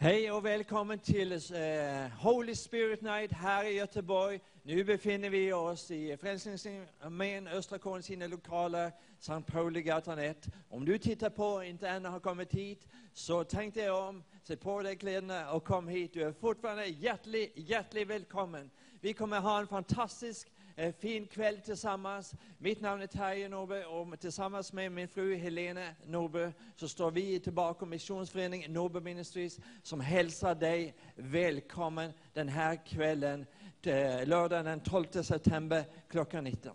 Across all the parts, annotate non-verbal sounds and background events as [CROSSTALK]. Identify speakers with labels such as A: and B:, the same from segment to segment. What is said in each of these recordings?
A: Hej och välkommen till eh, Holy Spirit Night här i Göteborg. Nu befinner vi oss i Frälsningsarmén, Östra Kårens sina lokaler, Sankt Pauligatan 1. Om du tittar på och inte ännu har kommit hit, så tänk dig om, sätt på dig kläderna och kom hit. Du är fortfarande hjärtligt, hjärtligt välkommen. Vi kommer ha en fantastisk en fin kväll tillsammans. Mitt namn är Terje Norberg och tillsammans med min fru Helene Norberg så står vi tillbaka Missionsföreningen Norberg Ministries som hälsar dig välkommen den här kvällen, eh, lördagen den 12 september klockan 19.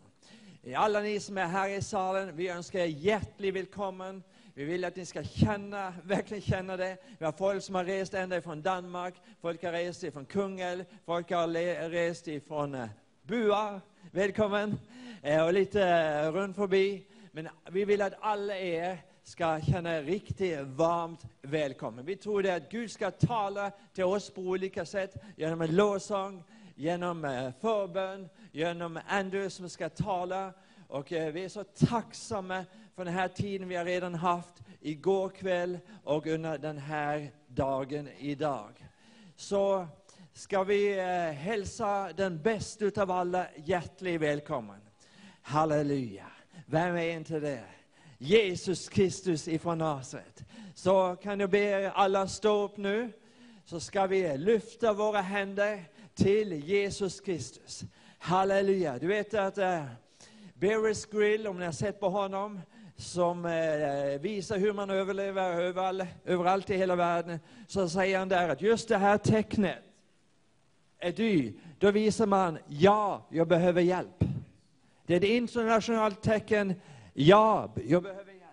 A: Alla ni som är här i salen, vi önskar er hjärtligt välkommen. Vi vill att ni ska känna, verkligen känna det. Vi har folk som har rest ända ifrån Danmark, folk har rest ifrån Kungälv, folk har le- rest ifrån eh, Bua, välkommen. Eh, Och lite eh, runt förbi. Men vi vill att alla er ska känna er riktigt varmt välkommen. Vi tror det att Gud ska tala till oss på olika sätt, genom en lovsång, genom eh, förbön, genom Andrew som ska tala. Och eh, vi är så tacksamma för den här tiden vi har redan haft igår kväll och under den här dagen idag. Så ska vi eh, hälsa den bästa utav alla hjärtligt välkommen. Halleluja. Vem är inte det? Jesus Kristus ifrån Nasaret. Så kan jag be er alla stå upp nu, så ska vi lyfta våra händer till Jesus Kristus. Halleluja. Du vet att eh, Beres Grill, om ni har sett på honom, som eh, visar hur man överlever överall, överallt i hela världen, så säger han där att just det här tecknet är du, då visar man ja, jag behöver hjälp. Det är ett internationellt tecken, ja, jag behöver hjälp.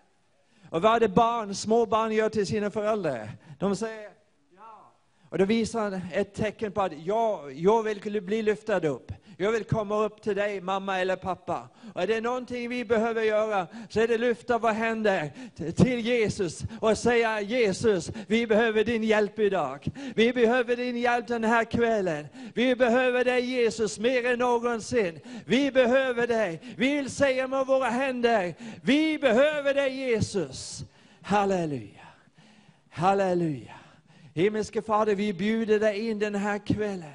A: Och vad är det barn, små barn gör till sina föräldrar? De säger ja. Och då visar han ett tecken på att jag, jag vill bli lyftad upp. Jag vill komma upp till dig, mamma eller pappa. Och är det någonting vi behöver göra så är det lyfta våra händer t- till Jesus och säga Jesus, vi behöver din hjälp idag. Vi behöver din hjälp den här kvällen. Vi behöver dig Jesus mer än någonsin. Vi behöver dig. Vi vill säga med våra händer, vi behöver dig Jesus. Halleluja. Halleluja. Himmelske Fader, vi bjuder dig in den här kvällen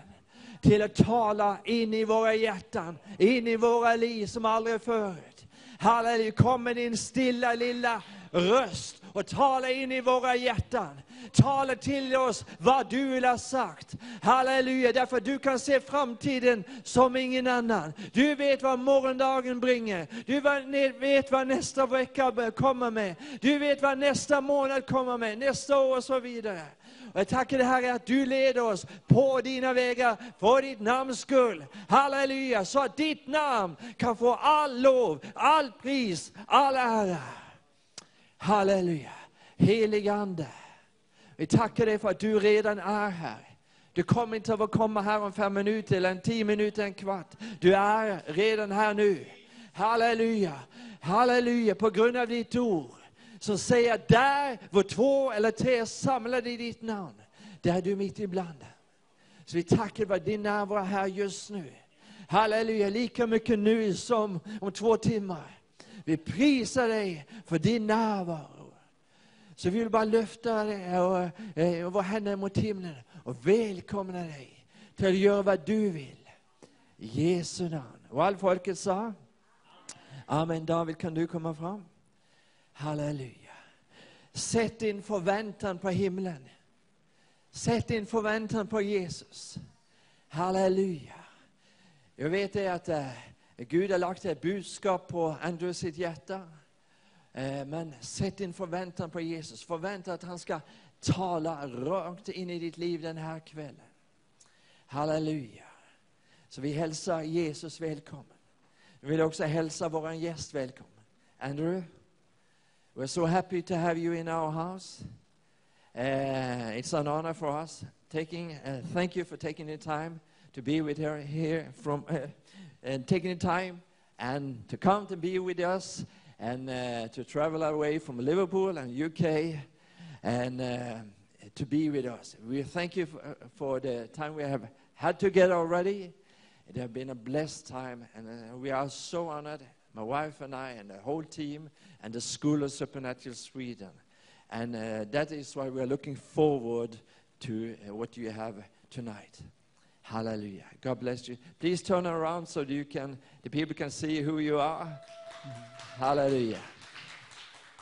A: till att tala in i våra hjärtan, in i våra liv som aldrig förut. Halleluja, kom med din stilla lilla röst och tala in i våra hjärtan. Tala till oss vad du vill ha sagt. Halleluja, därför du kan se framtiden som ingen annan. Du vet vad morgondagen bringer. Du va- vet vad nästa vecka kommer med. Du vet vad nästa månad kommer med, nästa år och så vidare. Och jag tackar dig Herre att du leder oss på dina vägar för ditt namns skull. Halleluja, så att ditt namn kan få all lov, all pris, all ära. Halleluja, helig Ande. Vi tackar dig för att du redan är här. Du kommer inte att komma här om fem minuter, eller en tio minuter, en kvart. Du är redan här nu. Halleluja, halleluja, på grund av ditt ord som säger att där var två eller tre är samlade i ditt namn, där är du mitt ibland. Så vi tackar för din närvaro här just nu. Halleluja, lika mycket nu som om två timmar. Vi prisar dig för din närvaro. Så vi vill bara lyfta dig och, eh, och våra händer mot himlen och välkomna dig till att göra vad du vill. I Jesu namn. Och all folket sa? Amen. David, kan du komma fram? Halleluja. Sätt din förväntan på himlen. Sätt din förväntan på Jesus. Halleluja. Jag vet det att eh, Gud har lagt ett budskap på Andrews sitt hjärta. Eh, men sätt din förväntan på Jesus. Förvänta att han ska tala rakt in i ditt liv den här kvällen. Halleluja. Så vi hälsar Jesus välkommen. Vi vill också hälsa vår gäst välkommen. Andrew? We're so happy to have you in our house. Uh, it's an honor for us. Taking, uh, thank you for taking the time to be with her here from, uh, and taking the time and to come to be with us and uh, to travel away from Liverpool and UK and uh, to be with us. We thank you for, uh, for the time we have had together already. It has been a blessed time, and uh, we are so honored, my wife and I, and the whole team, and the School of Supernatural Sweden. And uh, that is why we are looking forward to uh, what you have tonight. Hallelujah. God bless you. Please turn around so you can, the people can see who you are. Hallelujah.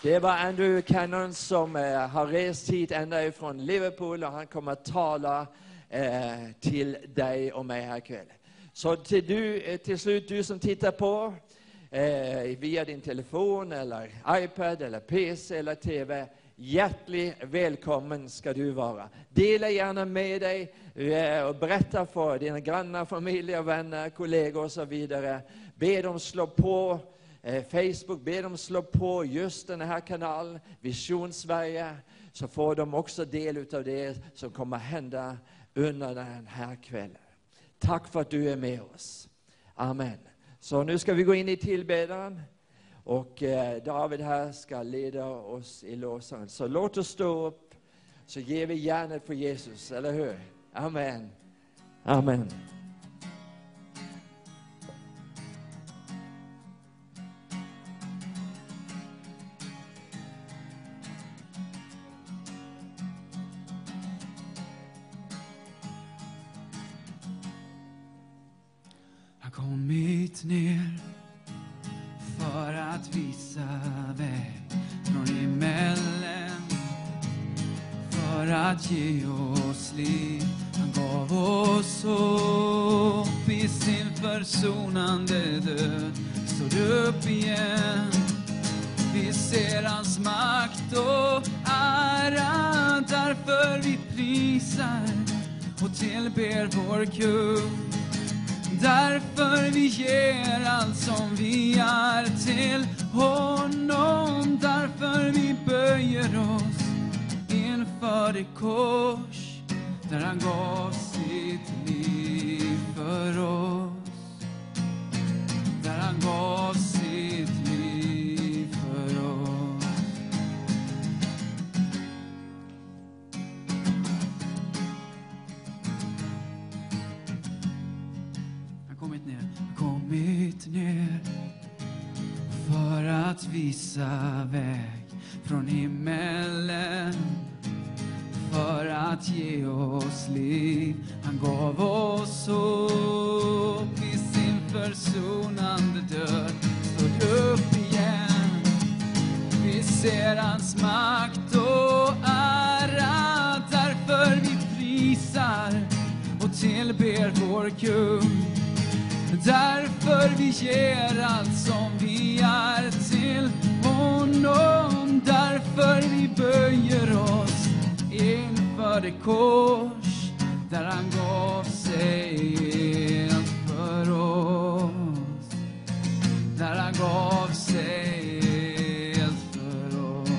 A: Det var Andrew Cannon som eh, har rest hit ända ifrån Liverpool och han kommer att tala eh, till dig och mig här ikväll. Så till, du, eh, till slut, du som tittar på eh, via din telefon eller iPad eller PC eller TV, hjärtligt välkommen ska du vara. Dela gärna med dig eh, och berätta för dina grannar, familj, och vänner, kollegor och så vidare. Be dem slå på eh, Facebook, be dem slå på just den här kanalen, Vision Sverige, så får de också del av det som kommer hända under den här kvällen. Tack för att du är med oss. Amen. Så nu ska vi gå in i tillbedjan och eh, David här ska leda oss i lovsången. Så låt oss stå upp, så ger vi hjärnet för Jesus, eller hur? Amen. Amen.
B: Han kommit ner för att visa väg från himmelen för att ge oss liv. Han gav oss hopp i sin försonande död. Stod upp igen. Vi ser hans makt och ära därför vi prisar och tillber vår kung. Därför vi ger allt som vi är till honom. Därför vi böjer oss inför det kors där han gav sitt liv för oss. Där han gav sitt liv för oss. Han har kommit ner, han har kommit ner för att visa väg från himmelen för att ge oss liv. Han gav oss hopp i sin försonande död. Stod upp igen vi ser hans makt och ära därför vi prisar och tillber vår kung. Därför vi ger allt som vi är till honom. Därför vi böjer oss inför det kors där han gav sig helt för oss där han gav sig helt för oss.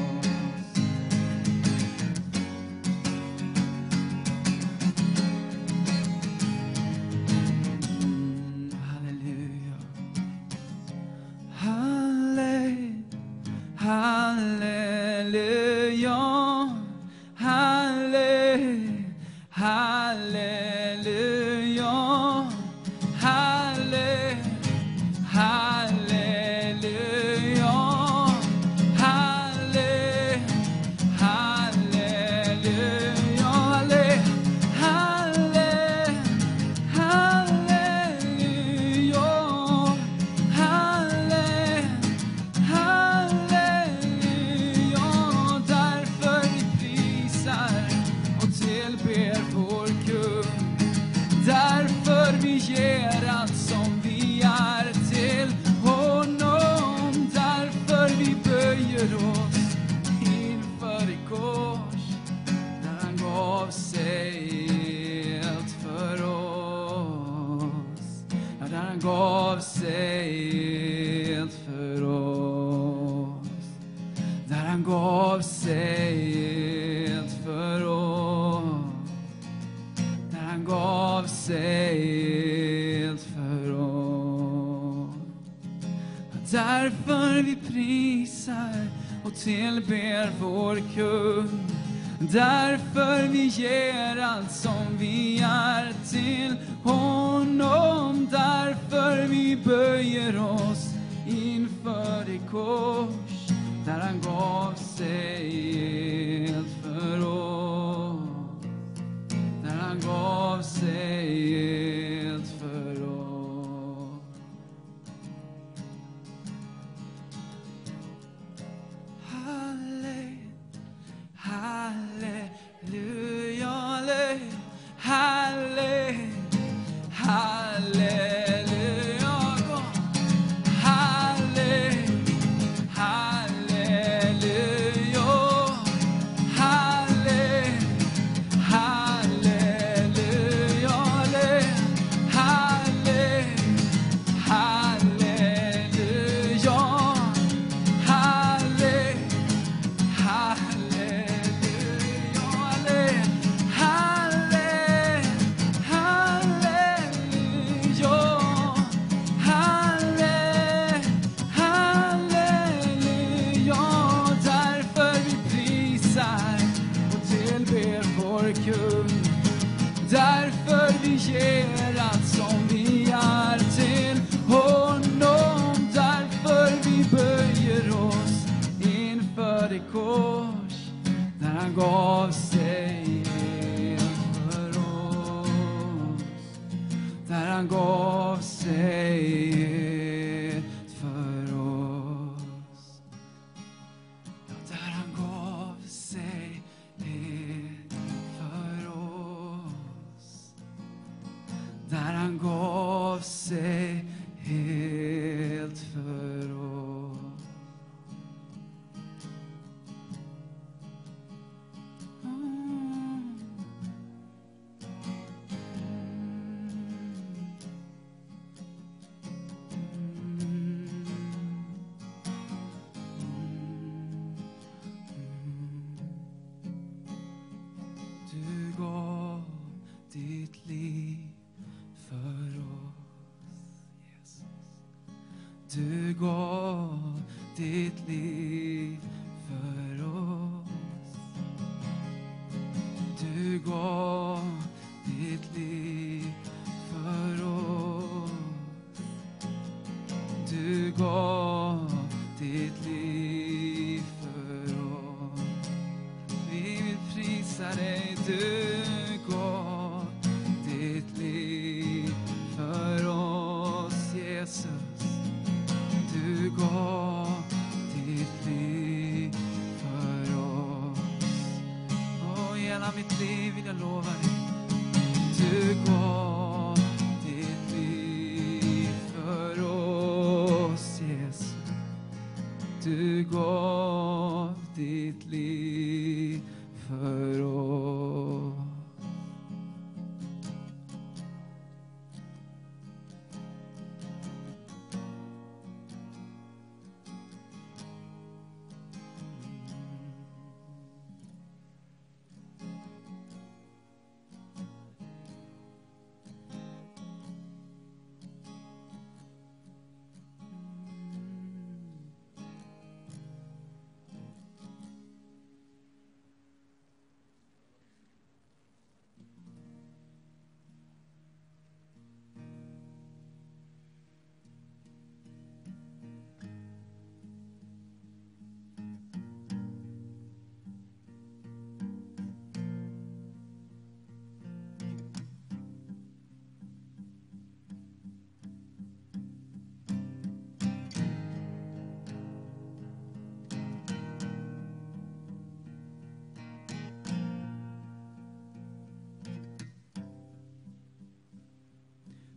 B: Mm, halleluja. Halle, halleluja. Halle, halleluja. Halle, halleluja. Halle, halleluja. Halle, halle, halleluja. Halle, halleluja. Därför vi prisar och tillber vår kung. Därför vi ger allt som vi är till honom. Därför vi böjer oss inför det kors där han gav sig helt för oss. Ja, där han gav sig helt för oss. Där han gav sig helt för oss när han gav sig helt för oss. Därför vi prisar och tillber vår kung. Därför vi ger allt som vi är till honom. Därför vi böjer oss inför det kors där han gav sig helt för oss. ger allt som vi är till honom. Därför vi böjer oss inför det kors där han gav sig för oss där han gav sig för oss. Ja, där han gav sig för oss. Där han gav sig helt för oss. Mm. Mm. Du gav ditt liv för oss. Du gav ditt liv för oss. Du gav ditt liv för oss. Du gav ditt liv för oss. Vi vill prisa dig, du gav ditt liv för oss, Jesus. Du gav ditt liv för oss. Och hela mitt liv vill jag lova dig. Du gav ditt liv för oss, Jesus. Du gav ditt liv för oss.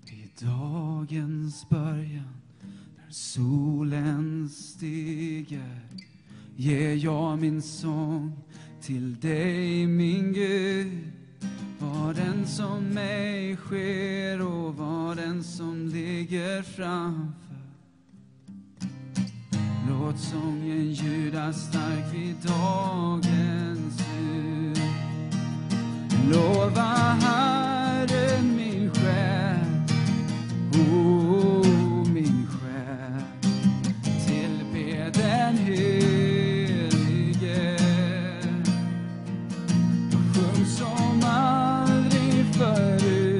B: I dagens början när solen stiger ger jag min sång till dig min Gud. Vad den som mig sker och vad den som ligger framför. Låt sången ljuda stark vid dagens ljus. Lova Herren min själ O min själ, tillbe den Helige. Sjung som aldrig förut. O min själ,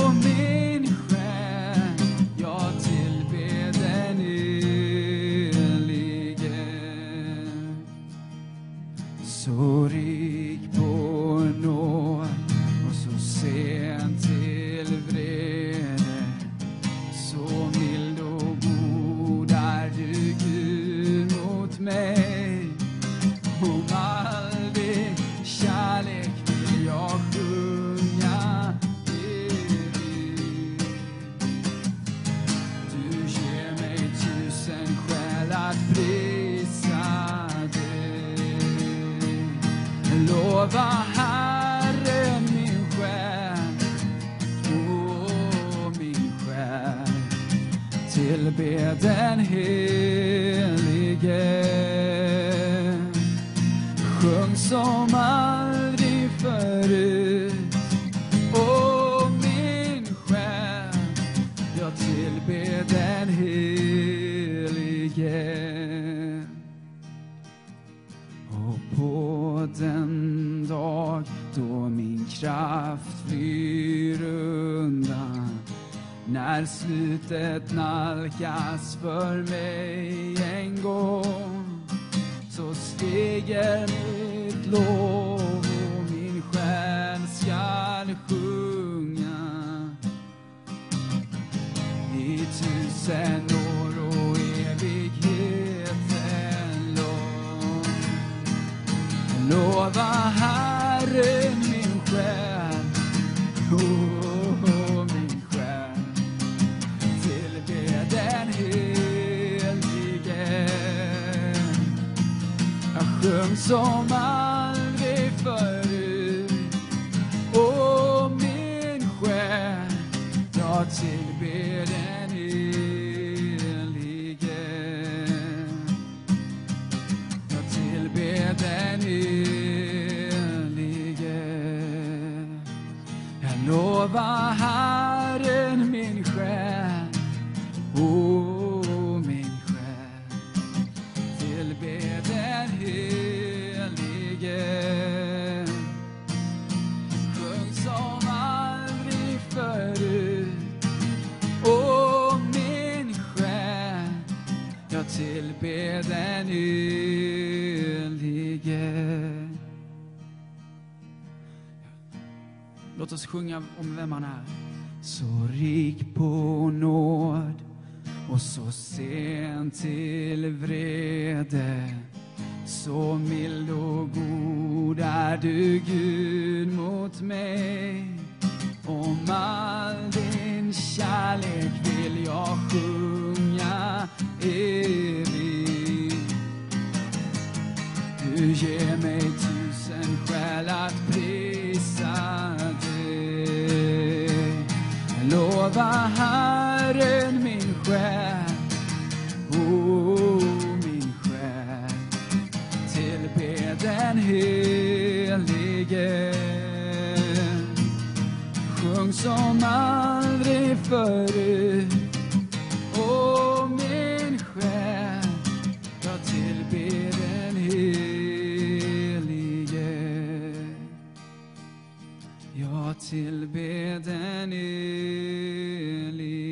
B: jag tillber den Helige så rik på nåd och så sen till vrede. Så mild och god är du, Gud, mot mig. Om all din kärlek vill jag sjunga evigt. Du ger mig tusen skäl att prisa dig. Lova Herren min själ, åh min själ. Tillbe den Helige. Sjung som aldrig förut Åh, min själ, jag tillber den Helige. Och på den dag då min kraft flyr När slutet nalkas för mig en gång så stiger mitt lov och min själ skall sjunga i tusen år och evigheten lång. Lova Herren min själ, oh, oh, min själ. Tillbe den Helige. Jag sjöng som aldrig förut Åh, min själ, jag tillber den helige. Jag tillber den helige. Jag lovar Herren min själ, åh, min själ. Tillbe den helige. Sjung som aldrig förut. Åh, min själ, jag tillber den helige. Låt oss sjunga om vem han är. Så rik på nåd och så sen till vrede. Så mild och god är du, Gud, mot mig. Om all din kärlek vill jag sjunga evigt. Du ger mig tusen skäl att prisa dig. Lova Herren min själ, oh, min själ. Tillbe den Helige. Sjung som aldrig förut. Åh, min själ, jag tillber den Helige. Jag tillber den Helige.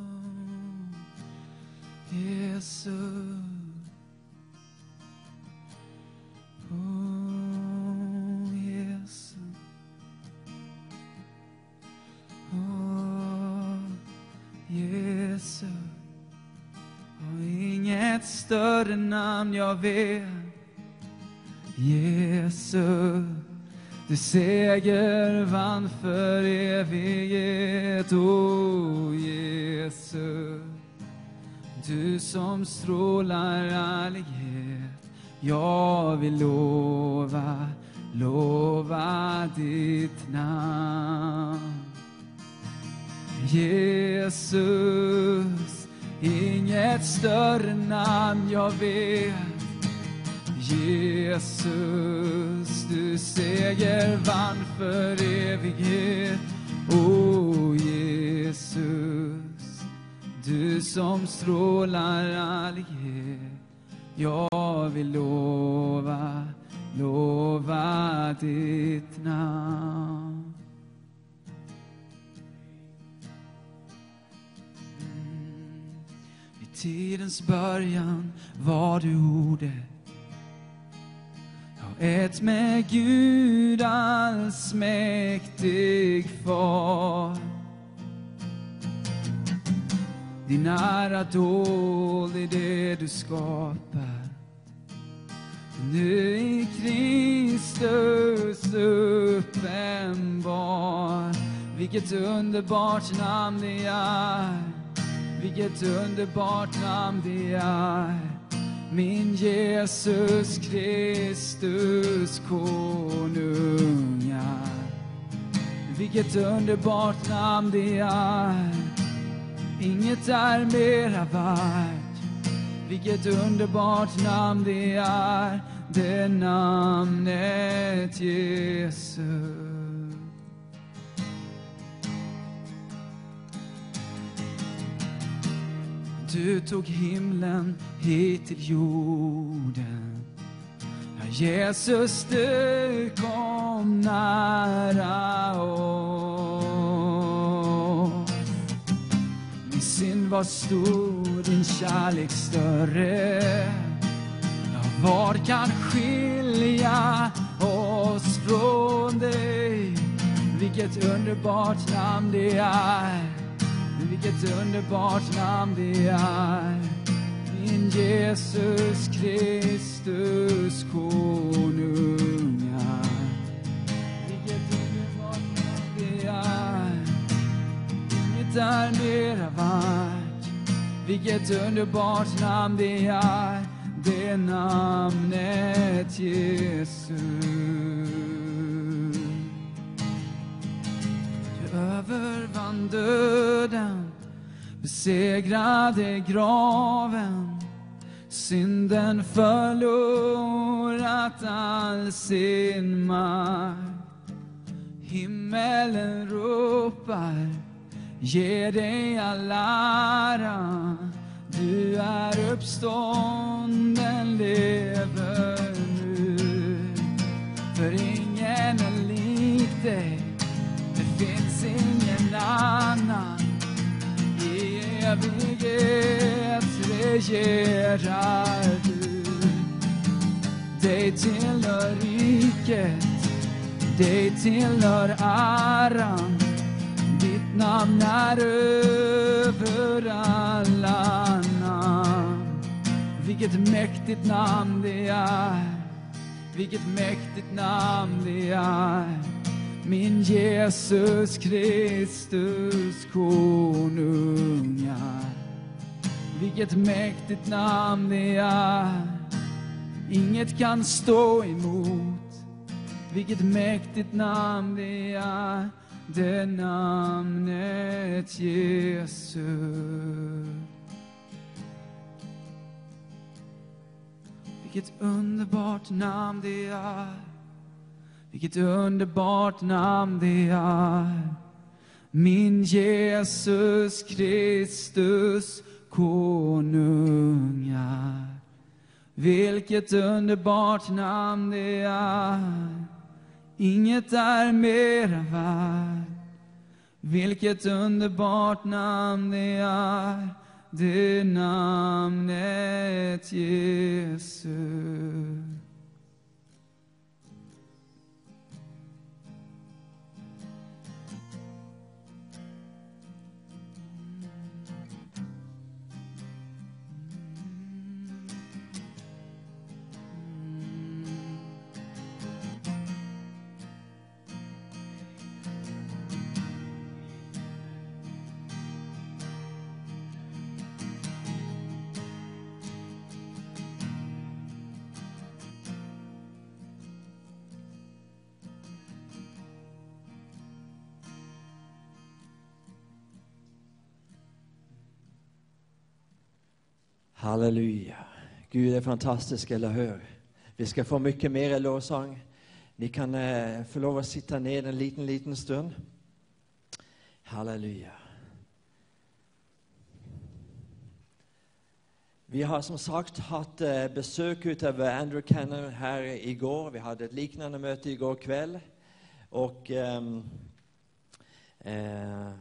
B: Oh, Jesus. Oh, yes. Oh, yes. Och inget större namn jag vet. Jesus, du seger vann för evighet. Oh, Jesus. Du som strålar ärlighet Jag vill lova, lova ditt namn Jesus, inget större namn jag vet Jesus, du seger vann för evighet. O oh, Jesus, du som strålar ärlighet. Jag vill lova, lova ditt namn. Mm. Vid tidens början var du ordet Ja, ett med Gud allsmäktig far. Din ära dold i det du skapar. Nu i Kristus uppenbar. Vilket underbart namn det är. Vilket underbart namn det är. Min Jesus Kristus konungar. Vilket underbart namn det är. Inget är mera värt. Vilket underbart namn det är. Det namnet Jesus. Du tog himlen hit till jorden. Ja, Jesus, du kom nära oss. Min synd var stor, din kärlek större. Ja, vad kan skilja oss från dig? Vilket underbart namn det är. Vilket underbart namn det är. Min Jesus Kristus konungar. Vilket underbart namn det är. Inget är mera värt Vilket underbart namn det är Det namnet Jesus Du övervann döden Besegrade graven Synden förlorat all sin makt Himmelen ropar, ge dig all ära. Du är uppstånden, lever nu. För ingen är lik dig, det finns ingen annan. I evighet regerar du. Dig tillhör riket dig tillhör äran Ditt namn är över alla namn Vilket mäktigt namn det är Vilket mäktigt namn det är Min Jesus Kristus konungar Vilket mäktigt namn det är Inget kan stå emot vilket mäktigt namn det är, det namnet Jesus. Vilket underbart namn det är, vilket underbart namn det är. Min Jesus Kristus konungar. Vilket underbart namn det är. Inget är mera värt. Vilket underbart namn det är. Det namnet Jesus.
A: Halleluja. Gud är fantastisk, eller hur? Vi ska få mycket mer lovsång. Ni kan eh, få lov att sitta ner en liten, liten stund. Halleluja. Vi har som sagt haft eh, besök utav Andrew Cannon här igår. Vi hade ett liknande möte igår kväll. Och ehm, eh,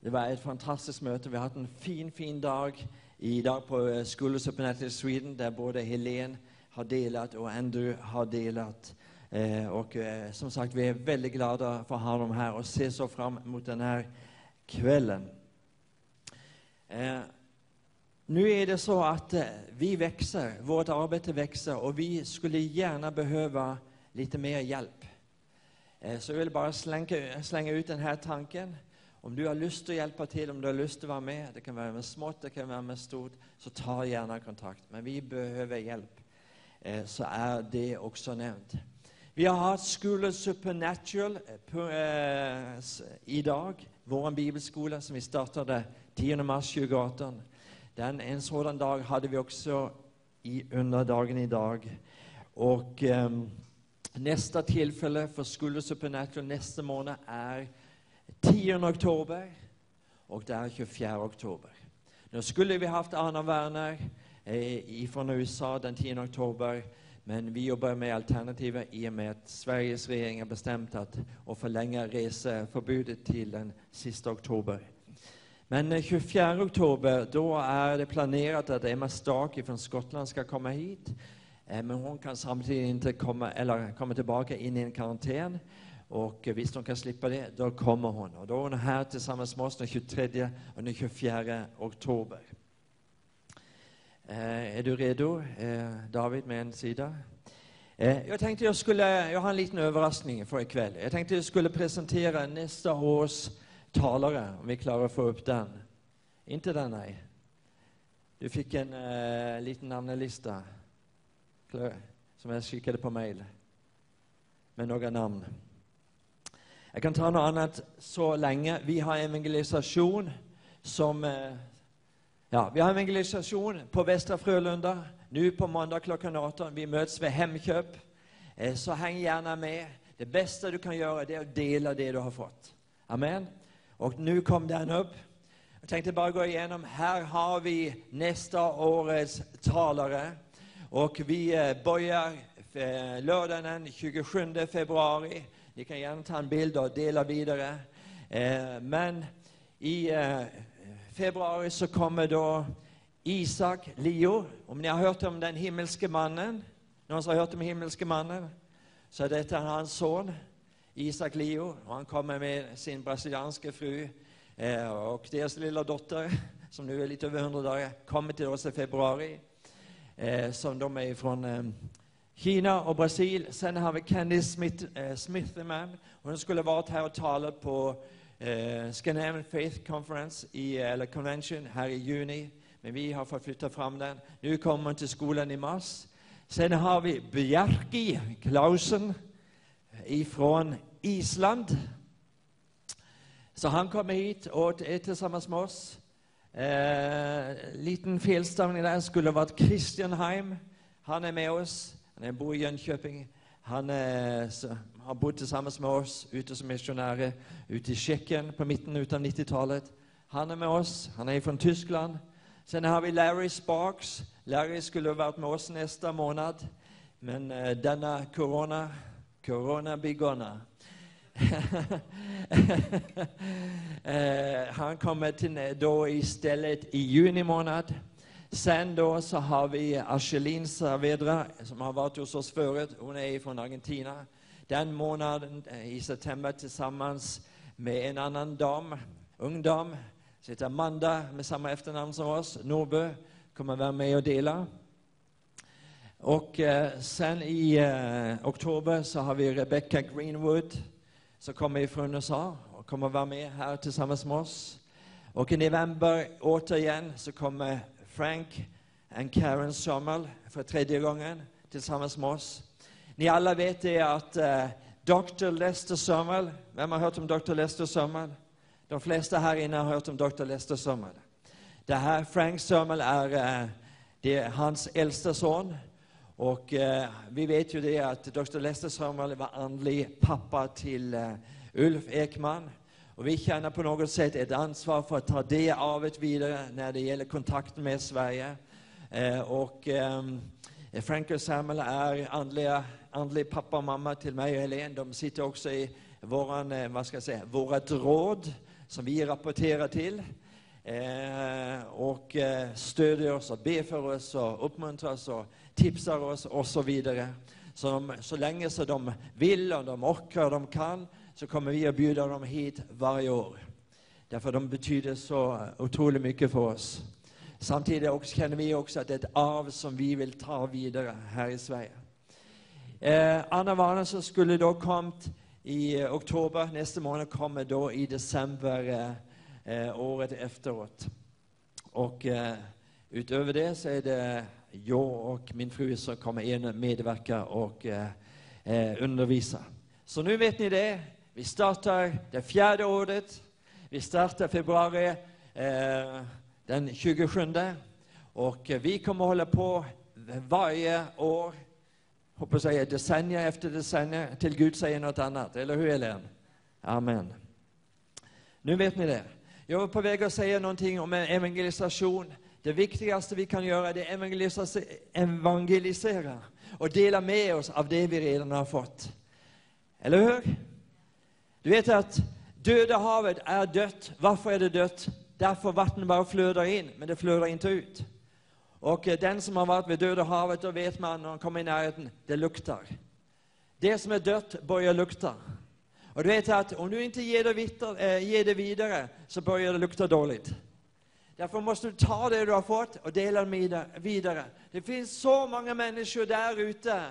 A: det var ett fantastiskt möte. Vi har haft en fin, fin dag idag på eh, School of Supernatural Sweden där både Helen har delat och Andrew har delat. Eh, och eh, som sagt, vi är väldigt glada för att ha dem här och ser så fram emot den här kvällen. Eh, nu är det så att eh, vi växer, vårt arbete växer och vi skulle gärna behöva lite mer hjälp. Eh, Så jag vill bara slänga, slänga ut den här tanken. Om du har lust att hjälpa till, om du har lust att vara med, det kan vara med smått, det kan vara med stort, så ta gärna kontakt. Men vi behöver hjälp. Eh, Så är det också nämnt. Vi har haft School of Supernatural eh, på, eh, s- idag, vår bibelskola som vi startade 10 mars 2018. Den, en sådan dag hade vi också i, under dagen idag. Och ehm, nästa tillfälle för School of Supernatural nästa månad är 10 oktober och det är 24 oktober. Nu skulle vi haft Anna Werner eh, ifrån USA den 10 oktober, men vi jobbar med alternativa i och med att Sveriges regering har bestämt att att förlänga reseförbudet till den sista oktober. Men eh, 24 oktober, då är det planerat att Emma Stark från Skottland ska komma hit. Eh, Men hon kan samtidigt inte komma, eller komma tillbaka in i en karantän. Och eh, visst hon kan slippa det, då kommer hon. Och då är hon här tillsammans med oss den 23 och den 24 oktober. Eh, är du redo, eh, David, med en sida? Eh, jag tänkte jag skulle, jag har en liten överraskning för ikväll. Jag tänkte jag skulle presentera nästa års talare, om vi klarar att få upp den. Inte den, nej. Du fick en eh, liten namnlista Klar- som jag skickade på mejl med några namn. Jag kan ta något annat så länge. Vi har evangelisation som eh, Ja, vi har evangelisation på Västra Frölunda nu på måndag klockan 18. Vi möts vid Hemköp. Eh, Så häng gärna med. Det bästa du kan göra det är att dela det du har fått. Amen. Och nu kom den upp. Jag tänkte bara gå igenom. Här har vi nästa årets talare. Och vi eh, börjar eh, lördagen den 27 februari. Ni kan gärna ta en bild och dela vidare. Eh, Men i eh, februari så kommer då Isak Leo. Om ni har hört om den himmelske mannen, någon som har hört om himmelske mannen, så detta är hans son Isak Leo. Och han kommer med sin brasilianska fru eh, och deras lilla dotter, som nu är lite över 100 dagar, kommer till oss i februari. Eh, som de är från eh, Kina och Brasil. Sen har vi Candy Smith, eh, Smitherman. Hon skulle varit här och talat på eh, Scandinavian Faith Conference, i, eller Convention, här i juni. Men vi har fått flytta fram den. Nu kommer hon till skolan i mars. Sen har vi Bjarki Klausen ifrån Island. Så han kommer hit och är tillsammans med oss. Eh, liten felstavning där skulle ha varit Christianheim. Han är med oss. Han bor i Jönköping. Han eh, så, har bott tillsammans med oss ute som missionärer ute i Tjeckien på mitten av 90-talet. Han är med oss. Han är från Tyskland. Sen har vi Larry Sparks. Larry skulle ha varit med oss nästa månad. Men eh, denna corona, corona begonna. [LAUGHS] Eh, han kommer till då istället i juni månad. Sen då så har vi Arcelin Saavedra som har varit hos oss förut. Hon är från Argentina. Den månaden eh, i september tillsammans med en annan dam, ung dam, som heter Amanda med samma efternamn som oss, Norbø, kommer vara med och dela. Och eh, sen i eh, oktober så har vi Rebecca Greenwood som kommer ifrån USA och kommer vara med här tillsammans med oss. Och i november återigen så kommer Frank och Karen Sommel för tredje gången tillsammans med oss. Ni alla vet det att eh, Dr. Lester Sommel, vem har hört om Dr. Lester Sommel? De flesta här inne har hört om Dr. Lester Sommel. Det här Frank Sommel är, eh, det är hans äldsta son. Och eh, vi vet ju det att Dr. Lester Samuel var andlig pappa till eh, Ulf Ekman. Och vi känner på något sätt ett ansvar för att ta det arvet vidare när det gäller kontakten med Sverige. Eh, och ehm, Frank och Samuel är andliga, andlig pappa och mamma till mig och Helene. De sitter också i våran, eh, vad ska jag säga, vårat råd som vi rapporterar till. Eh, och eh, stödjer oss och ber för oss och uppmuntrar oss och tipsar oss och så vidare. Så, de, så länge så de vill och de orkar och de kan så kommer vi att bjuda dem hit varje år. Därför de betyder så otroligt mycket för oss. Samtidigt också, känner vi också att det är ett arv som vi vill ta vidare här i Sverige. Eh, Anna Warner skulle då kommit i eh, oktober, nästa månad kommer då i december eh, eh, året efteråt. Och eh, utöver det så är det jag och min fru som kommer in och medverka och eh, eh, undervisa. Så nu vet ni det. Vi startar det fjärde året. Vi startar februari eh, den 27. Och eh, vi kommer hålla på varje år, hoppas jag, decennier efter decennier, till Gud säger något annat. Eller hur, Elen? Amen. Nu vet ni det. Jag var på väg att säga någonting om evangelisation. Det viktigaste vi kan göra det är evangelisa- evangelisera och dela med oss av det vi redan har fått. Eller hur? Du vet att döda havet är dött. Varför är det dött? Därför vattnet bara flödar in, men det flödar inte ut. Och eh, den som har varit vid Döda havet, då vet man när man kommer i närheten, det luktar. Det som är dött börjar lukta. Och du vet att om du inte ger det, vitt- eh, ger det vidare så börjar det lukta dåligt. Därför måste du ta det du har fått och dela med- vidare. Det finns så många människor där ute,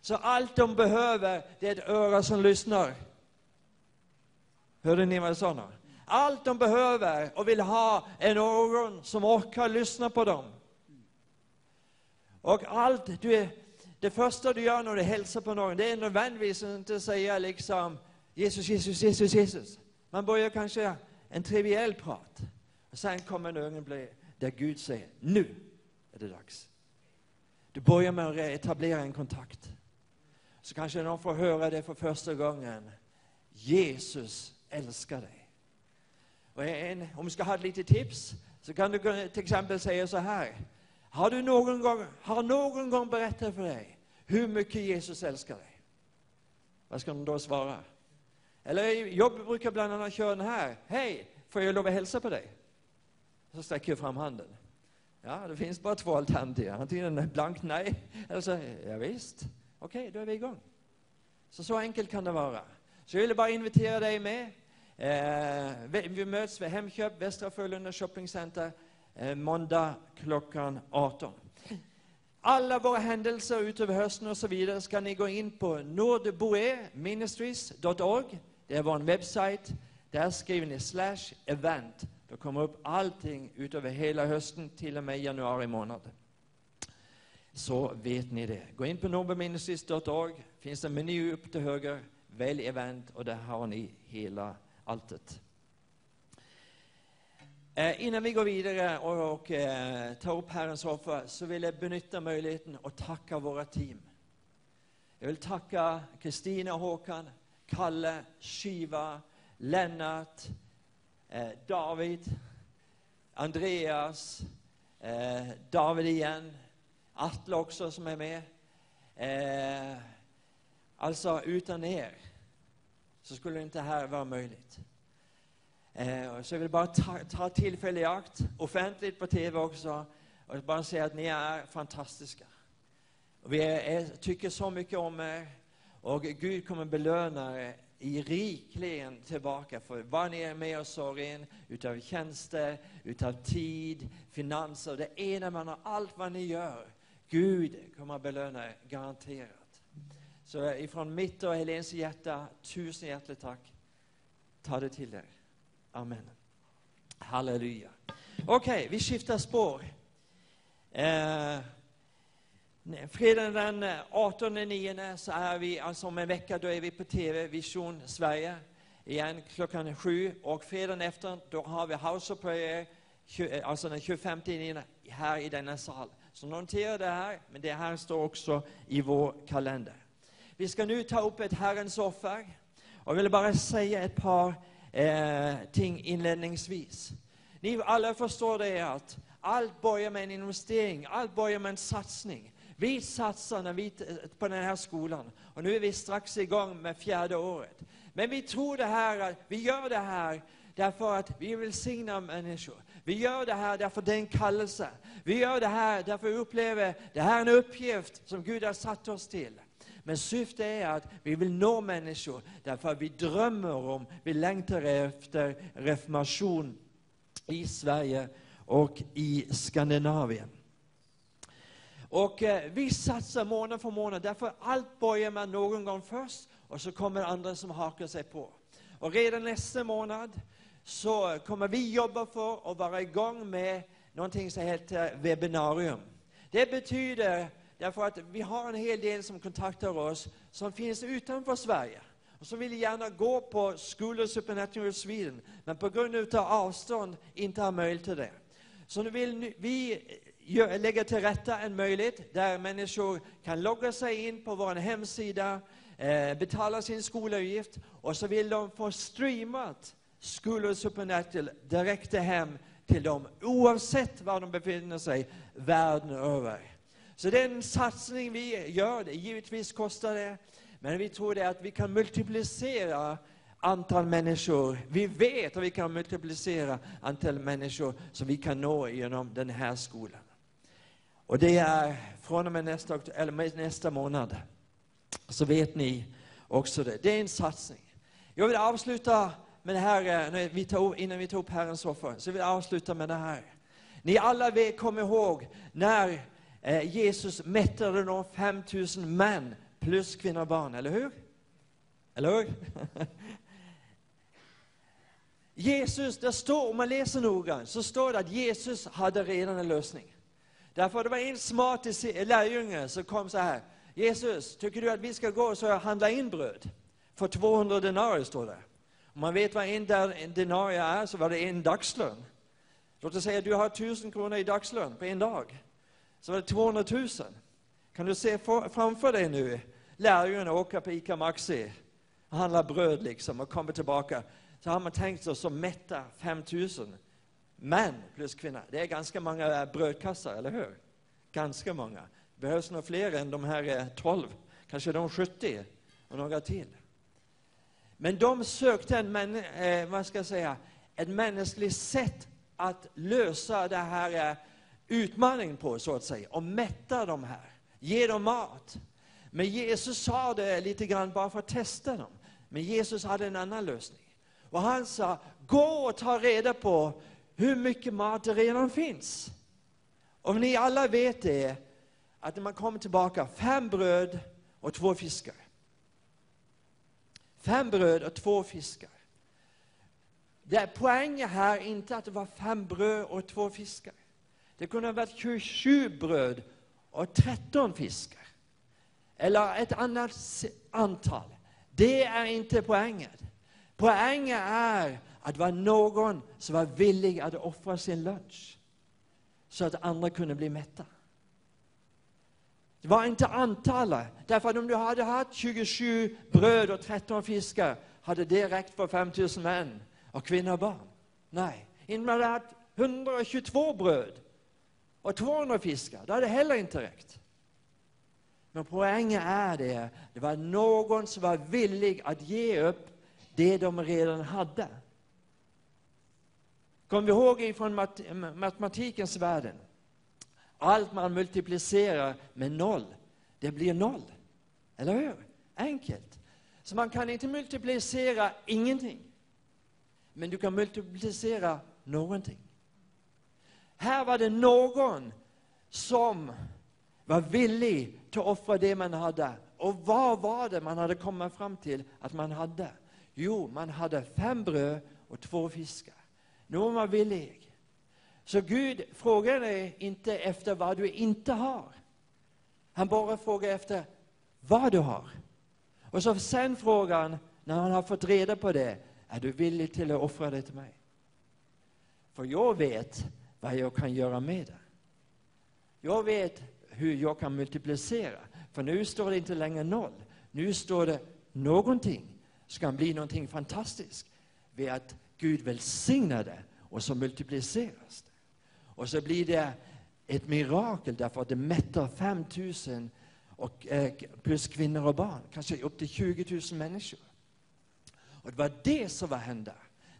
A: så allt de behöver det är ett öra som lyssnar. Hörde ni vad jag sa nu? Allt de behöver och vill ha är någon som orkar lyssna på dem. Och allt du är, det första du gör när du hälsar på någon, det är nödvändigtvis att inte säga liksom Jesus, Jesus, Jesus, Jesus. Man börjar kanske en triviell prat. Och sen kommer en ögonblick där Gud säger, nu är det dags. Du börjar med att etablera en kontakt. Så kanske någon får höra det för första gången. Jesus älskar dig. Och en, om du ska ha lite tips så kan du gå- till exempel säga så här. Har du någon gång, har någon gång berättat för dig hur mycket Jesus älskar dig? Vad ska de då svara? Eller jag brukar bland annat köra den här. Hej, får jag lov att hälsa på dig? Så sträcker jag fram handen. Ja, det finns bara två alternativ. Antingen ett blankt nej, eller så, ja, visst. Okej, då är vi igång. Så, så enkelt kan det vara. Så jag ville bara invitera dig med. Eh, vi, vi möts vid Hemköp, Västra Frölunda Shoppingcenter, eh, måndag klockan 18. Alla våra händelser utöver hösten och så vidare ska ni gå in på nordboeministries.org. Det är vår webbsajt. Där skriver ni slash event. Då kommer upp allting utöver hela hösten, till och med januari månad så vet ni det. Gå in på norberministries.org, finns en meny upp till höger, välj event och där har ni hela alltet. Eh, innan vi går vidare och, och eh, tar upp Herrens offer så vill jag benytta möjligheten att tacka våra team. Jag vill tacka Kristina, Håkan, Kalle, Shiva, Lennart, eh, David, Andreas, eh, David igen, Atle också som är med. Eh, alltså, utan er så skulle inte det här vara möjligt. Eh, och så jag vill bara ta, ta tillfälle i akt, offentligt på TV också, och bara säga att ni är fantastiska. Och vi är, är, tycker så mycket om er och Gud kommer belöna er i rikligen tillbaka för vad ni är med och sår in utav tjänster, utav tid, finanser, det ena man har, allt vad ni gör. Gud kommer att belöna er, garanterat. Så eh, ifrån mitt och Helens hjärta, tusen hjärtligt tack. Ta det till er. Amen. Halleluja. Okej, vi skiftar spår. Eh, Nej, Fredagen den eh, 18 9 så är vi, alltså om en vecka, då är vi på TV Vision Sverige igen klockan sju. Och fredagen efter, då har vi House of Prayer, tju- eh, alltså den 25 9 här i denna sal. Så notera det här, men det här står också i vår kalender. Vi ska nu ta upp ett Herrens offer. Och jag vill bara säga ett par eh, ting inledningsvis. Ni alla förstår det att allt börjar med en investering, allt börjar med en satsning. Vi satsar när vi, på den här skolan och nu är vi strax igång med fjärde året. Men vi tror det här, att vi gör det här därför att vi vill signa människor. Vi gör det här därför det är en kallelse. Vi gör det här därför vi upplever det här är en uppgift som Gud har satt oss till. Men syftet är att vi vill nå människor därför att vi drömmer om, vi längtar efter reformation i Sverige och i Skandinavien. Och eh, vi satsar månad för månad, därför allt börjar man någon gång först och så kommer andra som hakar sig på. Och redan nästa månad så kommer vi jobba för att vara igång med någonting som heter webbinarium. Det betyder därför att vi har en hel del som kontaktar oss som finns utanför Sverige och som vill gärna gå på School of Supernatural Sweden men på grund utav avstånd inte har möjlighet till det. Så nu vill ni- vi eh, gö- lägga till rätta en möjlighet där människor kan logga sig in på vår hemsida, eh, betala sin skolavgift och så vill de få streamat skulle Supernatural direkt hem till dem oavsett var de befinner sig världen över. Så den satsning vi gör, det givetvis kostar det, men vi tror det att vi kan multiplicera antal människor. Vi vet att vi kan multiplicera antal människor som vi kan nå genom den här skolan. Och det är från och med nästa, okt- eller med nästa månad. Så vet ni också det. Det är en satsning. Jag vill avsluta med det här, eh, när vi tar, o- innan vi tar upp Herrens offer, så vill jag avsluta med det här. Ni alla vet, kom ihåg när eh, Jesus mättade de 5000 män plus kvinnor och barn, eller hur? Eller hur? [LAUGHS] Jesus, det står, om man läser noggrant, så står det att Jesus hade redan en lösning. Därför det var en smart disi- lärjunge som kom så här. Jesus, tycker du att vi ska gå och handla in bröd? För 200 denarier står det. Om man vet vad en dar- en denarie är så var det en dagslön. Låt oss säga att du har 1000 kronor i dagslön på en dag. Så var det 200 000. Kan du se for- framför dig nu lärjungarna åka på ICA Maxi och handla bröd liksom och kommer tillbaka. Så har man tänkt sig att mätta 5000 män plus kvinnor. Det är ganska många eh, brödkassar, eller hur? Ganska många. Det behövs nog fler än de här eh, 12, kanske de 70 och några till. Men de sökte en, män, eh, vad ska jag säga, ett mänskligt sätt att lösa den här eh, utmaningen på, så att säga, och mätta de här, ge dem mat. Men Jesus sa det lite grann bara för att testa dem. Men Jesus hade en annan lösning. Och han sa, gå och ta reda på hur mycket mat det redan finns. Och ni alla vet det, att när man kommer tillbaka, fem bröd och två fiskar. Fem bröd och två fiskar. Det är poängen här inte att det var fem bröd och två fiskar. Det kunde ha varit 27 bröd och 13 fiskar. Eller ett annat s- antal. Det är inte poängen. Poängen är att det var någon som var villig att offra sin lunch. Så att andra kunde bli mätta. Det var inte antalet. Därför att om du hade haft 27 bröd och 13 fiskar hade det räckt för 5000 män och kvinnor och barn. Nej, om du hade haft 122 bröd och 200 fiskar, då hade det heller inte räckt. Men poängen är det, det var någon som var villig att ge upp det de redan hade. Kom vi ihåg ifrån mat- matematikens världen? Allt man multiplicerar med noll, det blir noll. Eller hur? Enkelt. Så man kan inte multiplicera ingenting. Men du kan multiplicera någonting. Här var det någon som var villig till att offra det man hade. Och vad var det man hade kommit fram till att man hade? Jo, man hade fem bröd och två fiskar. Nu var man villig. Så Gud frågar dig inte efter vad du inte har. Han bara frågar efter vad du har. Och så sen frågan, när han har fått reda på det, är du villig till att offra det till mig? För jag vet vad jag kan göra med det. Jag vet hur jag kan multiplicera. För nu står det inte längre noll. Nu står det någonting ska bli någonting fantastiskt. Vid att Gud välsignar det och så multipliceras det. Och så blir det ett mirakel därför att det mättar 5000 och, eh, plus kvinnor och barn. Kanske upp till 20 000 människor. Och det var det som var hända.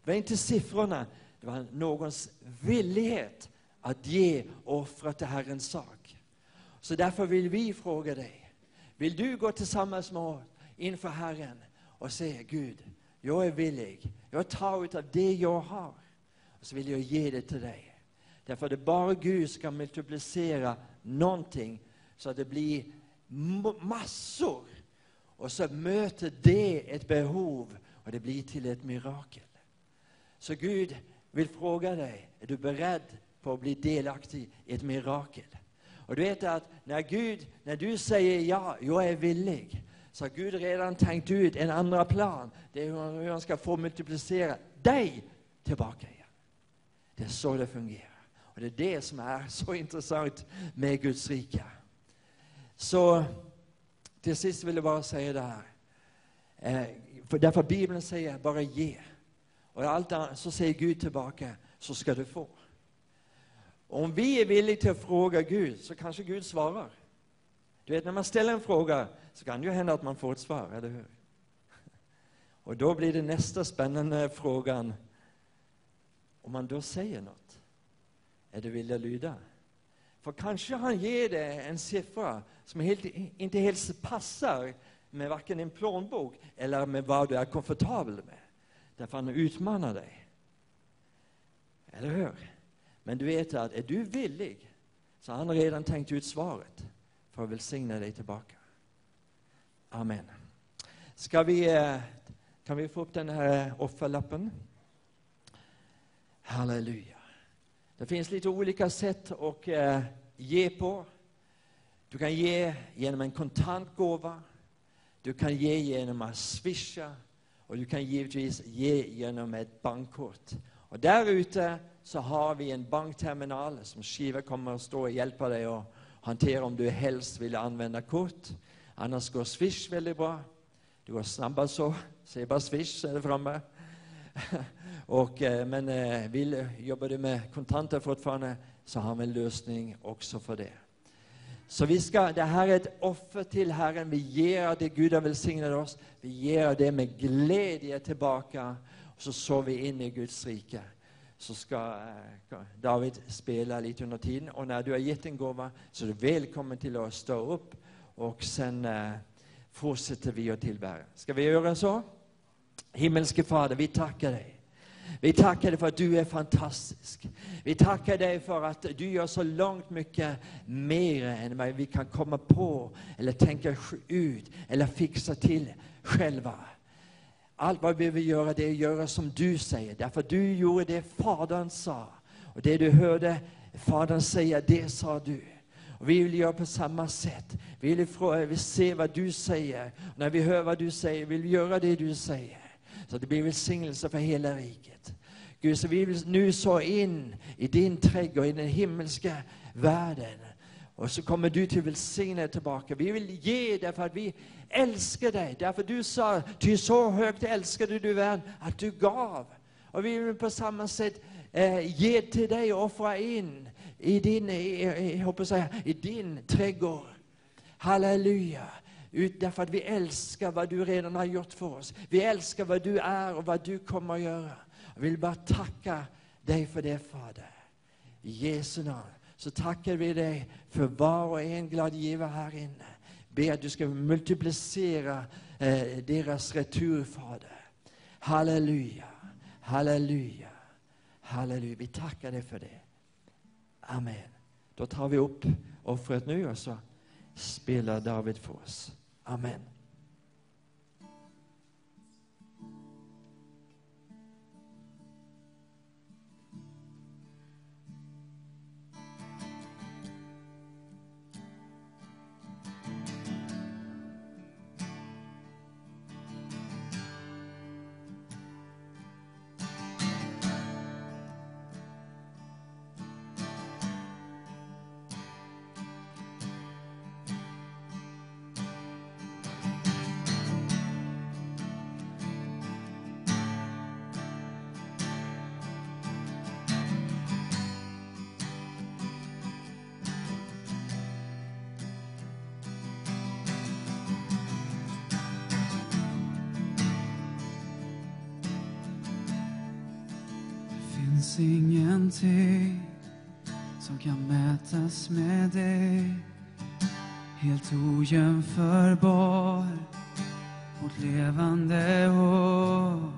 A: Det var inte siffrorna, det var någons villighet att ge och offra till Herrens sak. Så därför vill vi fråga dig, vill du gå tillsammans med oss inför Herren och säga Gud, jag är villig, jag tar utav det jag har och så vill jag ge det till dig. Därför det är bara Gud som kan multiplicera någonting så att det blir m- massor och så möter det ett behov och det blir till ett mirakel. Så Gud vill fråga dig, är du beredd på att bli delaktig i ett mirakel? Och du vet att när Gud, när du säger ja, jag är villig, så har Gud redan tänkt ut en andra plan. Det är hur han- hur han ska få multiplicera dig tillbaka igen. Det är så det fungerar. Och det är det som är så [LAUGHS] intressant med Guds rike. Så till sist vill jag bara säga det här. Eh, för därför Bibeln säger bara ge. och allt annat, så säger Gud tillbaka, så ska du få. Om vi är villiga till att fråga Gud, så kanske Gud svarar. Du vet, när man ställer en fråga så kan det ju hända att man får ett svar, eller hur? [LAUGHS] Och då blir det nästa spännande frågan, om man då säger något, är du villig att lyda? För kanske han ger dig en siffra som helt, inte helt passar med varken din plånbok eller med vad du är komfortabel med. Därför han utmanar dig. Eller hur? Men du vet att är du villig så har han redan tänkt ut svaret för att välsigna dig tillbaka. Amen. Ska vi, eh, kan vi få upp den här offerlappen? Halleluja. Det finns lite olika sätt att eh, ge på. Du kan ge genom en kontantgåva. Du kan ge genom att swisha. Och du kan givetvis ge genom ett bankkort. Och där ute så har vi en bankterminal som Shiva kommer att stå och hjälpa dig att hantera om du helst vill använda kort. Annars går Swish väldigt bra. Det går snabbare så. Säg bara Swish så är det framme. [LAUGHS] och, eh, men eh, vill, jobbar du med kontanter fortfarande så har vi en lösning också för det. Så vi ska, det här är ett offer till Herren. Vi ger det Gud har välsignat oss. Vi ger det med glädje tillbaka. Och så sår vi in i Guds rike. Så ska eh, David spela lite under tiden. Och när du har gett en gåva så är du välkommen till att stå upp. Och sen eh, fortsätter vi att tillbära. Ska vi göra så? Himmelske Fader, vi tackar dig. Vi tackar dig för att du är fantastisk. Vi tackar dig för att du gör så långt mycket mer än vad vi kan komma på eller tänka ut eller fixa till själva. Allt vad vi behöver göra det är att göra som du säger, därför du gjorde det Fadern sa. Och det du hörde Fadern säga, det sa du. Och vi vill göra på samma sätt. Vi vill, fråga, vi vill se vad du säger. Och när vi hör vad du säger vill vi göra det du säger. Så det blir välsignelse för hela riket. Gud, så vi vill nu så in i din trädgård, i den himmelska världen. Och så kommer du till välsignelse tillbaka. Vi vill ge därför att vi älskar dig. Därför du sa, ty så högt älskade du världen att du gav. Och vi vill på samma sätt eh, ge till dig och offra in i din, i, i, jag hoppas säga, i din trädgård. Halleluja! Ut, därför att vi älskar vad du redan har gjort för oss. Vi älskar vad du är och vad du kommer att göra. Jag vill bara tacka dig för det, Fader. I Jesu namn så tackar vi dig för var och en glad givare här inne. Be att du ska multiplicera eh, deras retur, Fader. Halleluja, halleluja, halleluja. Vi tackar dig för det. Amen. Då tar vi upp offret nu och så spelar David för oss. Amen.
B: Det finns ingenting som kan mätas med dig Helt ojämförbar, vårt levande hopp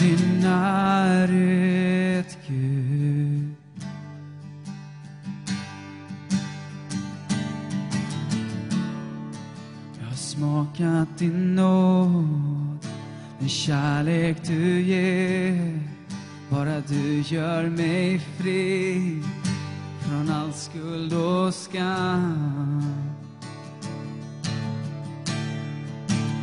B: Din närhet, Gud Jag har smakat din nåd den kärlek du ger Bara du gör mig fri Från all skuld och skam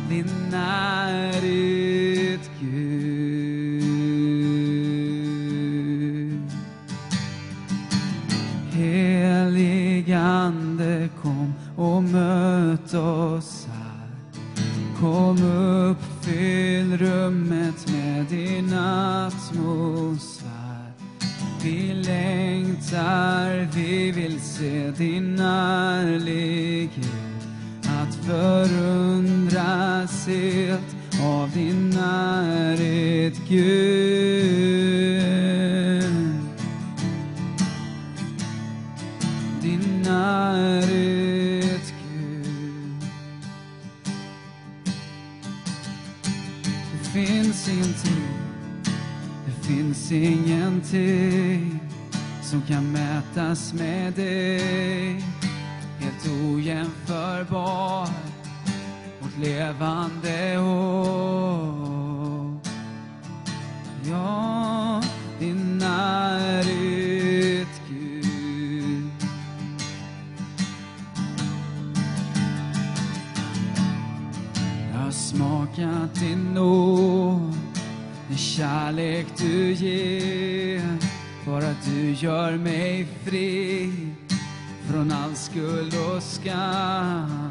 B: Din närhet Gud Heligande kom och möt oss här Kom uppfyll rummet med din atmosfär Vi längtar, vi vill se din ärlighet Att förundras helt av din närhet Gud Din närhet Gud Det finns ingenting, det finns ingenting som kan mätas med dig. Helt ojämförbar, vårt levande hopp. Ja, din närhet Gud. Jag har smakat din nåd, den kärlek du ger. Bara du gör mig fri från all skuld och skam.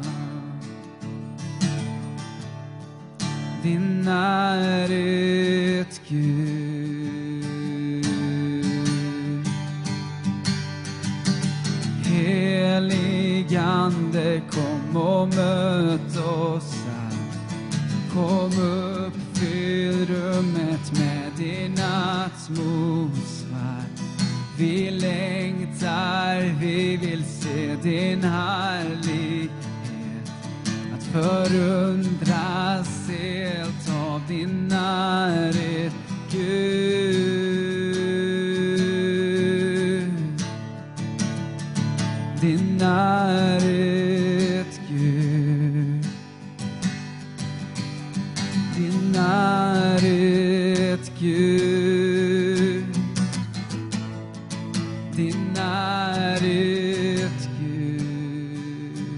B: Din närhet, Gud. Heligande kom och möt oss här Kom uppfyll rummet med din atmosfär Vi längtar, vi vill se din härlighet Att förundras helt av din närhet Gud din närhet, Gud. Din närhet, Gud. Din närhet, Gud.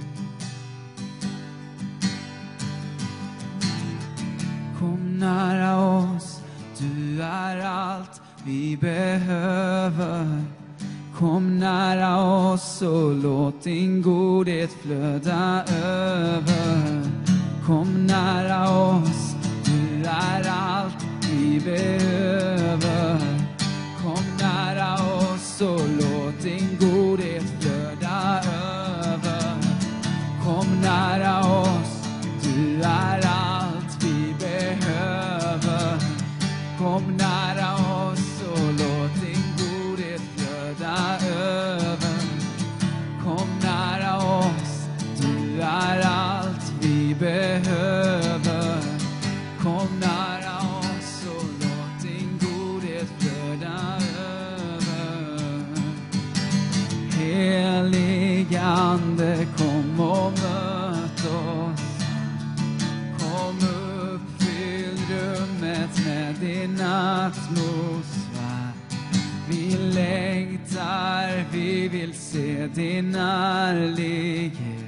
B: Kom nära oss, du är allt vi behöver. Kom nära oss och låt din godhet flöda över. Kom nära oss, du är allt vi behöver. Kom nära oss och låt din godhet flöda över. Kom nära oss, du är allt vi behöver. Kom nära oss och låt din godhet flöda över. Kom nära oss, du är allt vi behöver. Kom nära oss och låt din godhet flöda över. Heligande kom och möt oss. Kom uppfyll rummet med din atmosfär. Vi längtar, vi vill se din ärlighet.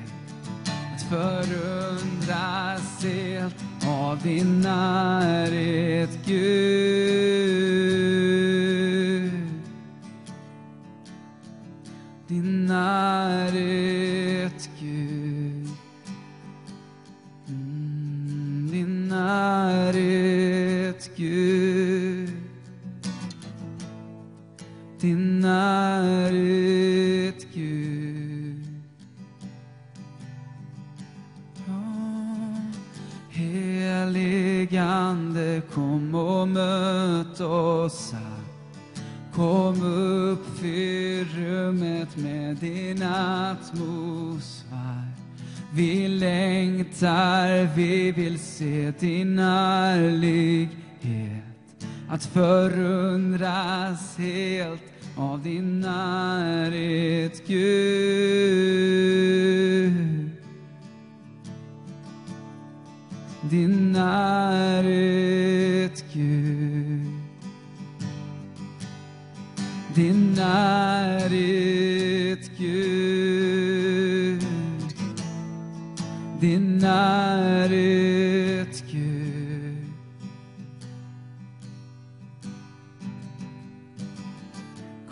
B: Att förundras helt av din närhet, Gud din närhet, Gud. Mm, din närhet, Gud. Din närhet, Gud. Ja, Heligande, kom och möt oss här. Kom uppfyll rummet med din atmosfär. Vi längtar, vi vill se din ärlighet. Att förundras helt av din närhet, Gud. Din närhet, Gud. Din närhet, Gud. Din närhet, Gud.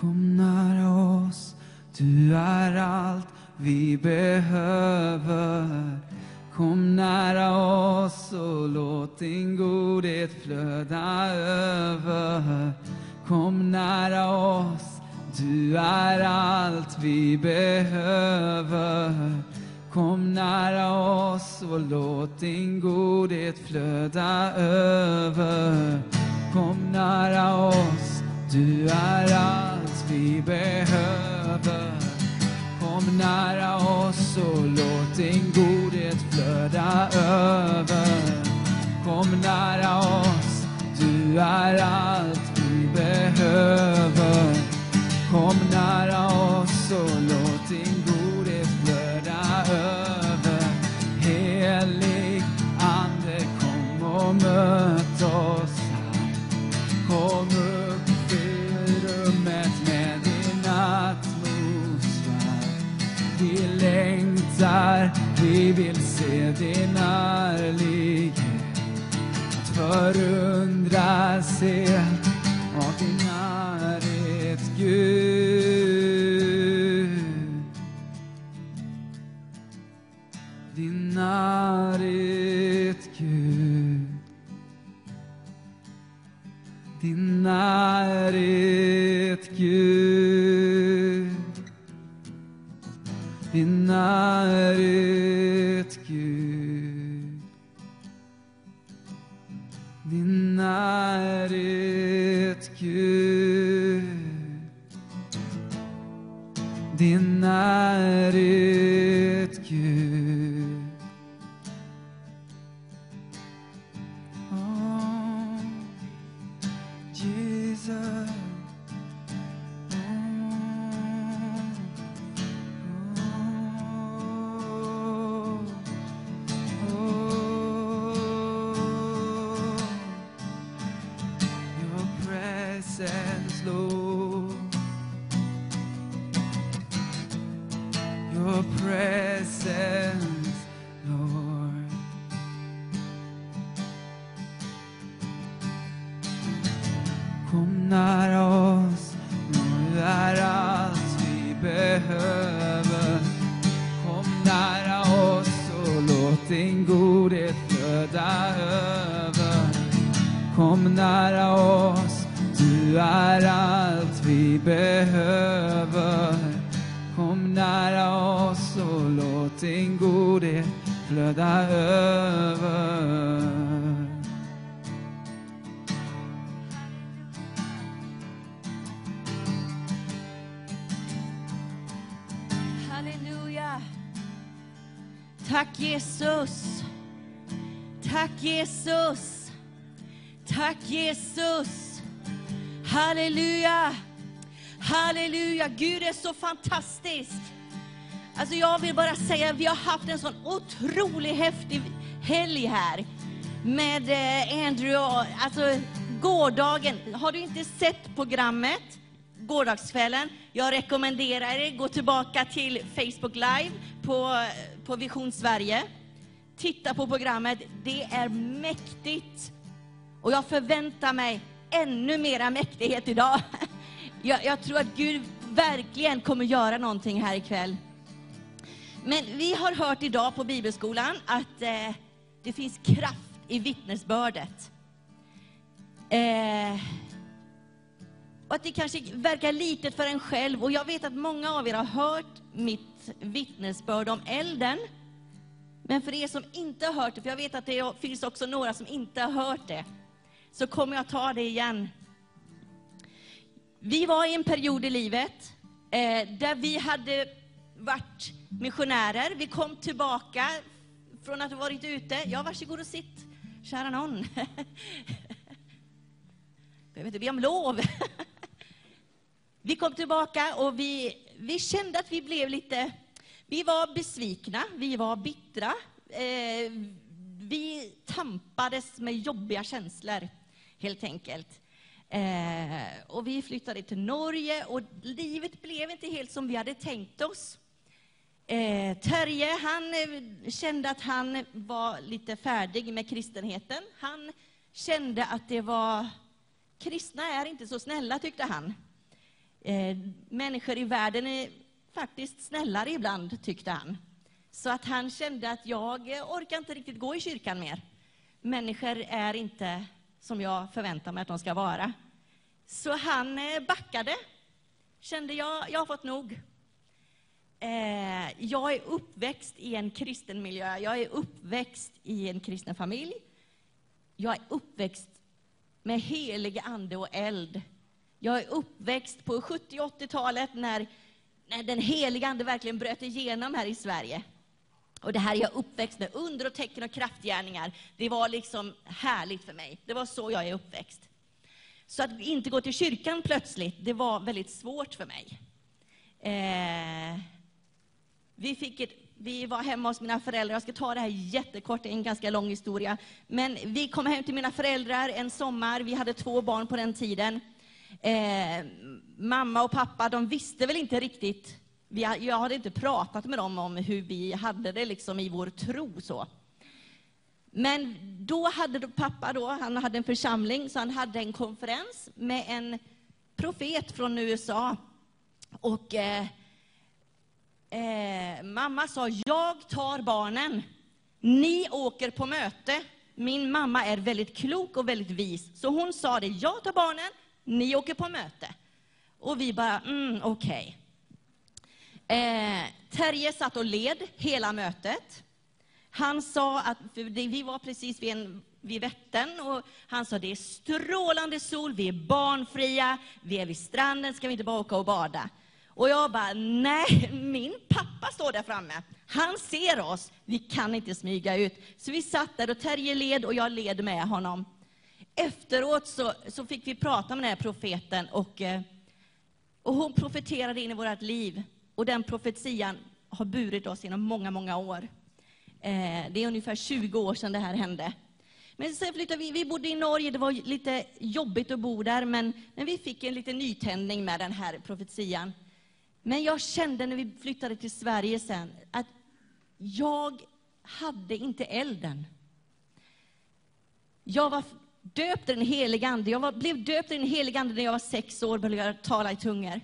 B: Kom nära oss, du är allt vi behöver. Kom nära oss låt din godhet flöda över. Kom nära oss, du är allt vi behöver. Kom nära oss och låt din godhet flöda över. Kom nära oss, du är allt vi behöver. Kom nära oss och låt din godhet flöda över. Kom nära oss, du är allt vi behöver. Kom nära oss och låt din godhet flöda över. Helig Ande, kom och möt oss här. Kom upp, fyll rummet med din atmosfär. Vi längtar, vi vill se din härlighet. Att förundras helt av din närhet, Gud. Din närhet, Gud. Din närhet, Gud. Din närhet, Gud. Din närhet, Gud. Din närhet, Gud. Oh, Jesus. Oh. Oh, oh, your presence, Lord, your presence, Lord. Kom nära oss, nu är allt vi behöver. Kom nära oss och låt din godhet flöda över. Kom nära oss, du är allt vi behöver. Kom nära oss och låt din godhet flöda över.
C: Halleluja. Tack Jesus. Tack Jesus. Tack Jesus. Halleluja. Halleluja. Gud är så fantastisk. Alltså jag vill bara säga, vi har haft en sån otroligt häftig helg här med eh, Andrew. och- Alltså gårdagen, har du inte sett programmet? Gårdagskvällen. Jag rekommenderar er, gå tillbaka till Facebook Live på, eh, på Vision Sverige. Titta på programmet, det är mäktigt. Och jag förväntar mig ännu mera mäktighet idag. [LAUGHS] Jag, jag tror att Gud verkligen kommer göra någonting här ikväll. Men vi har hört idag på bibelskolan att eh, det finns kraft i vittnesbördet. Eh, och att det kanske verkar litet för en själv. Och jag vet att många av er har hört mitt vittnesbörd om elden. Men för er som inte har hört det, för jag vet att det finns också några som inte har hört det, så kommer jag ta det igen. Vi var i en period i livet eh, där vi hade varit missionärer. Vi kom tillbaka från att ha varit ute. Ja, varsågod och sitt, kära någon. [LAUGHS] Behöver inte be om lov. Vi kom tillbaka och vi, vi kände att vi blev lite... Vi var besvikna, vi var bittra. Eh, vi tampades med jobbiga känslor, helt enkelt. Eh, och vi flyttade till Norge och livet blev inte helt som vi hade tänkt oss. Eh, Terje, han eh, kände att han var lite färdig med kristenheten. Han kände att det var... Kristna är inte så snälla, tyckte han. Eh, människor i världen är faktiskt snällare ibland, tyckte han. Så att han kände att jag eh, orkar inte riktigt gå i kyrkan mer. människor är inte som jag förväntar mig att de ska vara. Så han eh, backade. Kände jag, jag har fått nog. Eh, jag är uppväxt i en kristen miljö. Jag är uppväxt i en kristen familj. Jag är uppväxt med helig ande och eld. Jag är uppväxt på 70 och 80-talet när, när den heliga ande verkligen bröt igenom här i Sverige. Och det här är jag uppväxt med, under och tecken och kraftgärningar. Det var liksom härligt för mig. Det var så jag är uppväxt. Så att inte gå till kyrkan plötsligt, det var väldigt svårt för mig. Eh, vi, fick ett, vi var hemma hos mina föräldrar. Jag ska ta det här jättekort, det är en ganska lång historia. Men vi kom hem till mina föräldrar en sommar. Vi hade två barn på den tiden. Eh, mamma och pappa, de visste väl inte riktigt. Vi, ha- jag hade inte pratat med dem om hur vi hade det liksom i vår tro. Så. Men då hade då- pappa då, han hade en församling, så han hade en konferens med en profet från USA. Och eh, eh, mamma sa, jag tar barnen. Ni åker på möte. Min mamma är väldigt klok och väldigt vis. Så hon sa det, jag tar barnen, ni åker på möte. Och vi bara, mm, okej. Eh, Terje satt och led hela mötet. Han sa att, för det- vi var precis vid, en, vid Vättern, och han sa det är strålande sol, vi är barnfria, vi är vid stranden, ska vi inte bara åka och bada? Och jag bara, nej, min pappa står där framme. Han ser oss, vi kan inte smyga ut. Så vi satt där och Terje led och jag led med honom. Efteråt så, så fick vi prata med den här profeten och eh, och hon profeterade in i vårt liv. Och den profetian har burit oss genom många, många år. Eh, det är ungefär 20 år sedan det här hände. Men sen flyttade vi, vi bodde i Norge, det var lite jobbigt att bo där, men, men vi fick en liten nytändning med den här profetian. Men jag kände när vi flyttade till Sverige sen, att jag hade inte elden. Jag var f- döpt i den helige Ande. Jag var, blev döpt i den helige Ande när jag var sex år och började tala i tungor.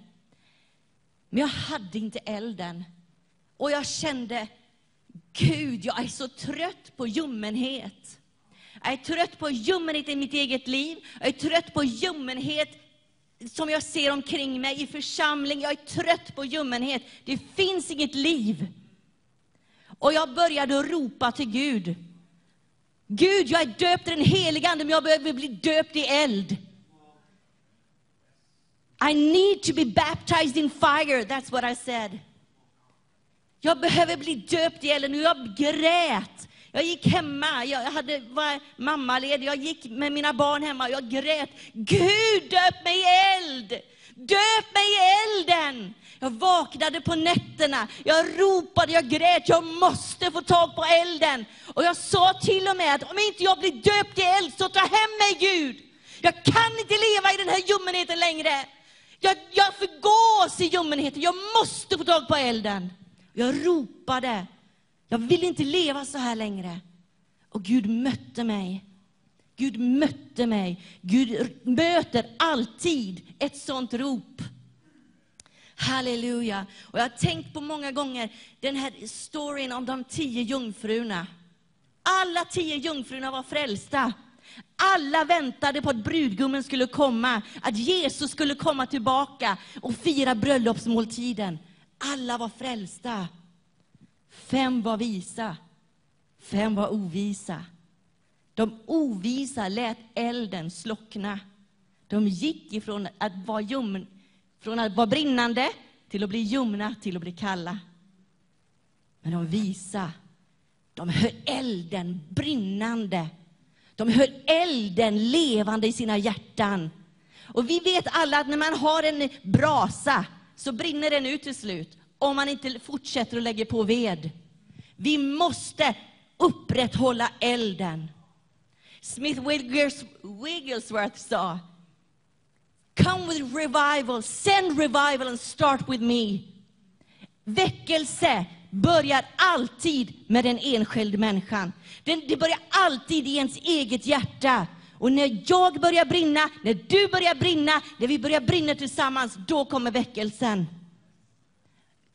C: Men jag hade inte elden. Och jag kände, Gud, jag är så trött på ljummenhet. Jag är trött på ljummenhet i mitt eget liv. Jag är trött på ljummenhet som jag ser omkring mig i församling. Jag är trött på ljummenhet. Det finns inget liv. Och jag började ropa till Gud. Gud, jag är döpt i den heliga Ande, men jag behöver bli döpt i eld. I need to be baptized in fire, that's what I said. Jag behöver bli döpt i elden och jag grät. Jag gick hemma, jag hade, var mammaledig, jag gick med mina barn hemma och jag grät. Gud, döp mig i eld! Döp mig i elden! Jag vaknade på nätterna, jag ropade, jag grät, jag måste få tag på elden. Och jag sa till och med att om inte jag blir döpt i eld så ta hem mig Gud! Jag kan inte leva i den här ljummenheten längre. Jag, jag förgås i ljummenheten. Jag måste få tag på elden. Jag ropade. Jag vill inte leva så här längre. Och Gud mötte mig. Gud mötte mig. Gud r- möter alltid ett sånt rop. Halleluja. Och jag har tänkt på många gånger den här storyn om de tio jungfrurna. Alla tio jungfrurna var frälsta. Alla väntade på att brudgummen skulle komma, att Jesus skulle komma tillbaka och fira bröllopsmåltiden. Alla var frälsta. Fem var visa, fem var ovisa. De ovisa lät elden slockna. De gick ifrån att vara, ljum, från att vara brinnande till att bli ljumna, till att bli kalla. Men de visa, de höll elden brinnande. De höll elden levande i sina hjärtan. Och vi vet alla att när man har en brasa så brinner den ut till slut. Om man inte fortsätter att lägga på ved. Vi måste upprätthålla elden. Smith Wiggles- Wigglesworth sa Come with revival, send revival and start with me. Väckelse börjar alltid med den enskilda människan. Den, det börjar alltid i ens eget hjärta. Och när jag börjar brinna, när du börjar brinna, när vi börjar brinna tillsammans, då kommer väckelsen.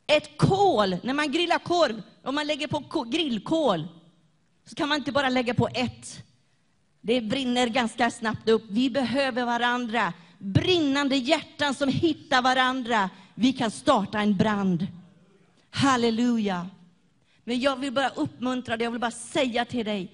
C: Ett kol, när man grillar korv, om man lägger på ko- grillkol, så kan man inte bara lägga på ett. Det brinner ganska snabbt upp. Vi behöver varandra. Brinnande hjärtan som hittar varandra. Vi kan starta en brand. Halleluja. Men jag vill bara uppmuntra dig, jag vill bara säga till dig,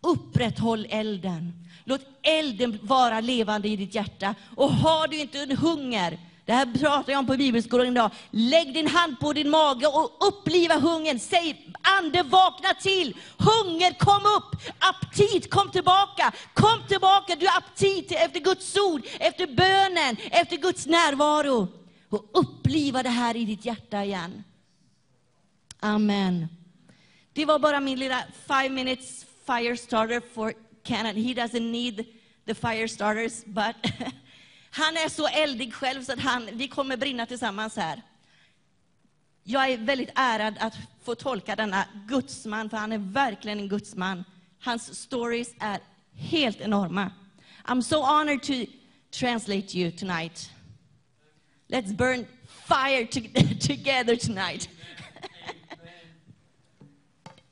C: upprätthåll elden. Låt elden vara levande i ditt hjärta. Och har du inte en hunger, det här pratar jag om på bibelskolan idag, lägg din hand på din mage och uppliva hungern. Säg, ande vakna till, hunger kom upp, aptit kom tillbaka, kom tillbaka, du har aptit efter Guds ord, efter bönen, efter Guds närvaro. Och uppliva det här i ditt hjärta igen. Amen. Det var bara min lilla five minutes fire starter for Canon. He doesn't need the fire starters, but [LAUGHS] han är så eldig själv så att han, vi kommer brinna tillsammans här. Jag är väldigt ärad att få tolka denna gudsman, för han är verkligen en gudsman. Hans stories är helt enorma. I'm so honored to translate you tonight. Let's burn fire to- [LAUGHS] together tonight.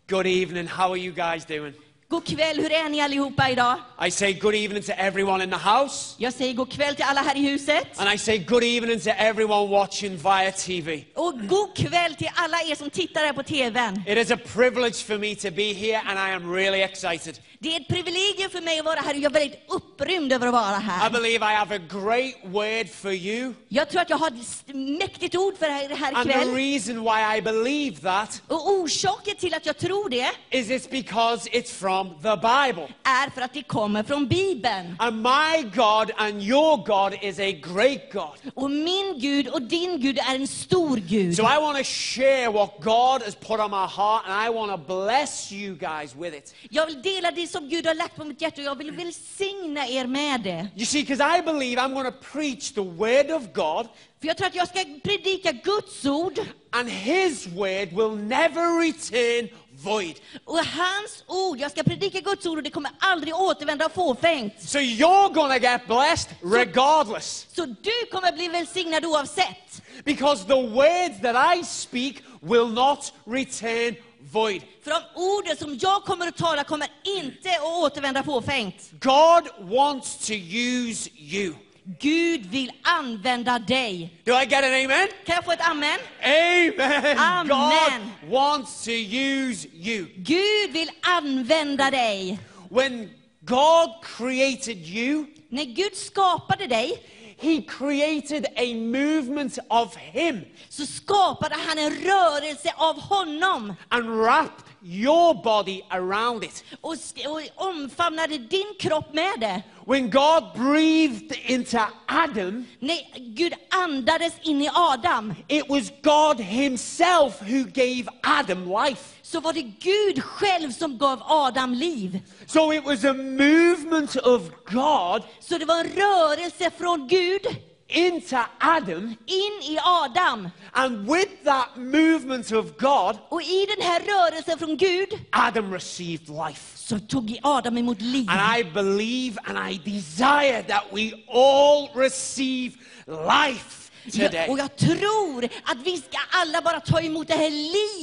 D: Good evening. How are you guys doing?
C: God kväll, hur är ni allihopa idag?
D: I say good evening to everyone in the house,
C: Jag säger god kväll till alla här i huset.
D: and I say good evening to everyone watching via TV.
C: Och god kväll till alla er som tittar här på TVn.
D: It is a privilege for me to be here, and I am really excited.
C: Det är ett privilegium för mig att vara här och jag är väldigt upprymd över att vara
D: I
C: här.
D: believe I have a great word for you,
C: Jag tror att jag har ett st- mäktigt ord för er här
D: and the
C: ikväll.
D: reason why I believe that
C: Och orsaken till att jag tror det
D: is it's because it's from the Bible.
C: är för att det kommer från Bibeln.
D: And my God and your God is a great God.
C: Och min Gud och din Gud är en stor Gud.
D: So I want to share what God has put on my heart, and I want to bless you guys with it.
C: Jag vill dela det som Gud har lagt på mitt hjärta och jag vill välsigna er med det.
D: You see, because I believe I'm going to preach the Word of God,
C: För jag tror att jag ska predika Guds ord
D: and His Word will never return void.
C: Och hans ord, jag ska predika Guds ord och det kommer aldrig återvända fåfängt.
D: So you're going to get blessed regardless,
C: Så du kommer bli välsignad oavsett.
D: because the words that I speak will not return void.
C: För de orden som jag kommer att tala kommer inte att återvända fåfängt.
D: God wants to use you.
C: Gud vill använda dig.
D: Do I get an amen?
C: Kan jag få ett amen?
D: Amen. God
C: Amen.
D: wants to use you.
C: Gud vill använda dig.
D: When God created you,
C: När Gud skapade dig
D: He created a movement of Him
C: så skapade han en rörelse av honom
D: and wrapped your body around it.
C: och, sk- och omfamnade din kropp med det.
D: When God breathed into Adam,
C: När Gud andades in i Adam
D: it was God Himself who gave Adam life.
C: så var det Gud själv som gav Adam liv.
D: So it was a movement of God
C: Så det var en rörelse från Gud
D: into Adam,
C: in i Adam.
D: and with that movement of God,
C: Och i den här rörelsen från Gud
D: Adam received life.
C: så tog Adam emot liv.
D: And I believe and I desire that we all receive life
C: Jag, och
D: today.
C: jag tror att vi ska alla bara ta emot det här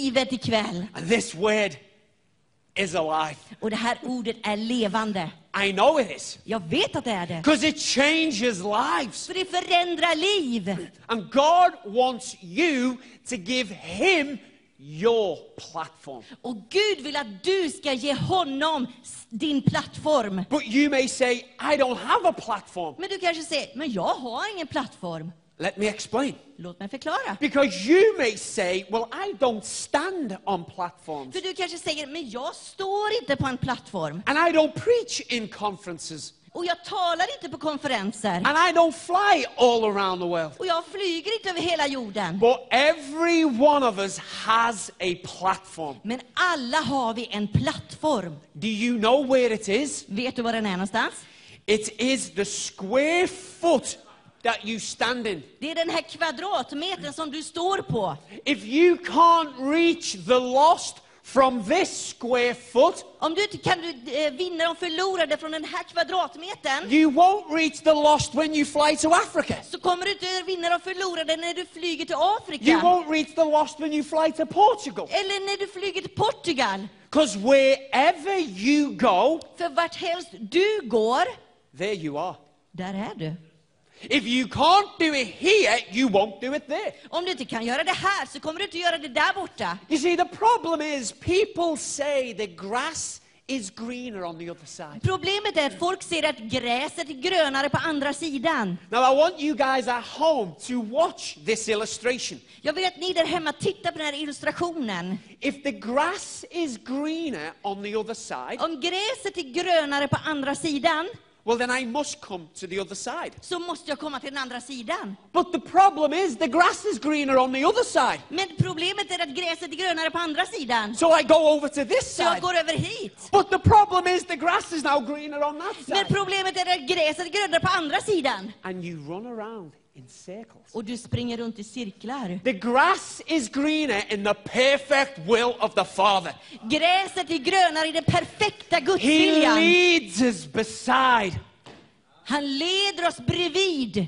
C: livet ikväll.
D: And this word is alive.
C: Och det här ordet är levande.
D: I know it is.
C: Jag vet att det är det.
D: Because it changes lives.
C: För det förändrar liv.
D: And God wants you to give Him your platform.
C: Och Gud vill att du ska ge honom s- din plattform.
D: But you may say, I don't have a platform.
C: Men du kanske säger, men jag har ingen plattform.
D: Let me explain.
C: Låt mig förklara.
D: Because you may say, Well, I don't stand on platforms.
C: För du kanske säger, men jag står inte på en plattform.
D: And I don't preach in conferences.
C: Och jag talar inte på konferenser.
D: And I don't fly all around the world.
C: Och jag flyger inte över hela jorden.
D: But every one of us has a platform.
C: Men alla har vi en plattform.
D: Do you know where it is?
C: Vet du var den är någonstans?
D: It is the square foot that you stand in.
C: Det är den här kvadratmetern som du står på.
D: If you can't reach the lost, from this square foot,
C: Om du inte kan eh, vinna de förlorade från den här kvadratmetern
D: you won't reach the lost when you fly to Africa.
C: så kommer du inte vinna de förlorade när du flyger till Afrika.
D: You won't reach the lost when you fly to Portugal.
C: Eller när du flyger till Portugal.
D: Because wherever you go,
C: För vart helst du går,
D: there you are.
C: där är du.
D: If you can't do it here, you won't do it there.
C: Om du inte kan göra det här så kommer du inte göra det där borta.
D: You see, the problem is people say the grass is greener on the other side.
C: Problemet är att folk ser att gräset är grönare på andra sidan.
D: Now, I want you guys at home to watch this illustration.
C: Jag vill att ni där hemma tittar på den här illustrationen.
D: If the grass is greener on the other side,
C: Om gräset är grönare på andra sidan
D: well, then I must come to the other side.
C: så måste jag komma till den andra sidan.
D: But the problem is the grass is greener on the other side.
C: Men problemet är att gräset är grönare på andra sidan.
D: So I go over to this
C: Så jag
D: side.
C: går över hit.
D: But the problem is the grass is now greener on that
C: Men
D: side.
C: problemet är att gräset är grönare på andra sidan.
D: And you run around in circles.
C: Och du springer runt i cirklar.
D: The grass is greener in the perfect will of the Father.
C: Gräset är grönare i den perfekta
D: He
C: gudsviljan.
D: leads us beside.
C: Han leder oss bredvid.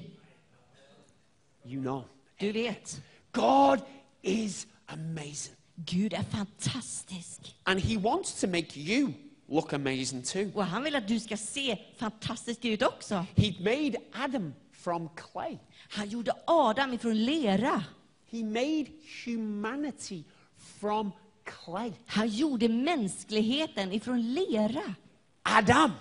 D: You know,
C: Du vet,
D: God is amazing.
C: Gud är fantastisk.
D: And He wants to make you look amazing too.
C: Och han vill att du ska se fantastisk ut också.
D: He made Adam from clay,
C: Han gjorde Adam ifrån lera.
D: He made humanity from clay.
C: Han gjorde mänskligheten ifrån lera.
D: Adam,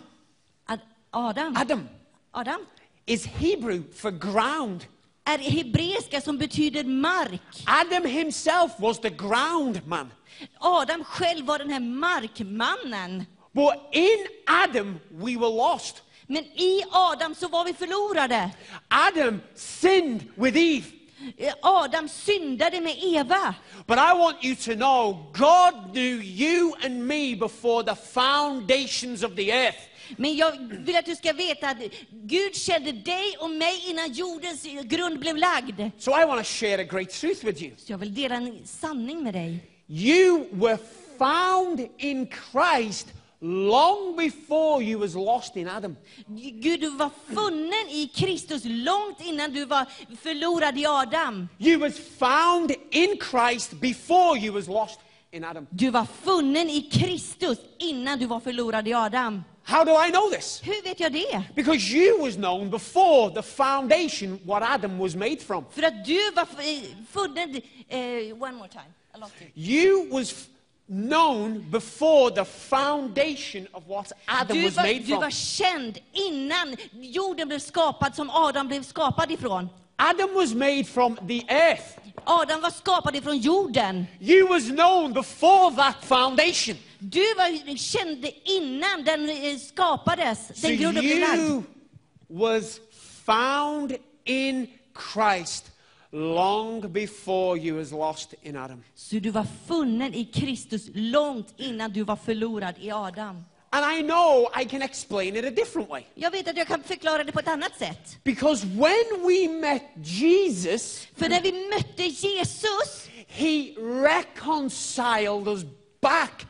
C: Ad Adam.
D: Adam
C: Adam
D: is Hebrew for ground.
C: är hebreiska som betyder mark.
D: Adam himself was the ground man.
C: Adam själv var den här markmannen.
D: But in Adam, we were lost.
C: Men i Adam så var vi förlorade.
D: Adam sinned with Eve.
C: Eh, Adam syndade med Eva.
D: But I want you to know God knew you and me before the foundations of the earth.
C: Men jag vill att du ska veta att Gud kände dig och mig innan jordens grund blev lagd.
D: So I want to share a great truth with you.
C: Så jag vill dela en sanning med dig.
D: You were found in Christ long before you was lost in Adam.
C: Gud, du var funnen i Kristus långt innan du var förlorad i Adam.
D: You was found in Christ before you was lost in Adam.
C: Du var funnen i Kristus innan du var förlorad i Adam.
D: How do I know this?
C: Hur vet jag det?
D: Because you was known before the foundation what Adam was made from.
C: För att du var f- eh, funnen... Eh, one more time. I lost it.
D: You was f- known before the foundation of what Adam
C: Du
D: was
C: var,
D: made
C: du var
D: from.
C: känd innan jorden blev skapad som Adam blev skapad ifrån.
D: Adam was made from the earth.
C: Adam var skapad ifrån jorden.
D: You was known before that foundation.
C: Du var känd innan den eh, skapades.
D: So
C: Den grunden blev lagd.
D: you was found in Christ long before you was lost in Adam.
C: Så du var funnen i Kristus långt innan du var förlorad i Adam.
D: And I know I can explain it a different way.
C: Jag vet att jag kan förklara det på ett annat sätt.
D: Because when we met Jesus,
C: För när vi mötte Jesus
D: he reconciled us back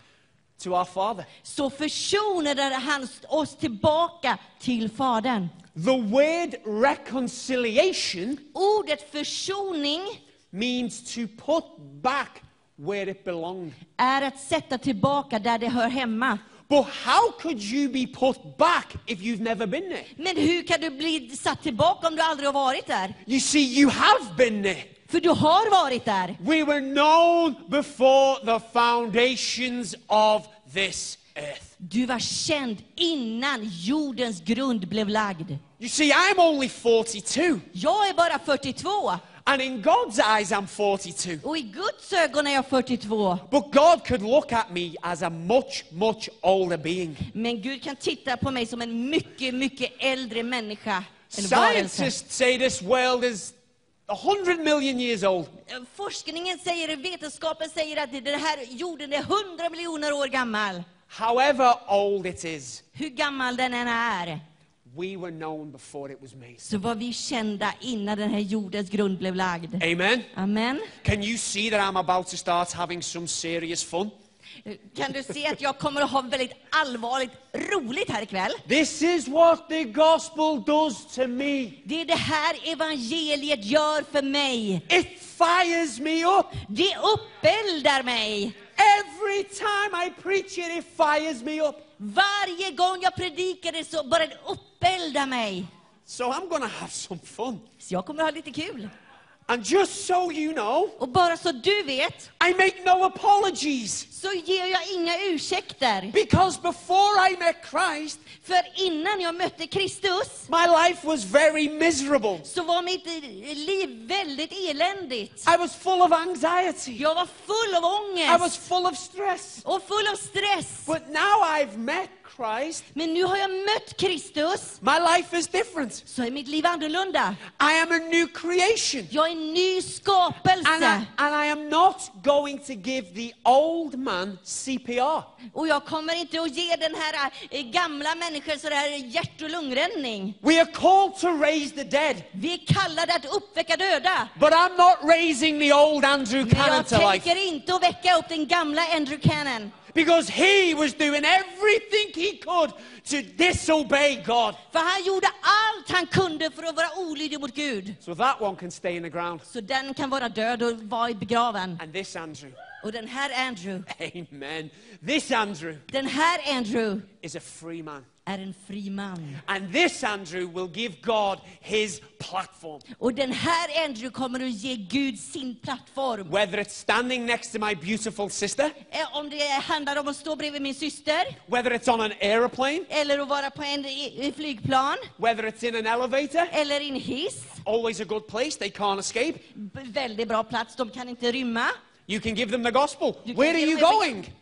D: to our Father.
C: så försonade han oss tillbaka till Fadern.
D: The word reconciliation
C: Ordet försoning
D: means to put back where it belonged.
C: är att sätta tillbaka där det hör hemma.
D: But how could you be put back if you've never been there?
C: Men hur kan du bli satt tillbaka om du aldrig har varit där?
D: You see, you have been there.
C: För du har varit där.
D: We were known before the foundations of this earth.
C: Du var känd innan jordens grund blev lagd.
D: You see, I'm only 42,
C: Jag är bara 42.
D: and in God's eyes, I'm 42.
C: Och i Guds ögon är jag 42.
D: But God could look at me as a much, much older being.
C: Men Gud kan titta på mig som en mycket, mycket äldre människa. Eller varelse.
D: Scientists say this world is 100 million years old.
C: Forskningen säger, vetenskapen säger att den här jorden är 100 miljoner år gammal.
D: However old it is,
C: Hur gammal den än är,
D: we were known before it was made.
C: så var vi kända innan den här jordens grund blev lagd.
D: Amen.
C: Amen.
D: Can you see that I'm about to start having some serious fun?
C: Kan du se att jag kommer att ha väldigt allvarligt roligt här ikväll?
D: This is what the gospel does to me.
C: Det är det här evangeliet gör för mig.
D: It fires me up.
C: Det uppeldar mig.
D: Every time I preach it, it fires me up.
C: Varje gång jag predikar det så bara det uppeldar mig.
D: So I'm going to have some fun.
C: Så jag kommer att ha lite kul.
D: And just so you know,
C: Och bara så du vet,
D: I make no apologies.
C: så ger jag inga ursäkter.
D: Because before I met Christ,
C: För innan jag mötte Kristus
D: my life was very miserable.
C: så var mitt liv väldigt eländigt.
D: I was full of anxiety.
C: Jag var full av
D: I was
C: ångest
D: full of stress.
C: och full av stress.
D: But now I've met Christ,
C: Men nu har jag mött Kristus,
D: my life is different.
C: så är mitt liv annorlunda.
D: I am a new creation.
C: Jag är en ny
D: And I,
C: skapelse
D: and I am not going to give the old man CPR.
C: och jag kommer inte att ge den här eh, gamla människan sådär hjärt och lungräddning.
D: We are called to raise the dead,
C: Vi är kallade att uppväcka döda.
D: but I'm not raising the old Andrew
C: Men
D: Cannon
C: jag
D: to life
C: tänker inte att väcka upp den gamla Andrew Cannon.
D: because he was doing everything he could to disobey God.
C: För han gjorde allt han kunde för att vara olydig mot Gud.
D: So that one can stay in the ground.
C: Så den kan vara död och vara i begraven.
D: And this Andrew, [LAUGHS]
C: Och den här Andrew,
D: amen. This Andrew
C: den här Andrew
D: is a free man.
C: är en fri man.
D: And this Andrew will give God his platform.
C: Och den här Andrew kommer att ge Gud sin plattform.
D: Whether it's standing next to my beautiful sister,
C: Eh, Om det handlar om att stå bredvid min syster,
D: whether it's on an aeroplane,
C: eller att vara på en i- i flygplan,
D: whether it's in an elevator,
C: eller i en hiss.
D: always a good place, they can't escape.
C: B- Väldigt bra plats, de kan inte rymma.
D: You can give them the gospel.
C: Du kan
D: Where are
C: ge
D: you
C: dem-
D: going?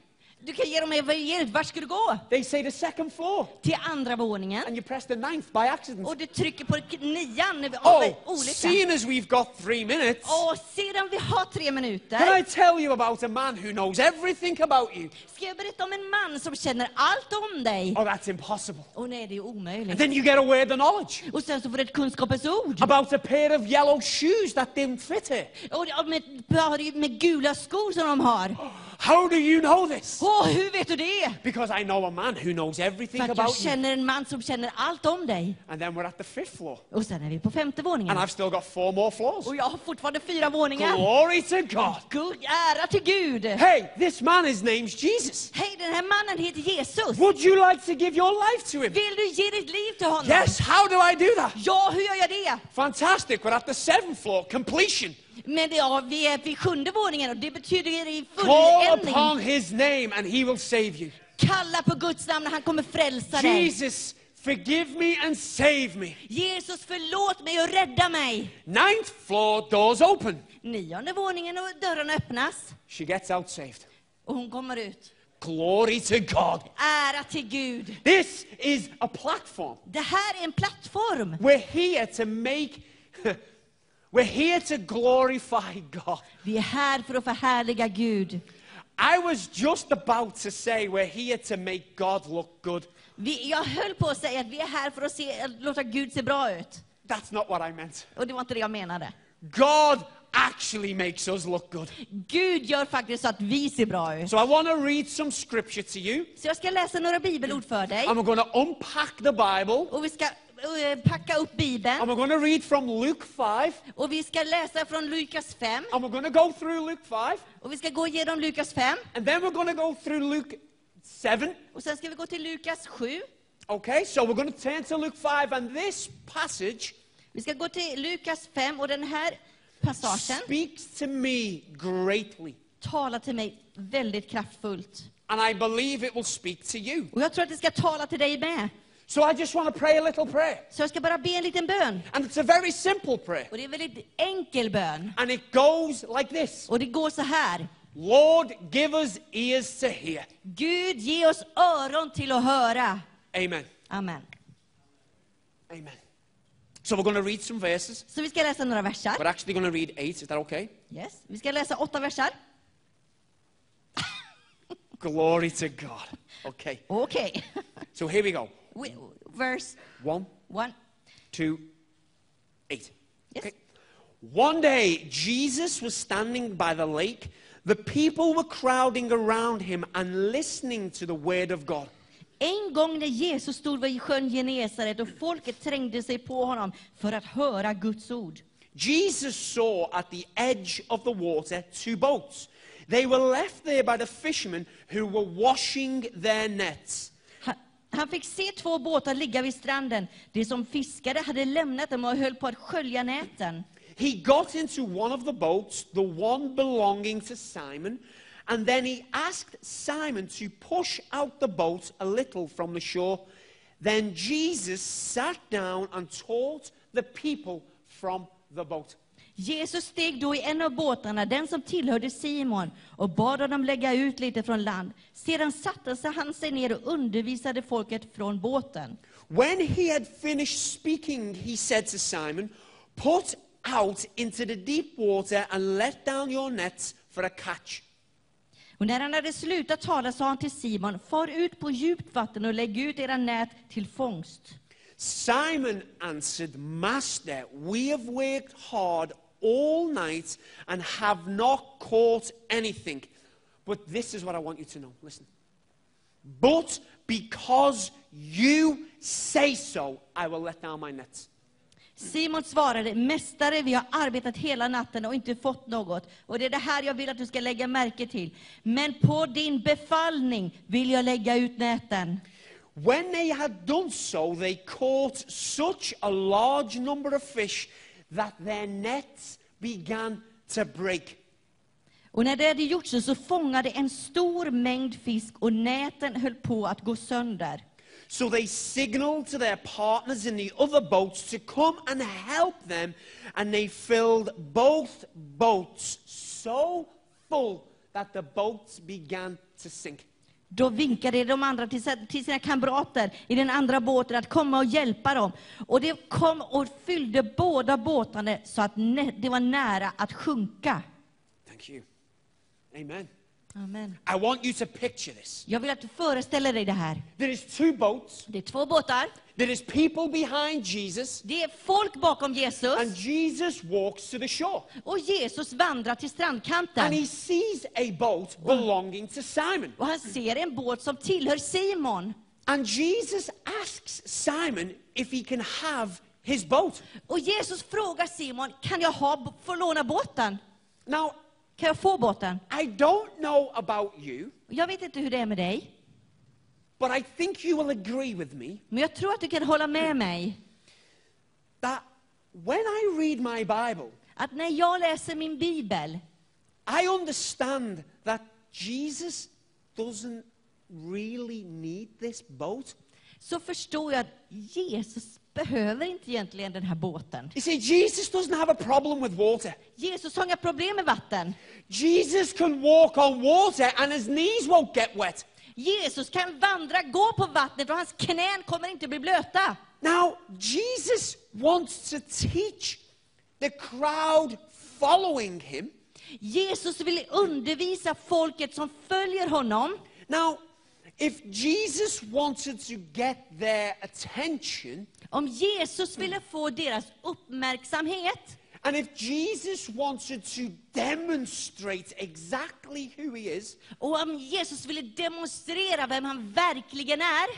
C: Du kan ge dem evangeliet, vart ska du gå?
D: They say the second floor,
C: Till andra våningen.
D: and you press the ninth by accident.
C: Och du trycker på k- nian av
D: Oh,
C: olyckan.
D: seeing as we've got three minutes,
C: Och sedan vi har tre
D: can I
C: minuter
D: tell you about a man who knows everything about you?
C: ska jag berätta om en man som känner allt om dig.
D: Oh, that's impossible.
C: Och nej, det är
D: And
C: omöjligt.
D: then you get a word of knowledge
C: Och sen så får du ett kunskapens ord.
D: about a pair of yellow shoes that didn't fit her.
C: Och det- och med, par- med gula skor som de har.
D: How do you know this?
C: Åh, hur vet du det?
D: Because I know a man who knows
C: För
D: everything
C: att jag
D: about you.
C: känner en man som känner allt om dig.
D: And then we're at the fifth floor,
C: Och sen är vi på femte våningen.
D: and I've still got four more floors.
C: Och jag har fortfarande fyra våningar.
D: Glory to God.
C: Gud, ära till Gud!
D: Hey, this man, his name's Jesus.
C: Hej, den här mannen heter Jesus.
D: Would you like to give your life to him?
C: Vill du ge ditt liv till honom?
D: Yes, how do I do that?
C: Ja, hur gör jag det?
D: Fantastic, we're at the seventh floor, completion.
C: Men det, ja, vi är vid sjunde våningen och det betyder i
D: Call
C: fulländning.
D: upon his name and he will save you.
C: Kalla på Guds namn och han kommer frälsa dig.
D: Jesus, forgive me and save me.
C: Jesus, förlåt mig och rädda mig.
D: Ninth floor, doors open.
C: Nionde våningen och dörrarna öppnas
D: She gets out saved.
C: och hon kommer ut.
D: Glory to God.
C: Ära till Gud.
D: This is a platform.
C: Det här är en plattform.
D: We're here to make, [LAUGHS] we're here to glorify God.
C: Vi är här för att förhärliga Gud.
D: I was just about to say we're here to make God look good.
C: Vi, jag höll på att säga att vi är här för att se, att låta Gud se bra ut.
D: That's not what I meant.
C: Och det var inte det jag menade.
D: God actually makes us look good.
C: Gud gör faktiskt så att vi ser bra ut.
D: So I want to read some scripture to you.
C: Så jag ska läsa några bibelord för dig.
D: I'm going to unpack the Bible.
C: Och vi ska eh, packa upp
D: And
C: Bibeln.
D: we're going to read from Luke 5.
C: Och vi ska läsa från Lukas 5.
D: And we're going to go through Luke 5.
C: Och vi ska gå igenom Lukas 5.
D: And then we're going to go through Luke 7.
C: Och sen ska vi gå till Lukas 7.
D: Okay, so we're going to turn to Luke 5. And this passage
C: Vi ska gå till Lukas 5 och den här passagen
D: speaks to me greatly.
C: talar till mig väldigt kraftfullt.
D: And I believe it will speak to you.
C: Och jag tror att det ska tala till dig med.
D: So I just want to pray a little prayer.
C: Så jag ska bara be en liten bön.
D: And it's a very simple prayer.
C: Och det är en väldigt enkel bön.
D: And it goes like this
C: Och det går så här.
D: Lord, give us ears to hear.
C: Gud, ge oss öron till att höra.
D: Amen.
C: Amen.
D: Amen. So we're going to read some verses.
C: Så vi ska läsa några
D: We're
C: versar.
D: actually going to read eight. Is that okay?
C: Yes. Vi ska läsa åtta versar.
D: Glory to God. Okay.
C: Okej. [LAUGHS]
D: So here we go.
C: We- Vers
D: One,
C: 1.
D: two, eight.
C: Yes.
D: One day, Jesus was standing by the lake. The people were crowding around him and listening to the word of God.
C: En gång när Jesus stod vid sjön Genesaret och folket trängde sig på honom för att höra Guds ord.
D: Jesus saw at the edge of the water two boats. They were left there by the fishermen who were washing their nets.
C: Han, han fick se två båtar ligga vid stranden. De som fiskade hade lämnat dem och höll på att skölja näten.
D: He got into one of the boats, the one belonging to Simon, and then he asked Simon to push out the boat a little from the shore. Then Jesus sat down and taught the people from the boat.
C: Jesus steg då i en av båtarna, den som tillhörde Simon, och bad honom lägga ut lite från land. Sedan satte sig han sig ner och undervisade folket från båten.
D: When he had finished speaking, he said to Simon, Put out into the deep water and let down your nets for a catch.
C: Och när han hade slutat tala sa han till Simon, far ut på djupt vatten och lägg ut era nät till fångst.
D: Simon answered, Master, we have worked hard all night and have not caught anything. But this is what I want you to know. Listen. But because you say so, I will let down my nets.
C: Simon svarade, Mästare, vi har arbetat hela natten och inte fått något. Och det är det här jag vill att du ska lägga märke till. Men på din befallning vill jag lägga ut näten.
D: When they had done so, they caught such a large number of fish that their nets began to break.
C: Och när det hade gjort så, så fångade en stor mängd fisk och näten höll på att gå sönder.
D: So they signaled to their partners in the other boats to come and help them, and they filled both boats so full that the boats began to sink.
C: Då vinkade de andra till si- till sina kamrater i den andra båten att komma och hjälpa dem. Och de kom och fyllde båda båtarna så att nä- det var nära att sjunka.
D: Thank you. Amen.
C: Amen.
D: I want you to picture this.
C: Jag vill att du föreställer dig det här.
D: There is two boats,
C: Det är två båtar.
D: there is people behind Jesus,
C: Det är folk bakom
D: and
C: Jesus.
D: Jesus walks to the shore.
C: Och Jesus vandrar till
D: And he
C: strandkanten.
D: sees a boat belonging to Simon.
C: Och han ser en båt som tillhör Simon.
D: And Jesus asks Simon if he can have his boat.
C: Och Jesus frågar Simon, kan jag ha, få låna båten?
D: Now,
C: Kan jag få båten?
D: I don't know about you,
C: Jag vet inte hur det är med dig,
D: but I think you will agree with me
C: men jag tror att du kan hålla med mig.
D: that when I read my Bible,
C: Att när jag läser min bibel,
D: I understand that Jesus doesn't really need this boat.
C: så förstår jag att Jesus behöver inte egentligen den här båten.
D: You see, Jesus doesn't have a problem with water.
C: Jesus har inga problem med vatten.
D: Jesus can walk on water and his knees won't get wet.
C: Jesus kan vandra, gå på vattnet och hans knän kommer inte bli blöta.
D: Now, Jesus wants to teach the crowd following him.
C: Jesus vill undervisa folket som följer honom.
D: Now, if Jesus wanted to get their attention,
C: Om Jesus ville få deras uppmärksamhet
D: and if Jesus wanted to demonstrate exactly who he is,
C: och om Jesus ville demonstrera vem han verkligen är,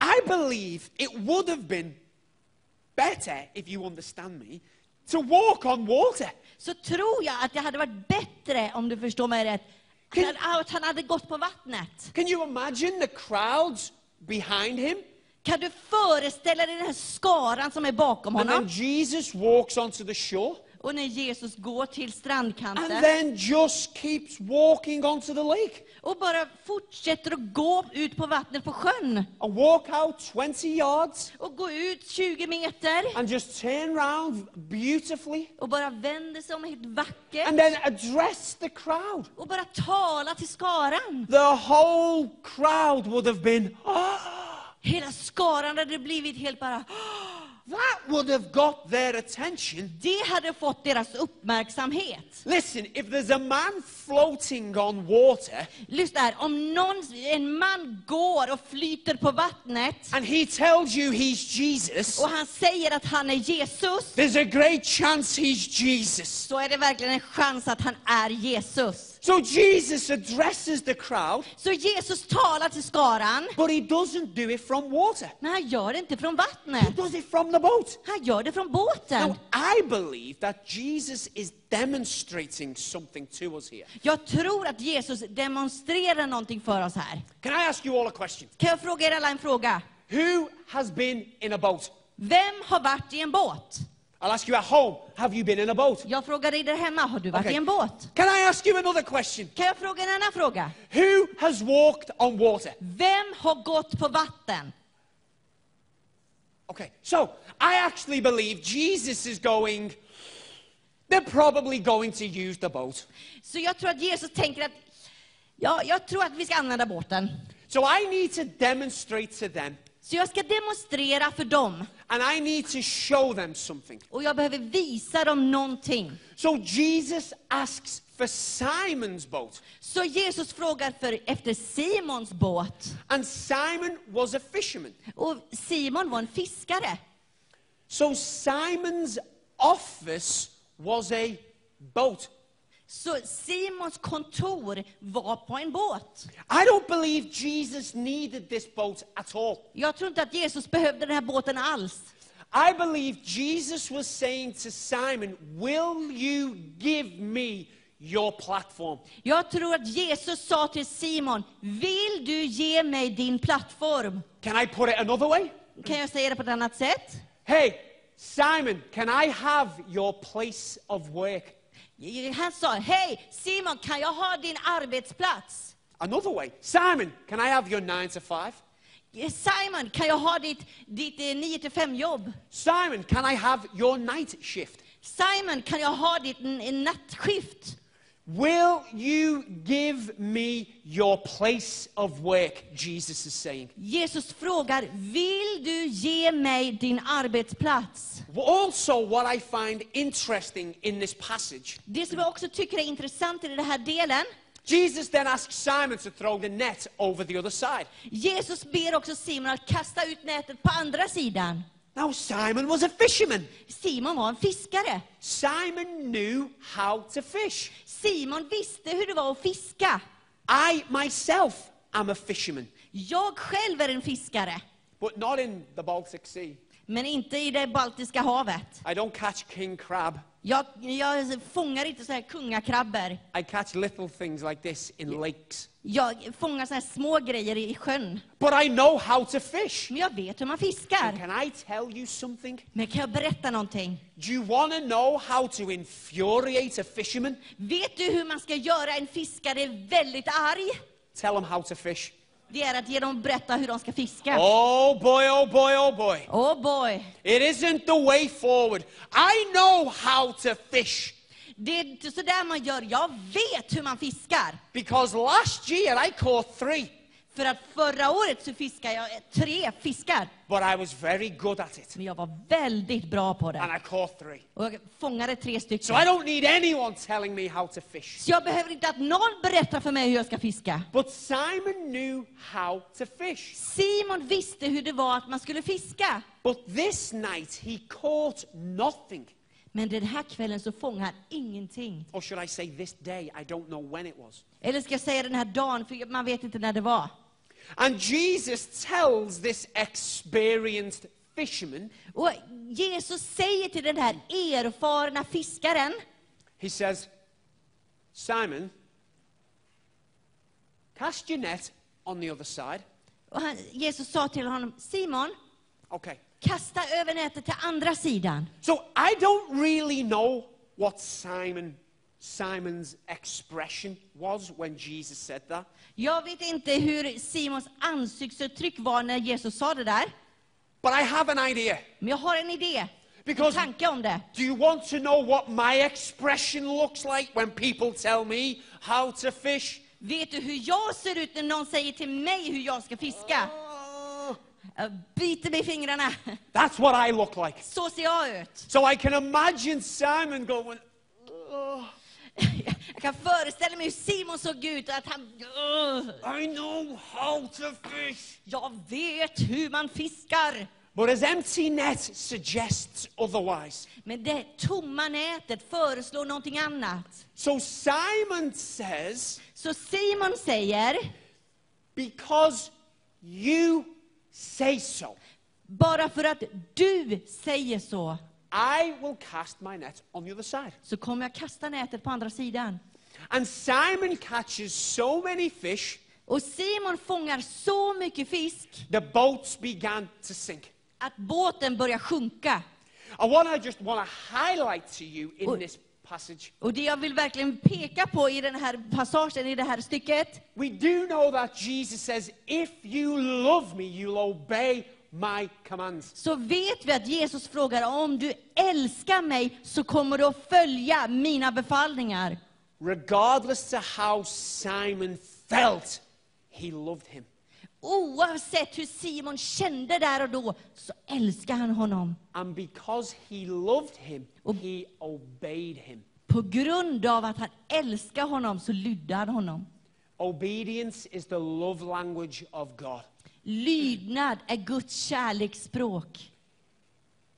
D: I believe it would have been better, if you understand me, to walk on water.
C: så tror jag att det hade varit bättre, om du förstår mig rätt, att
D: Kan-
C: han, att han hade gått på vattnet.
D: Can you imagine the crowds behind him?
C: Kan du föreställa dig den här skaran som är bakom
D: And then
C: honom?
D: Jesus walks onto the shore.
C: Och när Jesus går till
D: And
C: strandkanten
D: then just keeps walking onto the lake.
C: och bara fortsätter att gå ut på vattnet på sjön
D: And walk out 20 yards
C: och gå ut 20 meter
D: and just turn round beautifully
C: och bara vänder sig om helt
D: and
C: vackert
D: then address the crowd.
C: och bara tala till skaran.
D: The whole crowd would have been, ah,
C: Hela skaran hade blivit helt bara...
D: that would have got their attention.
C: Det hade fått deras uppmärksamhet.
D: Listen, if there's a man floating on water
C: Lyssna här, om någon, en man går och flyter på vattnet
D: and he tells you he's Jesus,
C: och han säger att han är Jesus,
D: there's a great chance he's Jesus.
C: så är det verkligen en chans att han är Jesus.
D: So Jesus addresses the crowd,
C: Så Jesus talar till skaran,
D: but he doesn't do it from water.
C: men han gör det inte från
D: He
C: vattnet.
D: does it from the boat.
C: Han gör det från
D: Now,
C: båten.
D: I believe that Jesus is demonstrating something to us here.
C: Jag tror att Jesus demonstrerar någonting för oss här.
D: Can I ask you all a question?
C: Kan jag fråga er alla en fråga?
D: Who has been in a boat?
C: Vem har varit i en båt?
D: I'll ask you at home. Have you been in a boat?
C: Jag frågar dig där hemma, har du varit
D: Okej.
C: i en båt?
D: Can I ask you another question?
C: Kan jag fråga en annan fråga?
D: Who has walked on water?
C: Vem har gått på vatten?
D: Okay, so I actually believe Jesus is going, they're probably going to use the boat.
C: Så jag tror att Jesus tänker att, ja, jag tror att vi ska använda båten.
D: So I need to demonstrate to them
C: Så jag ska demonstrera för dem
D: and I need to show them something.
C: och jag behöver visa dem någonting.
D: So Jesus asks for Simon's boat,
C: Så Jesus frågar för, efter Simons båt.
D: and Simon was a fisherman.
C: Och Simon var en fiskare.
D: So Simon's office was a boat.
C: Så Simons kontor var på en båt.
D: I don't believe Jesus needed this boat at all.
C: Jag tror inte att Jesus behövde den här båten alls.
D: I believe Jesus was saying to Simon, Will you give me your platform?
C: Jag tror att Jesus sa till Simon, vill du ge mig din plattform?
D: Can I put it another way?
C: Kan jag säga det på ett annat sätt?
D: Hey, Simon, can I have your place of work?
C: Han sa, hej Simon, kan jag ha din arbetsplats?
D: Another way, Simon, can I have your nine to five?
C: Simon, kan jag ha ditt, ditt 9 till 5 jobb?
D: Simon, can I have your night shift?
C: Simon, kan jag ha ditt n- nattskift?
D: Will you give me your place of work? Jesus is saying.
C: Jesus frågar, vill du ge mig din arbetsplats?
D: Also, what I find interesting in this passage,
C: Det som jag också tycker är intressant i den här delen,
D: Jesus then asks Simon to throw the net over the other side.
C: Jesus ber också Simon att kasta ut nätet på andra sidan.
D: Now, Simon was a fisherman.
C: Simon var en fiskare.
D: Simon knew how to fish.
C: Simon visste hur det var att fiska.
D: I myself am a fisherman,
C: Jag själv är en fiskare,
D: but not in the Baltic Sea.
C: men inte i det Baltiska havet.
D: I don't catch king crab.
C: Jag, jag fångar inte så här kungakrabbor.
D: I catch little things like this in lakes.
C: Jag fångar så här små grejer i sjön.
D: But I know how to fish.
C: Men jag vet hur man
D: And
C: fiskar.
D: can I tell you something?
C: Men kan jag berätta någonting?
D: Do you want to know how to infuriate a fisherman?
C: Vet du hur man ska göra en fiskare väldigt arg?
D: Tell him how to fish.
C: Det är att ge dem berätta hur de ska fiska.
D: Oh boy, oh boy, oh boy.
C: Oh boy!
D: It isn't the way forward. I know how to fish
C: Det är inte så där man gör. Jag vet hur man fiskar.
D: because last year I caught three,
C: För att förra året så fiskade jag eh, tre fiskar.
D: but I was very good at it
C: Men jag var väldigt bra på
D: and
C: det.
D: I caught three.
C: Och jag fångade tre stycken.
D: So I don't need anyone telling me how to fish.
C: Så jag behöver inte att någon berättar för mig hur jag ska fiska.
D: But Simon knew how to fish.
C: Simon visste hur det var att man skulle fiska.
D: But this night he caught nothing.
C: Men den här kvällen så fångade han ingenting.
D: Or should I say this day? I don't know when it was.
C: Eller ska jag säga den här dagen, för man vet inte när det var.
D: And Jesus tells this experienced fisherman,
C: Och Jesus säger till den här erfarna fiskaren,
D: he says, Simon, cast your net on the other side.
C: och han, Jesus sa till honom, Simon,
D: Okay.
C: kasta över nätet till andra sidan.
D: So I don't really know what Simon Simon's expression was when Jesus said that.
C: Jag vet inte hur Simons ansiktsuttryck var när Jesus sa det där,
D: But I have an idea.
C: men jag har en idé, en
D: Because
C: tanke om det.
D: do you want to know what my expression looks like when people tell me how to fish?
C: Vet du hur jag ser ut när någon säger till mig hur jag ska fiska?
D: Oh,
C: Jag biter mig i fingrarna.
D: That's what I look like.
C: Så ser jag ut. [LAUGHS]
D: So I can imagine Simon going, "Ugh,
C: Jag kan föreställa mig hur Simon såg ut och att han... Ugh,
D: I know how to fish.
C: Jag vet hur man fiskar!
D: But his empty net suggests otherwise.
C: Men det tomma nätet föreslår någonting annat.
D: So Simon says,
C: Så Simon säger,
D: Because you say so,
C: bara för att du säger så,
D: I will cast my net on the other side.
C: så kommer jag kasta nätet på andra sidan.
D: And Simon catches so many fish,
C: Och Simon fångar så mycket fisk
D: the boats began to sink.
C: att båten börjar sjunka.
D: And what I just want to highlight to you in
C: Oi.
D: this passage,
C: Och det jag vill verkligen peka på i den här passagen, i det här stycket,
D: we do know that Jesus says, If you love me, you'll obey my commands.
C: så vet vi att Jesus frågar om du älskar mig så kommer du att följa mina befallningar.
D: Regardless to how Simon felt, he loved him.
C: Oavsett hur Simon kände där och då så älskar han honom.
D: And because he loved him,
C: Ob-
D: he obeyed him.
C: På grund av att han älskar honom så lydde han honom.
D: Obedience is the love language of God.
C: Lydnad är Guds kärleksspråk.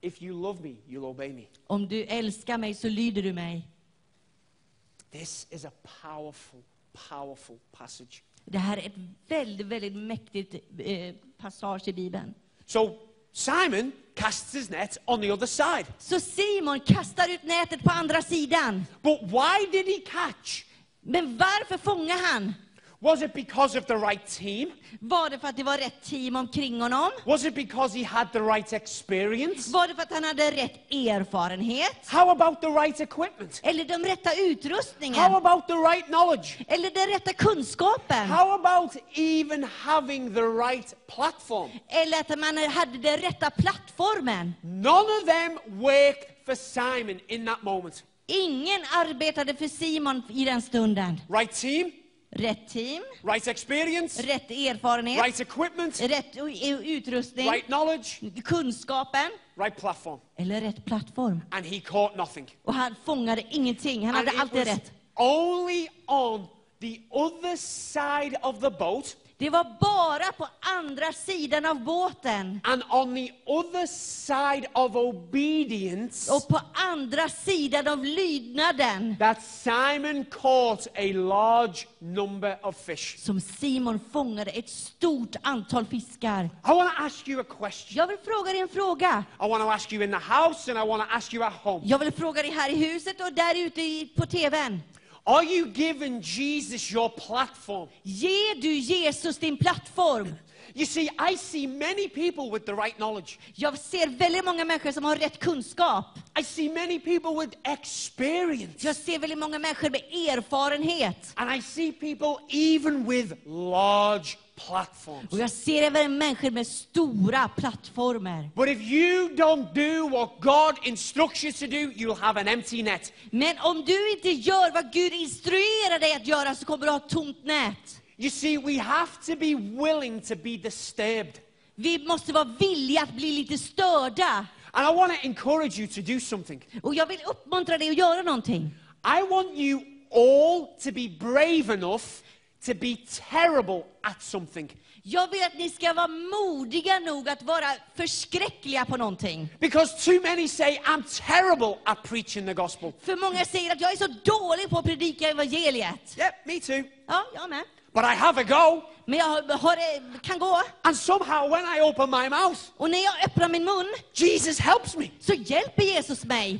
D: If you love me, you'll obey me.
C: Om du älskar mig så lyder du mig.
D: This is a powerful, powerful passage.
C: Det här är ett väldigt, väldigt mäktigt eh, passage i Bibeln.
D: So Simon casts his net on the other side.
C: Så Simon kastar ut nätet på andra sidan.
D: But why did he catch?
C: Men varför fångar han?
D: Was it because of the right team?
C: Var det för att det var rätt team omkring honom?
D: Was it because he had the right experience?
C: Var det för att han hade rätt erfarenhet?
D: How about the right equipment?
C: Eller den rätta
D: How
C: utrustningen?
D: about the right knowledge?
C: Eller den rätta kunskapen?
D: How about even having the right platform?
C: Eller att man hade den rätta plattformen?
D: None of them worked for Simon in that moment.
C: Ingen arbetade för Simon i den stunden.
D: Right team,
C: Rätt team,
D: right experience,
C: rätt erfarenhet,
D: right equipment,
C: rätt u- u- utrustning,
D: right knowledge,
C: kunskapen
D: right platform.
C: eller rätt plattform.
D: And he caught nothing.
C: Och han fångade ingenting. Han
D: And
C: hade
D: it
C: alltid
D: was
C: rätt.
D: only on the other side of the boat
C: Det var bara på andra sidan av båten
D: and on the other side of obedience
C: och på andra sidan av lydnaden
D: that Simon caught a large number of fish.
C: som Simon fångade ett stort antal fiskar.
D: I want to ask you a question.
C: Jag vill fråga dig en fråga.
D: I want to ask you in the house and I want to ask you at home.
C: Jag vill fråga dig här i huset och där ute i- på TVn.
D: Are you giving Jesus your platform?
C: Ge du Jesus din plattform?
D: You see, I see many people with the right knowledge.
C: Jag ser väldigt många människor som har rätt kunskap.
D: I see many people with experience.
C: Jag ser väldigt många människor med erfarenhet.
D: And I see people even with large platforms.
C: Och jag ser även människor med stora plattformar.
D: But if you don't do what God instructs you to do, you'll have an empty net.
C: Men om du inte gör vad Gud instruerar dig att göra så kommer du ha ett tomt nät.
D: You see, we have to be willing to be disturbed.
C: Vi måste vara villiga att bli lite störda.
D: And I want to encourage you to do something.
C: Och jag vill uppmuntra dig att göra någonting.
D: I want you all to be brave enough to be terrible at something.
C: Jag vill att ni ska vara modiga nog att vara förskräckliga på någonting.
D: Because too many say, I'm terrible at preaching the gospel.
C: För många säger att jag är så dålig på att predika evangeliet.
D: Yep, me too.
C: Ja, jag med.
D: But I have a go.
C: Men jag har, har, kan gå.
D: And somehow when I open my mouth,
C: Och när jag öppnar min mun
D: Jesus helps me.
C: så hjälper Jesus mig.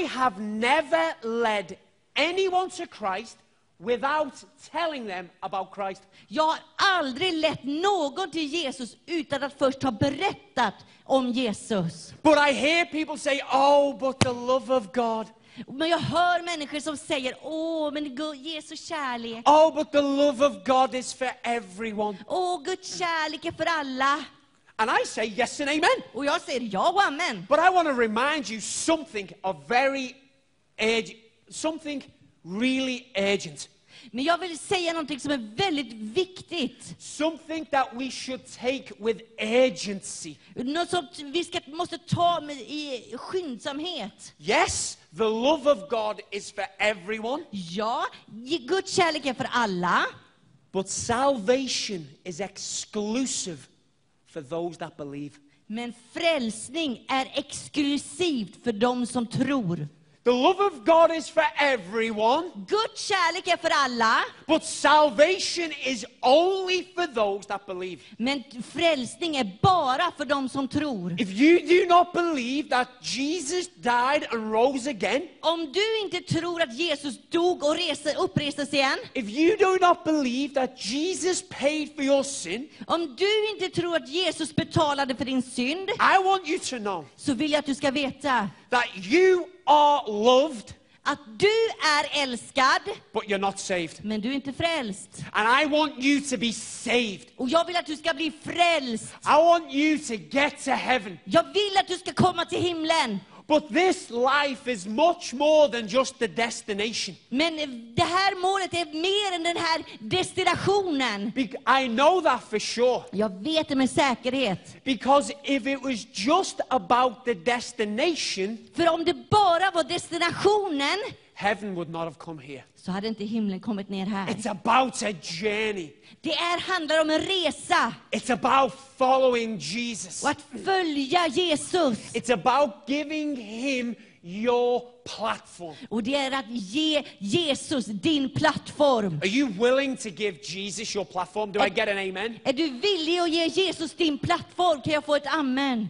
D: I have never led anyone to Christ without telling them about Christ.
C: Jag har aldrig lett någon till Jesus utan att först ha berättat om Jesus.
D: But I hear people say, oh, but the love of God.
C: Men jag hör människor som säger Åh, men Gu- Jesu kärlek.
D: Oh, but the love of God is for everyone.
C: Åh, Guds kärlek är för alla.
D: And I say yes and amen.
C: Och jag säger ja och amen.
D: But I want to remind you something of very urgent, something really urgent.
C: Men jag vill säga någonting som är väldigt viktigt.
D: Something that we should take with urgency.
C: Något som vi ska, måste ta med i skyndsamhet.
D: Yes, the love of God is for everyone.
C: Ja, ge- Guds kärlek är för alla.
D: But salvation is exclusive for those that believe.
C: Men frälsning är exklusivt för dem som tror.
D: The love of God is for everyone,
C: Guds kärlek är för alla,
D: but salvation is only for those that believe.
C: men frälsning är bara för dem som tror.
D: If you do not believe that Jesus died and rose again,
C: Om du inte tror att Jesus dog och rese, upprestes igen,
D: if you do not believe that Jesus paid for your sin,
C: om du inte tror att Jesus betalade för din synd,
D: I want you to know
C: så vill jag att du ska veta
D: that you are loved,
C: att du är älskad,
D: but you're not saved.
C: men du är inte frälst.
D: And I want you to be saved.
C: Och jag vill att du ska bli frälst.
D: I want you to get to heaven.
C: Jag vill att du ska komma till himlen.
D: But this life is much more than just the destination.
C: Men det här målet är mer än den här destinationen.
D: Bec- I know that for sure.
C: Jag vet det med säkerhet.
D: Because if it was just about the destination,
C: För om det bara var destinationen
D: heaven would not have come here.
C: så hade inte himlen kommit ner här.
D: It's about a journey.
C: Det är, handlar om en resa
D: It's about following Jesus.
C: och att följa Jesus.
D: It's about giving him your platform.
C: Och det är att ge Jesus din plattform.
D: Are you willing to give Jesus your platform? Do I get an amen?
C: Är du villig att ge Jesus din plattform? Kan jag få ett amen?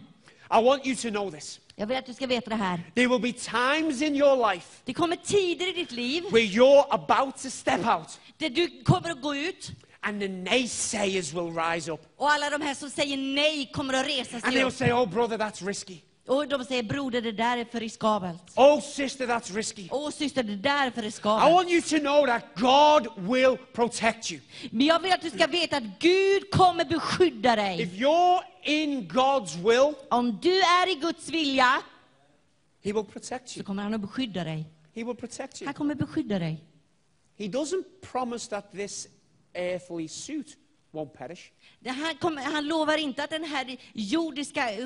D: I want you to know this.
C: Jag vill att du ska veta det här.
D: There will be times in your life
C: Det kommer tider i ditt liv
D: where you're about to step out
C: där du kommer att gå ut
D: and the naysayers will rise up.
C: och alla de här som säger nej kommer att resa
D: And
C: sig
D: they'll
C: upp.
D: say, Oh, brother, that's risky.
C: Och de säger broder, det där är för riskabelt.
D: Oh, sister, that's risky.
C: Åh syster, det där är för
D: I
C: riskabelt.
D: want you to know that God will protect you.
C: Men jag vill att du ska veta att Gud kommer beskydda dig.
D: If you're in God's will,
C: Om du är i Guds vilja
D: He will protect
C: så
D: you.
C: kommer han att beskydda dig.
D: He will protect you.
C: Han kommer beskydda dig.
D: He doesn't promise that this earthly suit won't perish.
C: Det här kommer, han lovar inte att den här jordiska eh, eh,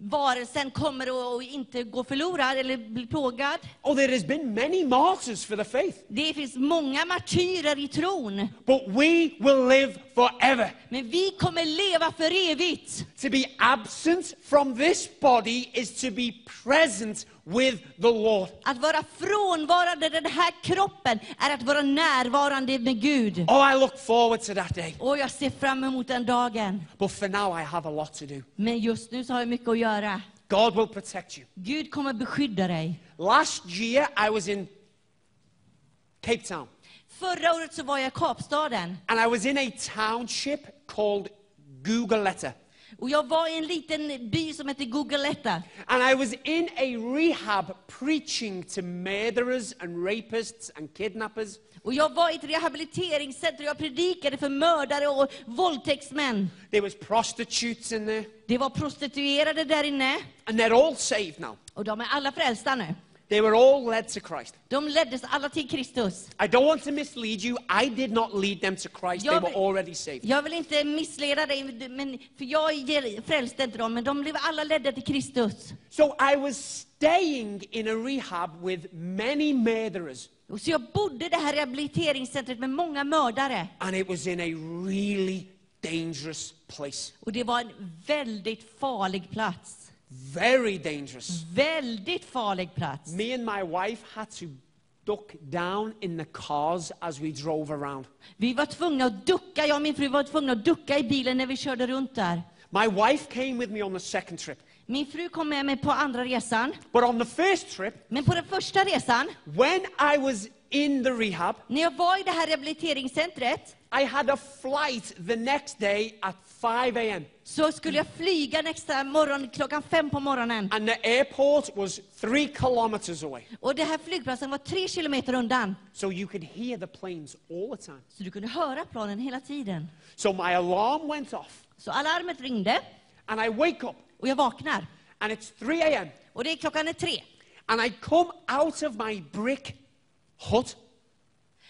C: varelsen kommer att inte gå förlorad eller bli plågad.
D: Oh, there has been many martyrs for the faith,
C: Det finns många martyrer i tron,
D: but we will live forever.
C: men vi kommer leva för evigt.
D: To be absent from this body is to be present with the Lord.
C: Att vara frånvarande den här kroppen är att vara närvarande med Gud.
D: Oh, I look forward to that day.
C: Och jag ser fram emot den dagen.
D: But for now, I have a lot to do.
C: Men just nu så har jag mycket att göra.
D: God will protect you.
C: Gud kommer beskydda dig.
D: Last year, I was in Cape Town,
C: Förra året så var jag i Kapstaden
D: and I was in a township called Gugaletta.
C: och jag var i en liten by som heter Gugaletta.
D: And I was in a rehab preaching to murderers and rapists and kidnappers.
C: Och jag var i ett rehabiliteringscenter och jag predikade för mördare och våldtäktsmän.
D: There was prostitutes in there,
C: Det var prostituerade där inne
D: and they're all saved now.
C: och de är alla frälsta nu.
D: They were all led to Christ.
C: De leddes alla till Kristus.
D: I don't want to mislead you. I did not lead them to Christ. They
C: Jag
D: were
C: vill-
D: already saved.
C: Jag vill inte missleda dig, men, för jag ger- frälste inte dem, men de blev alla ledda till Kristus.
D: So I was staying in a rehab with many murderers,
C: Och Så jag bodde i det här rehabiliteringscentret med många mördare.
D: and it was in a really dangerous place.
C: Och det var en väldigt farlig plats.
D: Very dangerous.
C: Väldigt farlig plats.
D: Me and my wife had to duck down in the cars as we drove around.
C: Vi var tvungna att ducka, jag och min fru var tvungna att ducka i bilen när vi körde runt där.
D: My wife came with me on the second trip.
C: Min fru kom med mig på andra resan.
D: But on the first trip,
C: Men på den första resan,
D: when I was in the rehab,
C: när jag var i det här rehabiliteringscentret,
D: I had a flight the next day at 5 a.m.
C: så skulle jag flyga nästa morgon klockan fem på morgonen.
D: And the airport was three kilometers away.
C: Och den här flygplatsen var tre kilometer undan.
D: So you could hear the planes all the time.
C: Så du kunde höra planen hela tiden.
D: So my alarm went off,
C: Så alarmet ringde
D: and I wake up,
C: och jag vaknar.
D: and it's 3 a.m.
C: Och det är klockan är tre.
D: And I come out of my brick hut,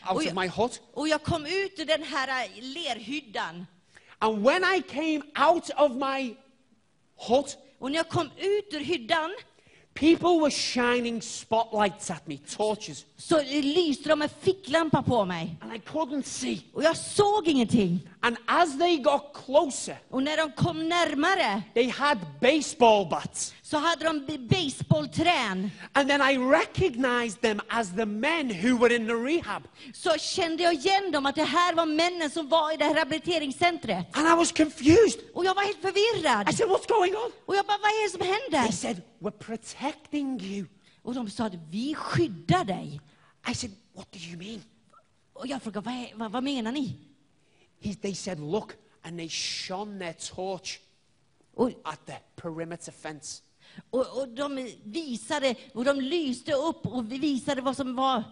D: out
C: Oh, yeah.
D: of my hut.
C: Och jag kom ut ur den här eh, lerhyddan.
D: And when I came out of my hut,
C: Och när jag kom ut ur hyddan
D: People were shining spotlights at me, torches,
C: så lyste de en ficklampa på mig.
D: and I couldn't see.
C: Och jag såg ingenting.
D: And as they got closer,
C: Och när de kom närmare
D: they had baseball bats.
C: så hade de b- baseballträn.
D: And then I recognized them as the men who were in the rehab.
C: Så kände jag igen dem, att det här var männen som var i det här rehabiliteringscentret.
D: And I was confused.
C: Och jag var helt
D: I
C: förvirrad.
D: said, What's going on?
C: Och jag bara, vad är det som
D: They
C: händer?
D: said, We're protecting you.
C: Och de sa, att vi skyddar dig.
D: I said, What do you mean?
C: Och jag frågade, vad, är, vad, vad menar ni?
D: He, they said, Look. And they shone their torch
C: Och,
D: at the perimeter fence.
C: och, och de visade, och de lyste upp och vi visade vad som var.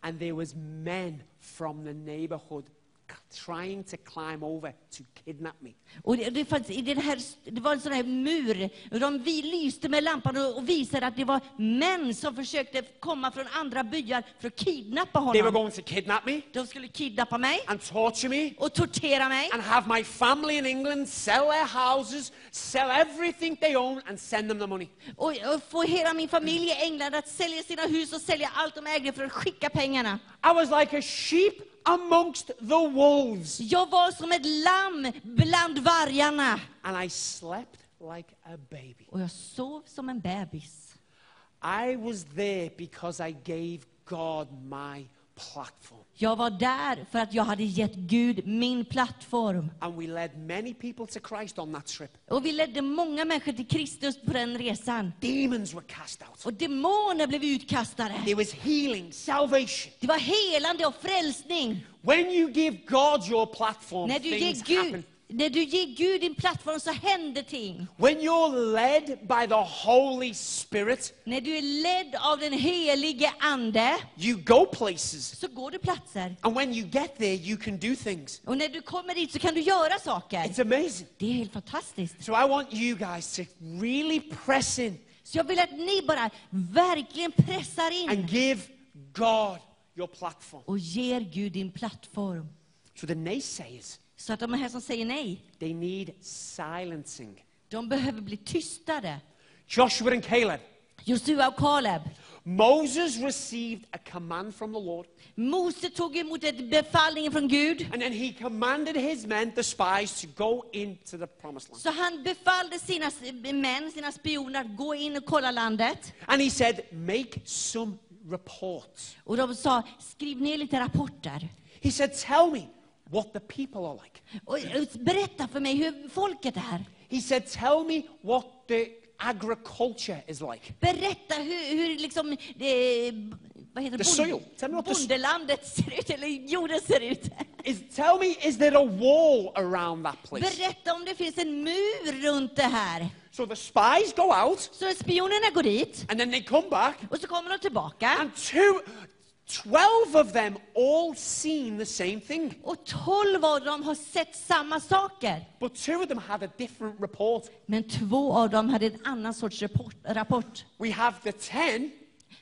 D: And there was men from the neighborhood c- trying to climb over to kidnap me.
C: Och det, det, fanns, i den här, det var en sån här mur, och de vi lyste med lampan och, och visade att det var män som försökte komma från andra byar för att kidnappa
D: They were
C: honom.
D: going to kidnap me
C: De skulle kidnappa mig
D: and torture me
C: och tortera mig
D: and have my family in England sell their houses, sell everything they own, and send them the money.
C: och, och få hela min familj i England att sälja sina hus och sälja allt de ägde för att skicka pengarna.
D: I was like a sheep amongst the wolves,
C: Jag var som ett lamm bland vargarna.
D: and I slept like a baby.
C: Och jag sov som en bebis.
D: I was there because I gave God my platform.
C: Jag var där för att jag hade gett Gud min plattform.
D: And we led many people to Christ on that trip.
C: Och vi ledde många människor till Kristus på den resan.
D: Demons were cast out.
C: Och demoner blev utkastade.
D: There was healing, salvation.
C: Det var helande och frälsning.
D: When you give God your platform,
C: När du,
D: things
C: ger Gud,
D: happen.
C: när du ger Gud din plattform så händer ting.
D: When you're led by the Holy Spirit,
C: När du är ledd av den helige Ande
D: you go places.
C: så går du platser.
D: And when you get there, you can do things.
C: Och när du kommer dit så kan du göra saker.
D: It's amazing.
C: Det är helt fantastiskt.
D: So I want you guys to really press in
C: Så jag vill att ni bara verkligen pressar
D: and
C: in
D: give God your platform.
C: och ger Gud din plattform.
D: So the naysayers,
C: Så att de här som säger nej,
D: they need silencing.
C: de behöver bli tystade.
D: Joshua and Caleb.
C: Josua och Kaleb.
D: Moses received a command from the Lord,
C: Mose tog emot ett befallning från Gud.
D: and then he commanded his men, the spies, to go into the promised land.
C: Så han befallde sina s- män, sina spioner, att gå in och kolla landet.
D: And he said, Make some reports.
C: Och de sa, skriv ner lite rapporter.
D: He said, Tell me what the people are like.
C: Och, och berätta för mig hur folket är.
D: He said, Tell me what the agriculture is like.
C: Berätta hur, hur liksom, det, vad heter det?
D: The soil. Tell me what the s-
C: bondelandet ser ut, eller jorden ser ut.
D: Is, tell me, is there a wall around that place?
C: Berätta om det finns en mur runt det här.
D: So the spies go out,
C: Så spionerna går dit,
D: and then they come back,
C: och så kommer de tillbaka.
D: and two, 12 of them all seen the same thing.
C: Och tolv av dem har sett samma saker.
D: But two of them had a different report.
C: Men två av dem hade en annan sorts rapport. rapport.
D: We have the 10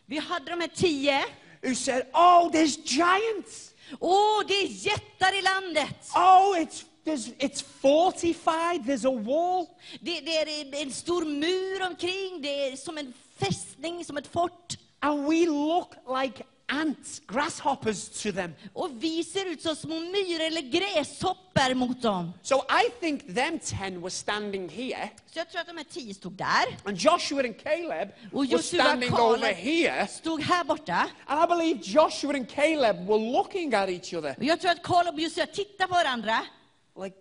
C: Vi hade de här tio.
D: who said, Oh, there's giants.
C: Åh, det är jättar i landet!
D: Oh, it's, there's, it's fortified. There's a wall.
C: Det, det är en stor mur omkring, det är som en fästning, som ett fort.
D: And we look like ants, grasshoppers to them.
C: Och vi ser ut som små myror eller gräshoppor mot dem.
D: So I think them 10 were standing here,
C: Så jag tror att de här tio stod där,
D: and Joshua and Caleb
C: och
D: were
C: Josua
D: standing over here.
C: Kaleb stod här borta.
D: And I believe Joshua and Caleb were looking at each other
C: Och jag tror att Kaleb och Josua tittar på varandra.
D: like,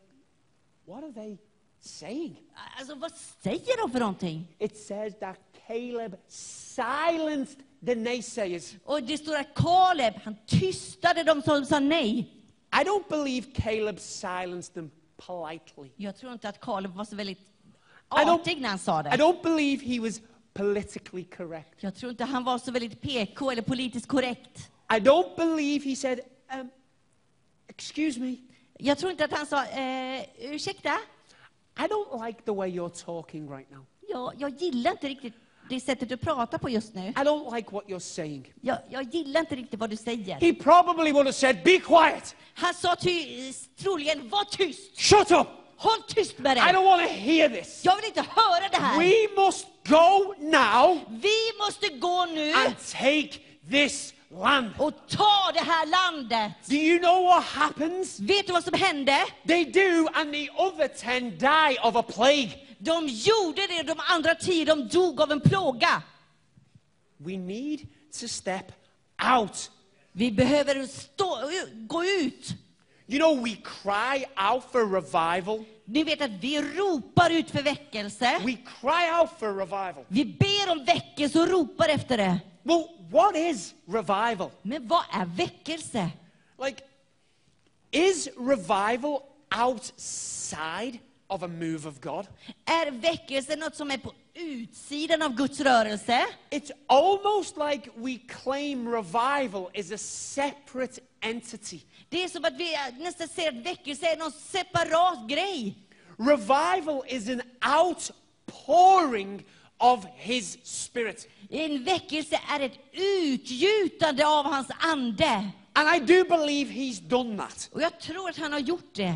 D: What are they saying?
C: Alltså, vad säger de för någonting?
D: It says that Caleb silenced the naysayers.
C: Och det står att Kaleb, han tystade de som sa nej.
D: I don't believe Caleb silenced them politely.
C: Jag tror inte att Kaleb var så väldigt
D: I don't-
C: artig när han sa
D: I
C: det.
D: don't believe he was politically correct.
C: Jag tror inte han var så väldigt PK eller politiskt korrekt.
D: I don't believe he said, um, Excuse me,
C: Jag tror inte att han sa, eh, ursäkta,
D: I don't like the way you're talking right now.
C: jag, jag gillar inte riktigt det sättet du pratar på just nu.
D: I don't like what you're saying.
C: Jag, jag gillar inte riktigt vad du säger.
D: He probably would have said, Be quiet,
C: Han sa ty, troligen, var tyst,
D: shut up.
C: Håll tyst med
D: I
C: dig.
D: don't want to hear this.
C: Jag vill inte höra det här.
D: We must go now
C: Vi måste gå nu
D: and take this land.
C: och ta det här landet.
D: Do you know what happens?
C: Vet du vad som hände?
D: They do, and the other ten die of a plague.
C: De gjorde det, de andra tio de dog av en plåga.
D: We need to step out.
C: Vi behöver stå, gå ut.
D: You know, we cry out for revival.
C: Ni vet att vi ropar ut för väckelse.
D: We cry out for revival.
C: Vi ber om väckelse och ropar efter det.
D: Well, what is revival?
C: Men vad är väckelse?
D: Like, is revival outside of a move of God?
C: Är väckelse något som är på utsidan av Guds rörelse?
D: It's almost like we claim revival is a separate entity.
C: Det är som att vi nästan ser att väckelse är någon separat grej.
D: Revival is an outpouring of His Spirit.
C: En väckelse är ett utgjutande av hans ande.
D: And I do believe He's done that.
C: Och jag tror att han har gjort det.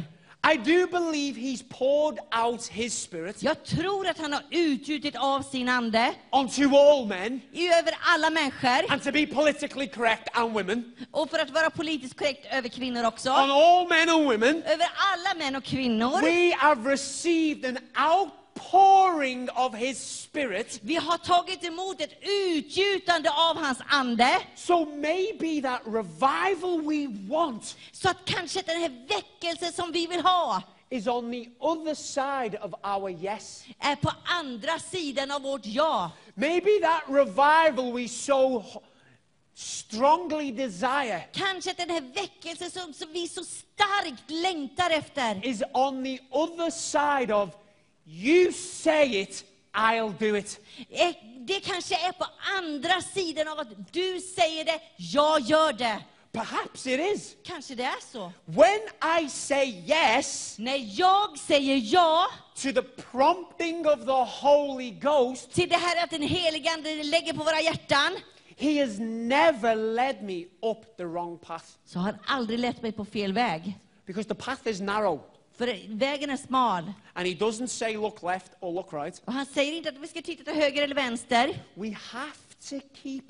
D: I do believe He's poured out His Spirit
C: Jag tror att han har utgjutit av sin ande
D: onto all men.
C: i- över alla människor
D: And to be politically correct, and women,
C: och för att vara politiskt korrekt över kvinnor
D: on
C: också.
D: all men and women,
C: Över alla män och kvinnor.
D: we have received an outpouring of His Spirit.
C: Vi har tagit emot ett utgjutande av hans ande.
D: So maybe that revival we want
C: Så att kanske den här väckelsen som vi vill ha
D: is on the other side of our yes.
C: är på andra sidan av vårt ja.
D: Maybe that revival we so h- strongly desire
C: Kanske att den här väckelsen som, som vi så starkt längtar efter
D: is on the other side of you say it, I'll do it.
C: är, det kanske är på andra sidan av att du säger det, jag gör det.
D: Perhaps it is.
C: Kanske det är så.
D: When I say yes
C: När jag säger ja
D: to the prompting of the Holy Ghost,
C: till det här att den helige Ande lägger på våra hjärtan,
D: He has never led me up the wrong path
C: så har han aldrig lett mig på fel väg.
D: because the path is narrow.
C: För vägen är smal.
D: And He doesn't say look left or look right.
C: Och han säger inte att vi ska titta till höger eller vänster.
D: We have to keep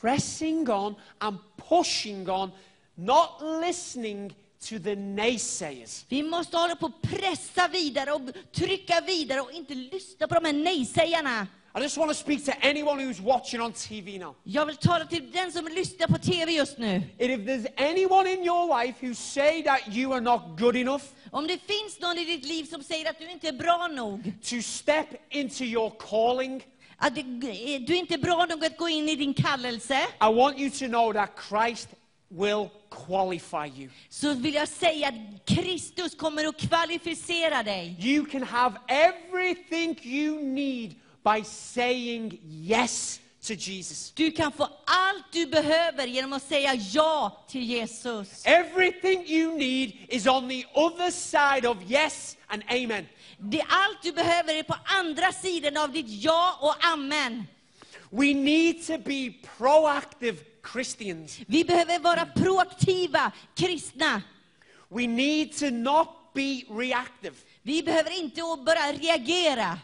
D: pressing on and pushing on, not listening to the naysayers.
C: Vi måste hålla på och pressa vidare och trycka vidare och inte lyssna på de här nej-sägarna.
D: I just want to speak to anyone who's watching on TV now.
C: Jag vill tala till den som lyssnar på TV just nu.
D: And if there's anyone in your life who say that you are not good enough
C: Om det finns någon i ditt liv som säger att du inte är bra nog,
D: to step into your calling,
C: att det- eh, du inte är bra nog att gå in i din kallelse,
D: I want you to know that Christ will qualify you.
C: så vill jag säga att Kristus kommer att kvalificera dig.
D: You can have everything you need by saying yes to Jesus.
C: Du kan få allt du behöver genom att säga ja till Jesus.
D: Everything you need is on the other side of yes and amen.
C: Det, allt du behöver är på andra sidan av ditt ja och amen.
D: We need to be proactive Christians.
C: Vi behöver vara proaktiva kristna.
D: We need to not be reactive.
C: Vi behöver inte att börja reagera.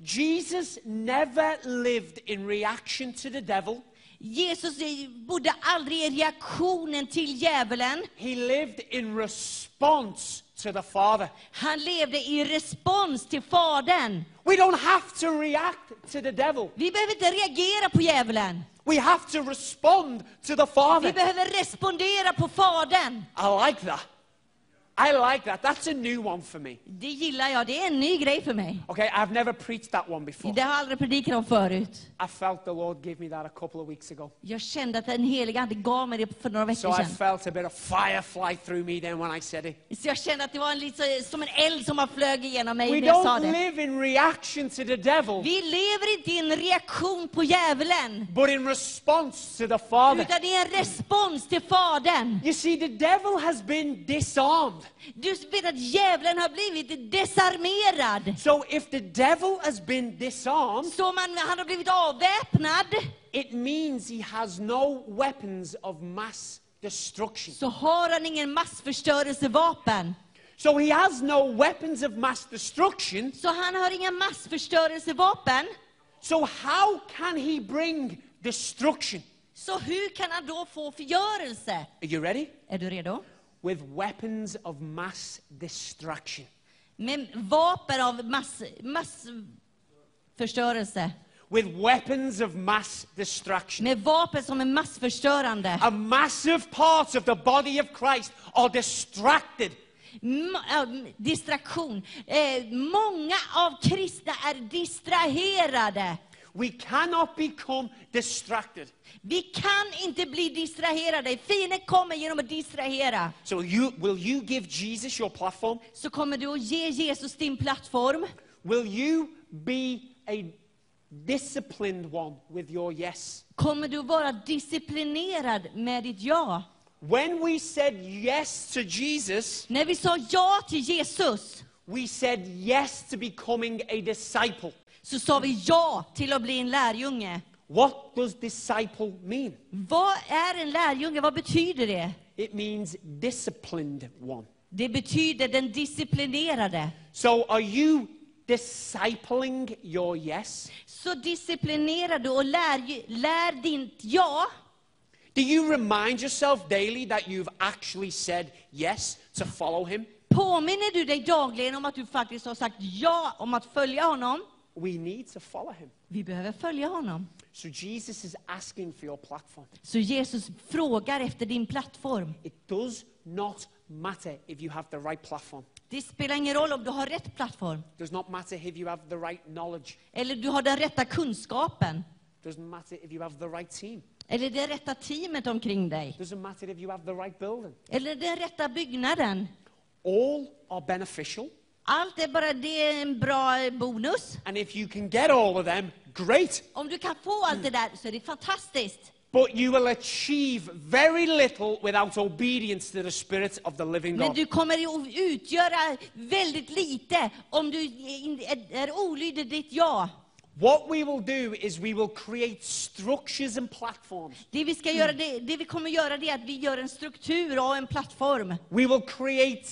D: Jesus never lived in reaction to the devil.
C: Jesus bodde aldrig i reaktionen till djävulen.
D: He lived in response to the Father.
C: Han levde i respons till Fadern.
D: We don't have to react to the devil.
C: Vi behöver inte reagera på djävulen.
D: We have to respond to the
C: Vi
D: Father.
C: behöver respondera på Fadern.
D: I like that. I like that. That's a new one for me.
C: Det gillar jag. Det är en ny grej för mig.
D: Okay, I've never preached that one before.
C: Det har jag aldrig predikat om förut.
D: I felt the Lord give me that a couple of weeks ago.
C: Jag kände att den heliga Ande gav mig det för några
D: So
C: veckor
D: I
C: sedan.
D: felt a bit of fire fly through me then when I said it.
C: Så jag kände att det var en, lite, som en eld som har flög igenom mig
D: We
C: när jag sa
D: don't
C: det.
D: live in reaction to the devil,
C: Vi lever inte i en reaktion på djävulen,
D: but in response to the Father.
C: utan det är en respons till Fadern.
D: You see, the devil has been disarmed.
C: Du vet att djävulen har blivit desarmerad.
D: So if the devil has been disarmed,
C: Så man, han har blivit avväpnad,
D: it means he has no weapons of mass destruction.
C: så har han ingen massförstörelsevapen.
D: So he has no weapons of mass destruction.
C: Så han har inga massförstörelsevapen.
D: So how can he bring destruction?
C: Så hur kan han då få förgörelse?
D: Are you ready?
C: Är du redo?
D: With weapons of mass destruction.
C: Med vapen av mass, massförstörelse.
D: With weapons of mass destruction.
C: Med vapen som är massförstörande.
D: A massive parts of the body of Christ are distracted
C: M- äh, distraktion. Eh, många av kristna är distraherade.
D: We cannot become distracted.
C: Vi kan inte bli distraherade. Fienden kommer genom att distrahera.
D: So you will you give Jesus your platform?
C: Så kommer du att ge Jesus din plattform.
D: Will you be a disciplined one with your yes?
C: Kommer du att vara disciplinerad med ditt ja?
D: When we said yes to Jesus,
C: När vi sa ja till Jesus
D: we said yes to becoming a disciple.
C: så sa vi ja till att bli en lärjunge.
D: What does disciple mean?
C: Vad är en lärjunge? Vad betyder det?
D: It means disciplined one.
C: Det betyder den disciplinerade.
D: So are you discipling your yes?
C: Så disciplinerar du och lär, lär ditt ja.
D: Do you remind yourself daily that you've actually said yes to follow him?
C: Påminner du dig dagligen om att du faktiskt har sagt ja om att följa honom?
D: We need to follow him.
C: Vi behöver följa honom.
D: So Jesus is asking for your platform.
C: Så Jesus frågar efter din plattform.
D: It does not matter if you have the right platform.
C: Det spelar ingen roll om du har rätt plattform
D: It does not matter if you have the right knowledge.
C: eller du har den rätta kunskapen
D: It doesn't matter if you have the right team.
C: eller det rätta teamet omkring
D: It
C: dig
D: doesn't matter if you have the right building.
C: eller den rätta byggnaden.
D: All are beneficial,
C: Allt är bara det är en bra bonus.
D: and if you can get all of them, great.
C: Om du kan få allt det där så är det fantastiskt.
D: But you will achieve very little without obedience to the Spirit of the living
C: Men
D: God.
C: du kommer ju att utgöra väldigt lite om du in- är- är olydig ditt ja.
D: What we will do is we will create structures and platforms.
C: Det vi, ska göra, det, det vi kommer göra det är att vi gör en struktur och en plattform.
D: We will create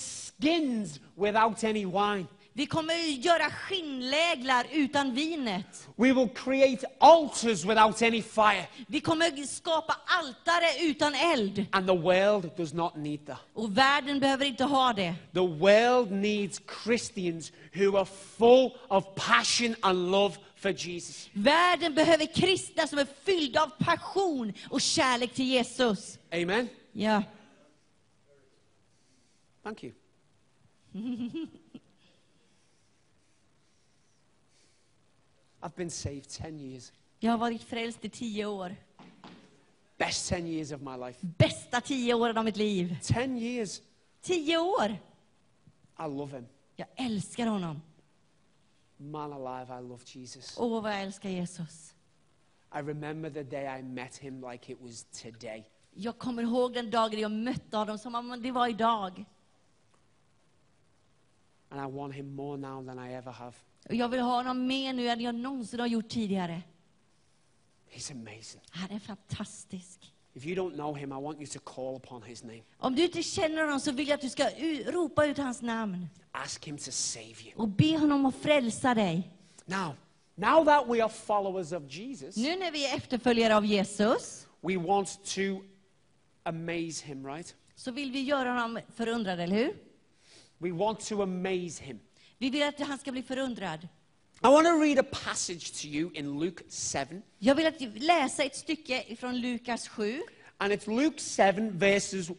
D: skins without any wine.
C: Vi kommer göra skinnläglar utan vinet.
D: We will create altars without any fire.
C: Vi kommer skapa altare utan eld.
D: And the world does not need that.
C: Och världen behöver inte ha det.
D: The world needs Christians who are full of passion and love for Jesus.
C: Världen behöver kristna som är fyllda av passion och kärlek till Jesus.
D: Amen.
C: Ja.
D: Thank you. [LAUGHS] I've been saved 10 years.
C: Jag har varit frälst i tio år.
D: Best 10 years of my life.
C: Bästa tio åren av mitt liv.
D: 10 years.
C: Tio år!
D: I love him.
C: Jag älskar honom.
D: Man alive, I love Jesus.
C: Åh, vad jag älskar Jesus.
D: I remember the day I met him like it was today.
C: Jag kommer ihåg den dagen jag mötte honom som om det var idag.
D: And I want him more now than I ever have.
C: Och jag vill ha honom mer nu än jag någonsin har gjort tidigare.
D: He's amazing.
C: Han är fantastisk.
D: If you don't know him, I want you to call upon his name.
C: Om du inte känner honom så vill jag att du ska u- ropa ut hans namn
D: Ask him to save you.
C: och be honom att frälsa dig.
D: Now, now that we are followers of Jesus,
C: Nu när vi är efterföljare av Jesus
D: we want to amaze him, right?
C: så vill vi göra honom förundrad, eller hur?
D: We want to amaze him.
C: Vi vill att han ska bli förundrad.
D: I want to read a passage to you in Luke 7.
C: Jag vill att du läser ett stycke från Lukas 7.
D: And it's Luke 7, verses 1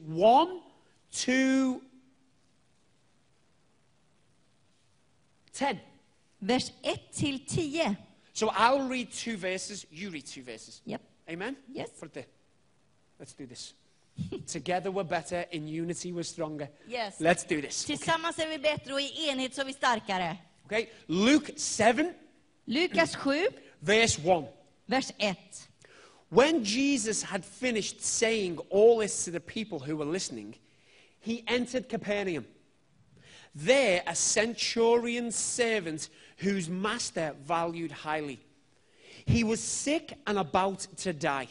D: to 10.
C: Vers 1 till 10.
D: So I'll read two verses, you read two verses.
C: Japp.
D: Amen?
C: Yes.
D: For the- Let's do this. [LAUGHS] Together we're better, in unity we're stronger.
C: Yes.
D: Let's do this.
C: Tillsammans är vi bättre och i enhet så är vi starkare.
D: Okay? Luke 7,
C: Lukas 7,
D: verse 1.
C: vers 1.
D: When Jesus had finished saying all this to the people who were listening, he entered Capernaum. There, a centurion's servant whose master valued highly. He was sick and about to die.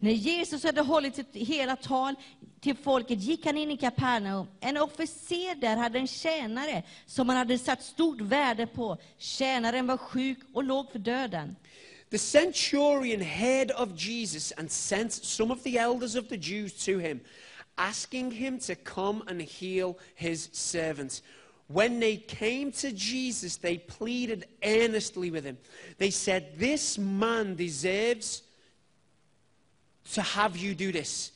C: När Jesus hade hållit sitt hela tal till folket gick han in i Kapernaum. En officer där hade en tjänare som han hade satt stort värde på. Tjänaren var sjuk och låg för döden.
D: The centurion heard of Jesus and sent some of the elders of the Jews to him, asking him to come and heal his servant. When they came to Jesus, they pleaded earnestly with him. They said, This man deserves to have you do this.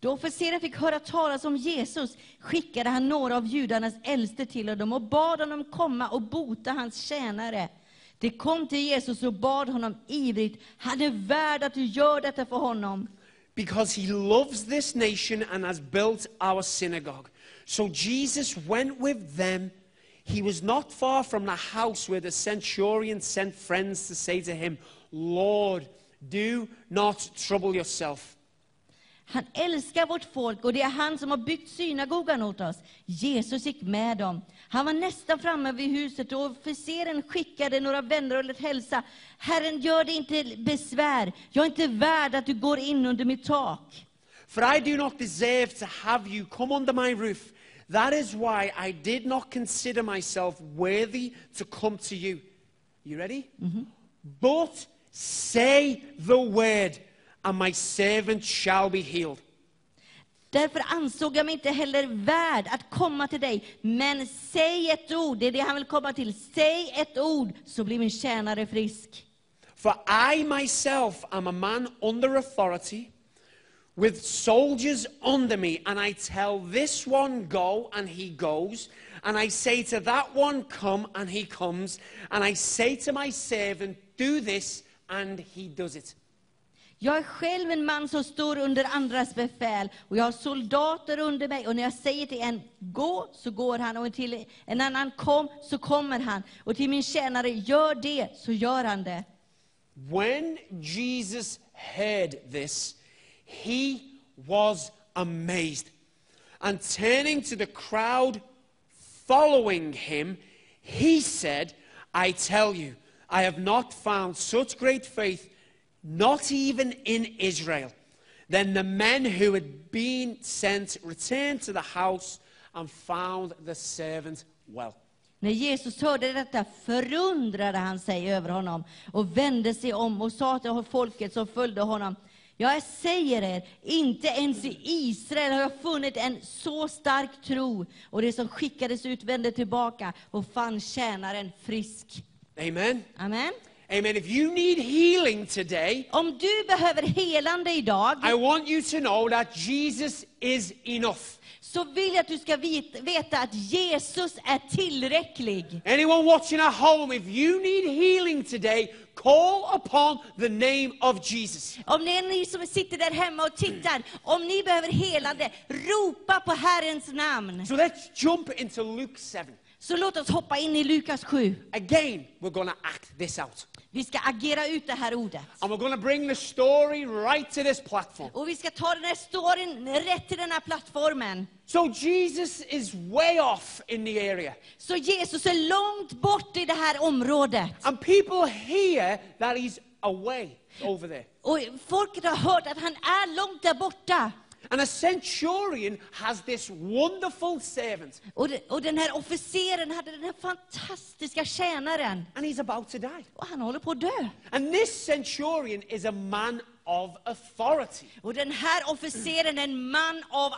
C: Då officeren fick höra talas om Jesus skickade han några av judarnas äldste till honom och bad honom komma och bota hans tjänare. De kom till Jesus och bad honom ivrigt. Han är värd att du gör detta för honom.
D: because he loves this nation and has built our synagogue. So Jesus went with them. He was not far from the house where the centurion sent friends to say to him, Lord, do not trouble yourself.
C: Han älskar vårt folk och det är han som har byggt synagogan åt oss. Jesus gick med dem. Han var nästan framme vid huset och officeren skickade några vänner och lät hälsa. Herren, gör dig inte besvär. Jag är inte värd att du går in under mitt tak.
D: For I do not deserve to have you come under my roof. That is why I did not consider myself worthy to come to you. You ready? But say the word, and my servant shall be healed.
C: Därför ansåg jag mig inte heller värd att komma till dig. Men säg ett ord, det är det han vill komma till. Säg ett ord, så blir min tjänare frisk.
D: For I myself am a man under authority, with soldiers under me, and I tell this one, go, and he goes, and I say to that one, come, and he comes, and I say to my servant, do this, and he does it.
C: Jag är själv en man som står under andras befäl och jag har soldater under mig och när jag säger till en gå så går han och till en annan kom så kommer han och till min tjänare gör det så gör han det.
D: When Jesus heard this, he was amazed. And turning to the crowd following him, he said, I tell you, I have not found such great faith, not even in Israel. Then the men who had been sent returned to the house and found the servant well.
C: När Jesus hörde detta förundrade han sig över honom och vände sig om och sa till folket som följde honom. Ja, jag säger er, inte ens i Israel har jag funnit en så stark tro. Och det som skickades ut vände tillbaka och fann tjänaren frisk.
D: Amen.
C: Amen.
D: Amen. If you need healing today,
C: Om du behöver helande idag
D: I want you to know that Jesus is enough.
C: så vill jag att du ska vit- veta att Jesus är tillräcklig.
D: Anyone watching at home, if you need healing today, call upon the name of Jesus.
C: Om det är ni som sitter där hemma och tittar, om ni behöver helande, ropa på Herrens namn.
D: So let's jump into Luke 7.
C: Så låt oss hoppa in i Lukas 7.
D: Again, we're going to act this out.
C: Vi ska agera ut det här ordet.
D: And we're going to bring the story right to this platform.
C: Och vi ska ta den här storyn rätt till den här plattformen.
D: So Jesus is way off in the area.
C: Så Jesus är långt bort i det här området.
D: And people hear that he's away over there.
C: Och folket har hört att han är långt där borta.
D: And a centurion has this wonderful servant,
C: Och, de- och den här officeren hade den här fantastiska tjänaren.
D: and he's about to die.
C: Och han håller på att dö.
D: And this centurion is a man of authority.
C: Och den här officeren är en man av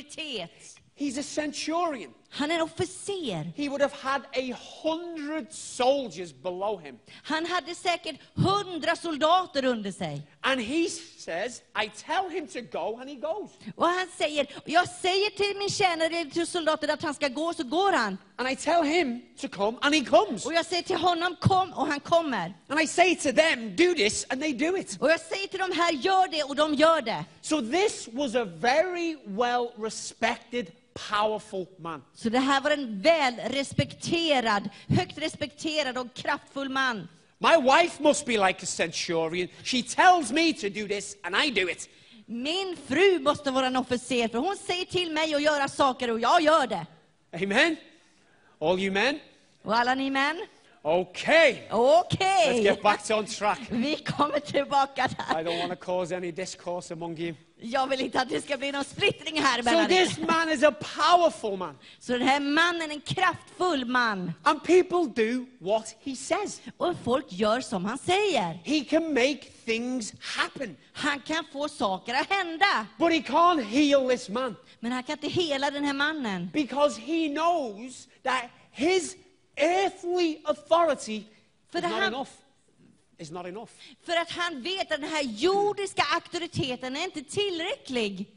C: auktoritet.
D: He's a centurion.
C: Han är en officer.
D: He would have had a hundred soldiers below him.
C: Han hade säkert hundra soldater under sig.
D: And he says, I tell him to go, and he goes.
C: Och han säger, jag säger till min tjänare, eller till soldaten att han ska gå, så går han.
D: And I tell him to come, and he comes.
C: Och jag säger till honom, kom, och han kommer.
D: And I say to them, do this, and they do it.
C: Och jag säger till de här, gör det, och de gör det.
D: So this was a very well respected, powerful man.
C: Så det här var en välrespekterad, högt respekterad och kraftfull man.
D: My wife must be like a centurion. She tells me to do this, and I do it.
C: Min fru måste vara en officer, för hon säger till mig att göra saker och jag gör det.
D: Amen? All you men?
C: Och alla ni män,
D: Okay, let's
C: Okej,
D: get back
C: [LAUGHS]
D: on track.
C: vi kommer tillbaka
D: I
C: där.
D: don't want to cause any discourse among you.
C: Jag vill inte att det ska bli någon splittring här
D: So
C: mellan er.
D: this man is a powerful man,
C: Så den här mannen är en kraftfull man.
D: and people do what he says.
C: Och folk gör som han säger.
D: He can make things happen,
C: Han kan få saker att hända.
D: but he can't heal this man
C: Men han kan inte hela den här mannen.
D: because he knows that his earthly authority
C: För
D: is
C: det
D: not
C: han-
D: enough. Is not enough.
C: För att han vet att den här jordiska auktoriteten är inte tillräcklig.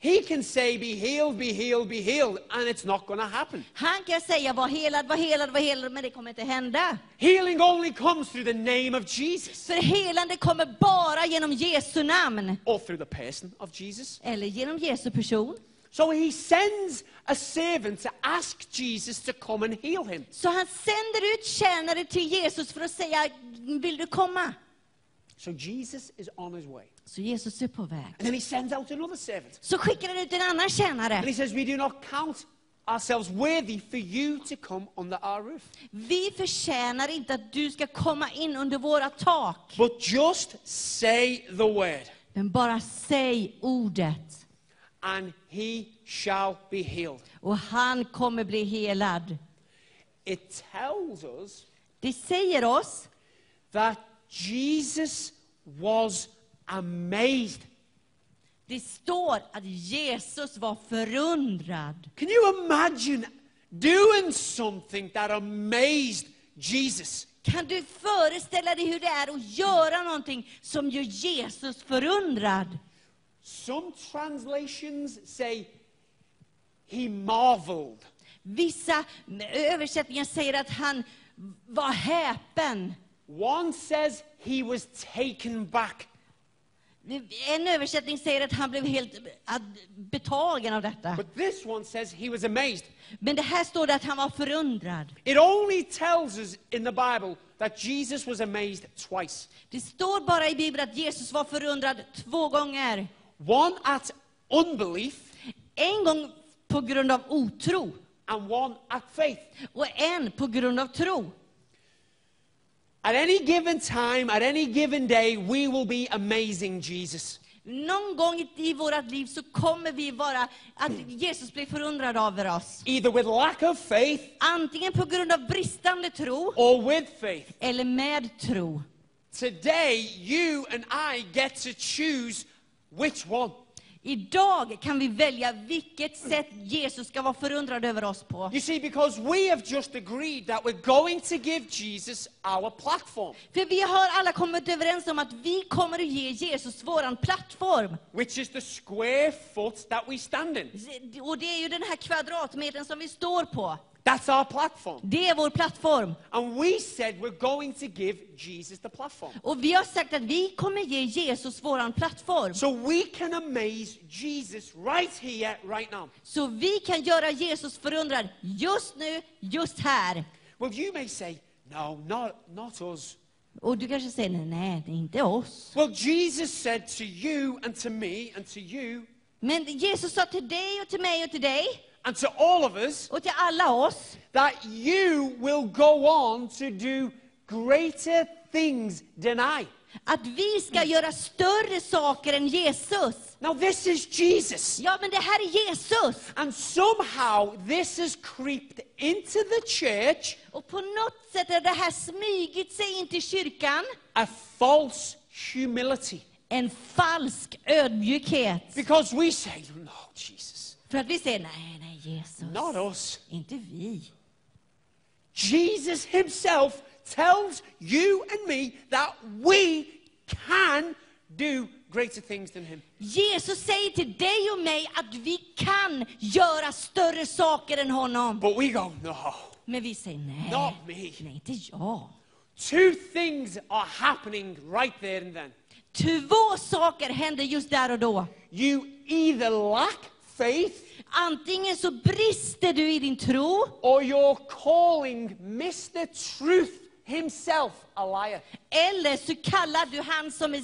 D: He can say, "Be healed, be healed, be healed," and it's not going to happen.
C: Han kan säga var helad, var helad, var helad, men det kommer inte hända.
D: Healing only comes through the name of Jesus,
C: För helande kommer bara genom Jesu namn.
D: or through the person of Jesus.
C: Eller genom Jesu person.
D: So he sends a servant to ask Jesus to come and heal him.
C: Så han sänder ut tjänare till Jesus för att säga, vill du komma?
D: So Jesus is on his way.
C: Så Jesus är på väg.
D: And then he sends out another servant.
C: Så skickar han ut en annan
D: And
C: tjänare.
D: he says, We do not count ourselves worthy for you to come under our roof.
C: Vi förtjänar inte att du ska komma in under våra tak.
D: But just say the word,
C: Men bara säg ordet.
D: and he shall be healed.
C: Och han kommer bli helad.
D: It tells us
C: Det säger oss
D: that Jesus was amazed.
C: Det står att Jesus var förundrad.
D: Can you imagine doing something that amazed Jesus?
C: Kan du föreställa dig hur det är att göra någonting som gör Jesus förundrad?
D: Some translations say he marveled.
C: Vissa översättningar säger att han var häpen.
D: One says he was taken back.
C: En översättning säger att han blev helt ad- betagen av detta.
D: But this one says he was amazed.
C: Men det här står det att han var förundrad.
D: It only tells us in the Bible that Jesus was amazed twice
C: Det står bara i Bibeln att Jesus var förundrad två gånger.
D: one at unbelief
C: En gång på grund av otro
D: and one at faith.
C: och en på grund av tro.
D: At any given time, at any given day, we will be amazing Jesus.
C: Någon gång i- i vårt liv så kommer vi vara att Jesus blir förundrad över oss.
D: Either with lack of faith
C: Antingen på grund av bristande tro
D: or with faith.
C: eller med tro.
D: Today, you and I get to choose which one.
C: Idag kan vi välja vilket sätt Jesus ska vara förundrad över oss på.
D: You see, because we have just agreed that we're going to give Jesus our platform,
C: För vi har alla kommit överens om att vi kommer att ge Jesus våran plattform.
D: which is the square foot that we stand in.
C: Och det är ju den här kvadratmetern som vi står på.
D: That's our platform.
C: Det är vår plattform.
D: And we said we're going to give Jesus the platform.
C: Och vi har sagt att vi kommer ge Jesus våran plattform.
D: So we can amaze Jesus right here, right now.
C: Så vi kan göra Jesus förundrad just nu, just här.
D: Well, you may say, no, not, not us.
C: Och du kanske säger, nej, nej, det är inte oss.
D: Well, Jesus said to you and to me and to you
C: Men Jesus sa till dig och till mig och till dig
D: and to all of us
C: och till alla oss
D: that you will go on to do greater things than I.
C: att vi ska göra större saker än Jesus.
D: Now, this is Jesus.
C: Ja, men det här är Jesus.
D: And somehow this has creeped into the church
C: Och på något sätt har det här smygit sig in till kyrkan.
D: a false humility.
C: En falsk ödmjukhet.
D: Because we say, no, Jesus,
C: För att vi säger, nej, nej, Jesus,
D: not us.
C: inte vi.
D: Jesus himself tells you and me that we can do greater things than him.
C: Jesus säger till dig och mig att vi kan göra större saker än honom.
D: But we go, no.
C: Men vi säger nej.
D: Not me.
C: Nej, inte jag.
D: Two things are happening right there and then.
C: Två saker händer just där och då.
D: You either lack faith
C: Antingen så brister du i din tro,
D: or you're calling Mr. Truth himself a liar.
C: eller så kallar du han som är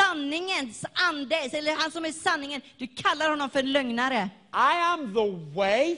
C: sanningens ande, eller han som är sanningen, du kallar honom för en lögnare.
D: I am the way,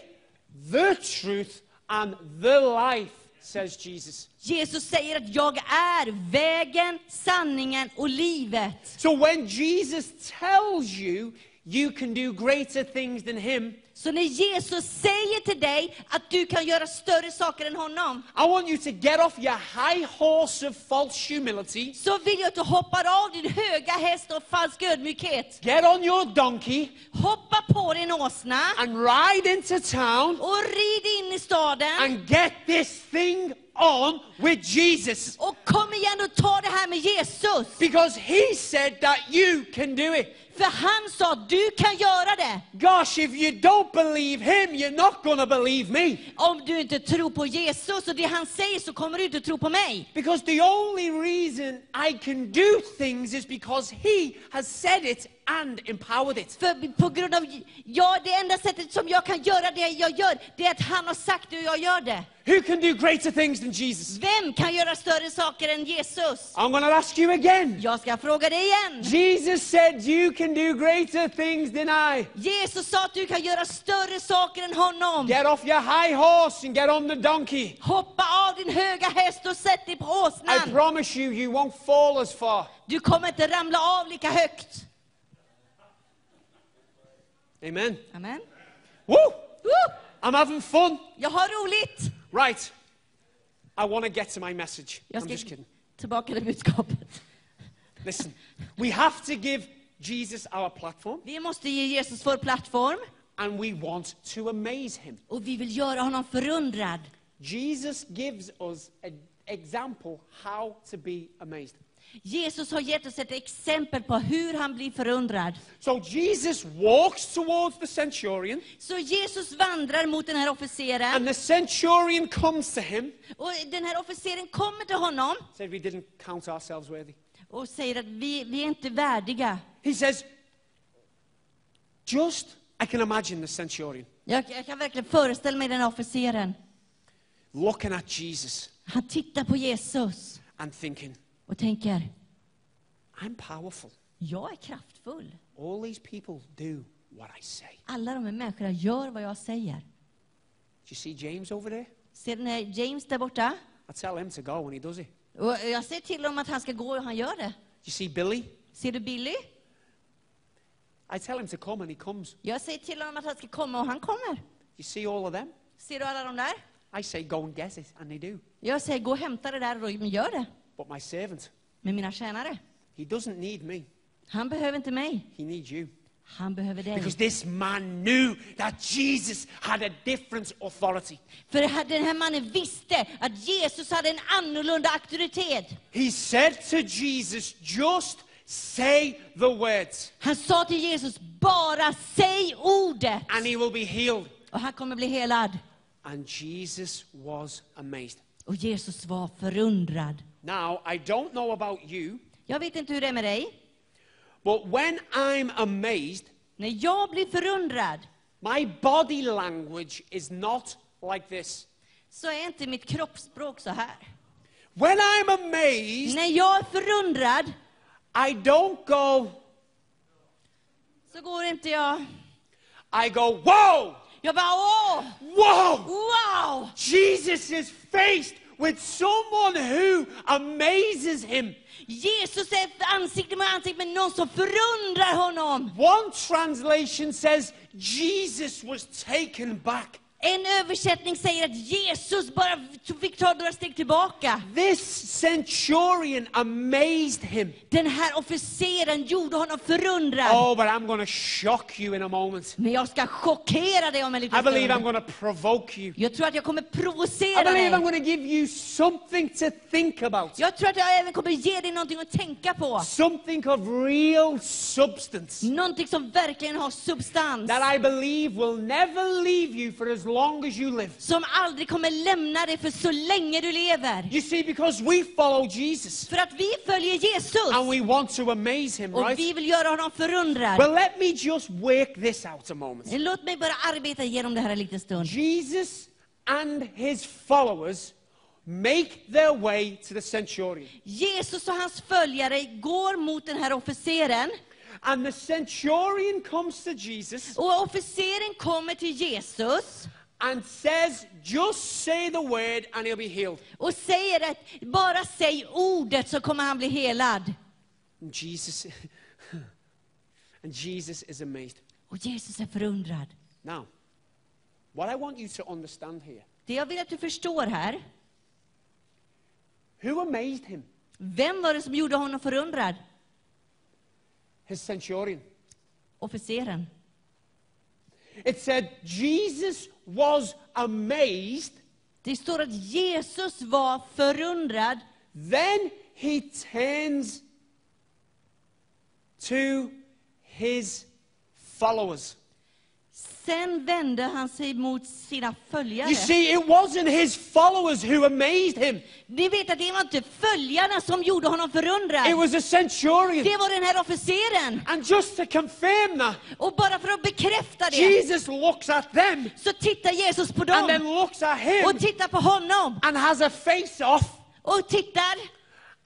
D: the truth, and the life. says Jesus.
C: Jesus säger att jag är vägen, sanningen och livet.
D: So when Jesus tells you you can do greater things than him,
C: Så när Jesus säger till dig att du kan göra större saker än honom,
D: I want you to get off your high horse of false humility,
C: så vill jag att du hoppar av din höga häst och falsk ödmjukhet.
D: get on your donkey,
C: Hoppa på din åsna
D: and ride into town
C: och rid in i staden.
D: and get this thing on with Jesus.
C: Och kom igen och ta det här med Jesus.
D: Because he said that you can do it.
C: För han sa, du kan göra det.
D: Gosh, if you don't believe him, you're not going to believe me.
C: Om du inte tror på Jesus och det han säger så kommer du inte tro på mig.
D: Because the only reason I can do things is because he has said it and empowered it.
C: För på grund av, ja det enda sättet som jag kan göra det jag gör, det är att han har sagt det och jag gör det.
D: Who can do greater things than Jesus?
C: Vem kan göra större saker än Jesus?
D: I'm going to ask you again.
C: Jag ska fråga dig igen.
D: Jesus said, You can do greater things than I.
C: Jesus sa att du kan göra större saker än honom.
D: Get off your high horse and get on the donkey.
C: Hoppa av din höga häst och sätt dig på
D: I
C: åsnan.
D: promise you, you won't fall as far.
C: Du kommer inte ramla av lika högt.
D: Amen.
C: Amen.
D: Woo!
C: Woo!
D: I'm having fun.
C: Jag har roligt.
D: Right. I want to get to my message.
C: Jag
D: I'm
C: ska
D: just kidding.
C: tillbaka till budskapet.
D: Listen, we have to give Jesus our platform
C: Vi måste ge Jesus vår plattform
D: and we want to amaze him.
C: och vi vill göra honom förundrad.
D: Jesus gives us an example how to be amazed.
C: Jesus har gett oss ett exempel på hur han blir förundrad.
D: So Jesus walks towards the centurion
C: Så Jesus vandrar mot den här officeren
D: and the centurion comes to him.
C: och den här officeren kommer till honom
D: Said we didn't count ourselves worthy.
C: och säger att vi, vi är inte värdiga.
D: He says, just, I can imagine the centurion
C: Jag, jag kan verkligen föreställa mig den här officeren.
D: looking at Jesus
C: Han tittar på Jesus
D: and thinking,
C: och tänker,
D: I'm powerful.
C: jag är kraftfull.
D: All these people do what I say. Do
C: Alla de här människorna gör vad jag säger.
D: you see James over there?
C: Ser den här James där borta?
D: I tell him to go and he does it.
C: Och jag säger till honom att han ska gå och han gör det.
D: You see Billy?
C: Ser du Billy?
D: I tell him to come and he comes.
C: Jag säger till honom att han ska komma och han kommer.
D: You see all of them?
C: Ser du alla de där?
D: I say go and get it and they do.
C: Jag säger gå och hämta det där och de gör det.
D: But my servant,
C: Med mina tjänare.
D: he doesn't need me.
C: Han behöver inte mig.
D: He needs you.
C: Han behöver dig.
D: Because this man knew that Jesus had a different authority.
C: För det här- den här mannen visste att Jesus hade en annorlunda auktoritet.
D: He said to Jesus, just say the words
C: Han sa till Jesus, bara säg ordet
D: and he will be healed.
C: och han kommer bli helad.
D: And Jesus was amazed.
C: Och Jesus var förundrad.
D: Now, I don't know about you,
C: Jag vet inte hur det är med dig.
D: but when I'm amazed,
C: När jag blir förundrad
D: my body language is not like this.
C: så är inte mitt kroppsspråk så här.
D: When I'm amazed,
C: När jag är förundrad
D: I don't go,
C: så går inte jag...
D: I go, whoa,
C: Jag bara åh,
D: whoa.
C: wow!
D: Jesus is faced with someone who amazes him.
C: Jesus är ansikte mot ansikte med någon som förundrar honom.
D: One translation says, Jesus was taken back.
C: En översättning säger att Jesus bara fick ta några steg tillbaka.
D: This centurion amazed him.
C: Den här officeren gjorde honom förundrad.
D: Oh, but I'm going to shock you in a moment.
C: Men jag ska chockera dig om en liten
D: I believe I'm
C: stund.
D: going to provoke you.
C: Jag tror att jag kommer
D: I
C: provocera
D: believe I'm
C: dig.
D: going to give you something to think about,
C: Jag tror att jag även kommer ge dig någonting att tänka på.
D: something of real substance
C: Någonting som verkligen har substans.
D: that I believe will never leave you for as long as you live.
C: Som aldrig kommer lämna dig för så länge du lever.
D: You see, because we follow Jesus
C: För att vi följer
D: and
C: Jesus.
D: we want to amaze him,
C: Och
D: right?
C: vi vill göra honom förundrad.
D: Well, let me just work this out a moment.
C: Låt mig bara arbeta igenom det här en liten stund.
D: Jesus and his followers make their way to the centurion.
C: Jesus och hans följare går mot den här officeren.
D: And the centurion comes to Jesus
C: Och officeren kommer till Jesus
D: and says, just say the word and he'll be healed.
C: och säger att bara säg ordet så kommer han bli helad.
D: And Jesus, [LAUGHS] and Jesus is amazed.
C: Och Jesus är förundrad.
D: Now, what I want you to understand here,
C: Det jag vill att du förstår här,
D: who amazed him?
C: vem var det som gjorde honom förundrad?
D: His centurion.
C: Officeren.
D: It said Jesus was amazed.
C: Det står att Jesus var förundrad
D: Then he turns to his followers.
C: Sen vände han sig mot sina följare.
D: You see, it wasn't his followers who amazed him.
C: Ni vet att det var inte följarna som gjorde honom förundrad.
D: It was a centurion.
C: Det var den här officeren.
D: And just to confirm that,
C: Och bara för att bekräfta det
D: Jesus looks at them
C: så tittar Jesus på
D: and then
C: dem
D: looks at
C: och
D: him
C: tittar på honom
D: and has a face off
C: och tittar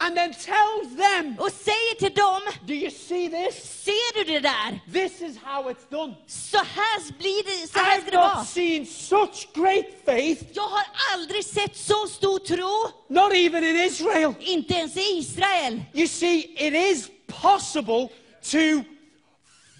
D: and then tells them,
C: och säger till dem,
D: Do you see this?
C: ser du det där?
D: This is how it's done.
C: Så här blir det, så här ska
D: I've
C: det vara.
D: not seen such great faith,
C: Jag har aldrig sett så stor tro,
D: not even in Israel.
C: inte ens i Israel.
D: You see, it is possible to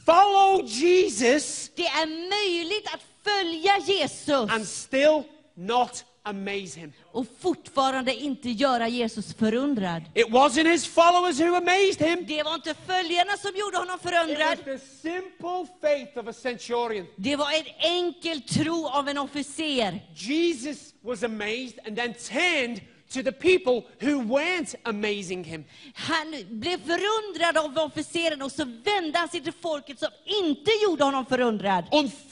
D: follow Jesus
C: Det är möjligt att följa Jesus.
D: and still not amaze him.
C: och fortfarande inte göra Jesus förundrad.
D: It wasn't his followers who amazed him.
C: Det var inte följarna som gjorde honom
D: It was
C: förundrad.
D: the simple faith of a centurion.
C: Det var en enkel tro av en officer.
D: Jesus was amazed and then turned to the people who weren't amazing him.
C: Han blev förundrad av officeren och så vände han sig till folket som inte gjorde honom förundrad.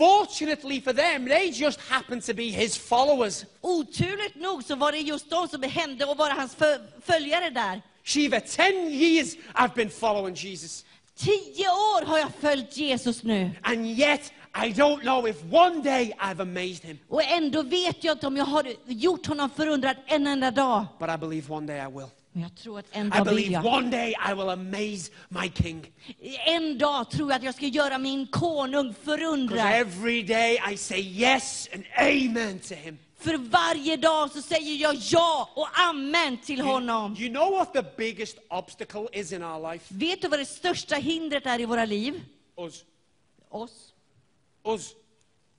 D: Unfortunately for them, they just happened to be his followers.
C: Oturligt nog så var det just de som hände och var hans fö- följare där.
D: Shiva, 10 years I've been following Jesus.
C: Tio år har jag följt Jesus nu
D: And yet, I don't know if one day I've amazed him.
C: och ändå vet jag inte om jag har gjort honom förundrad en enda dag.
D: But I believe one day I will.
C: Men jag tror att en
D: I
C: dag vill
D: believe
C: jag.
D: one day I will amaze my king.
C: En dag tror jag att jag ska göra min konung
D: Because
C: förundrad.
D: every day I say yes and amen to him.
C: För varje dag så säger jag ja och amen till
D: Oh,
C: honom.
D: You know what the biggest obstacle is in our life?
C: Vet du vad det största hindret är i våra liv?
D: Us.
C: Oss.
D: Us.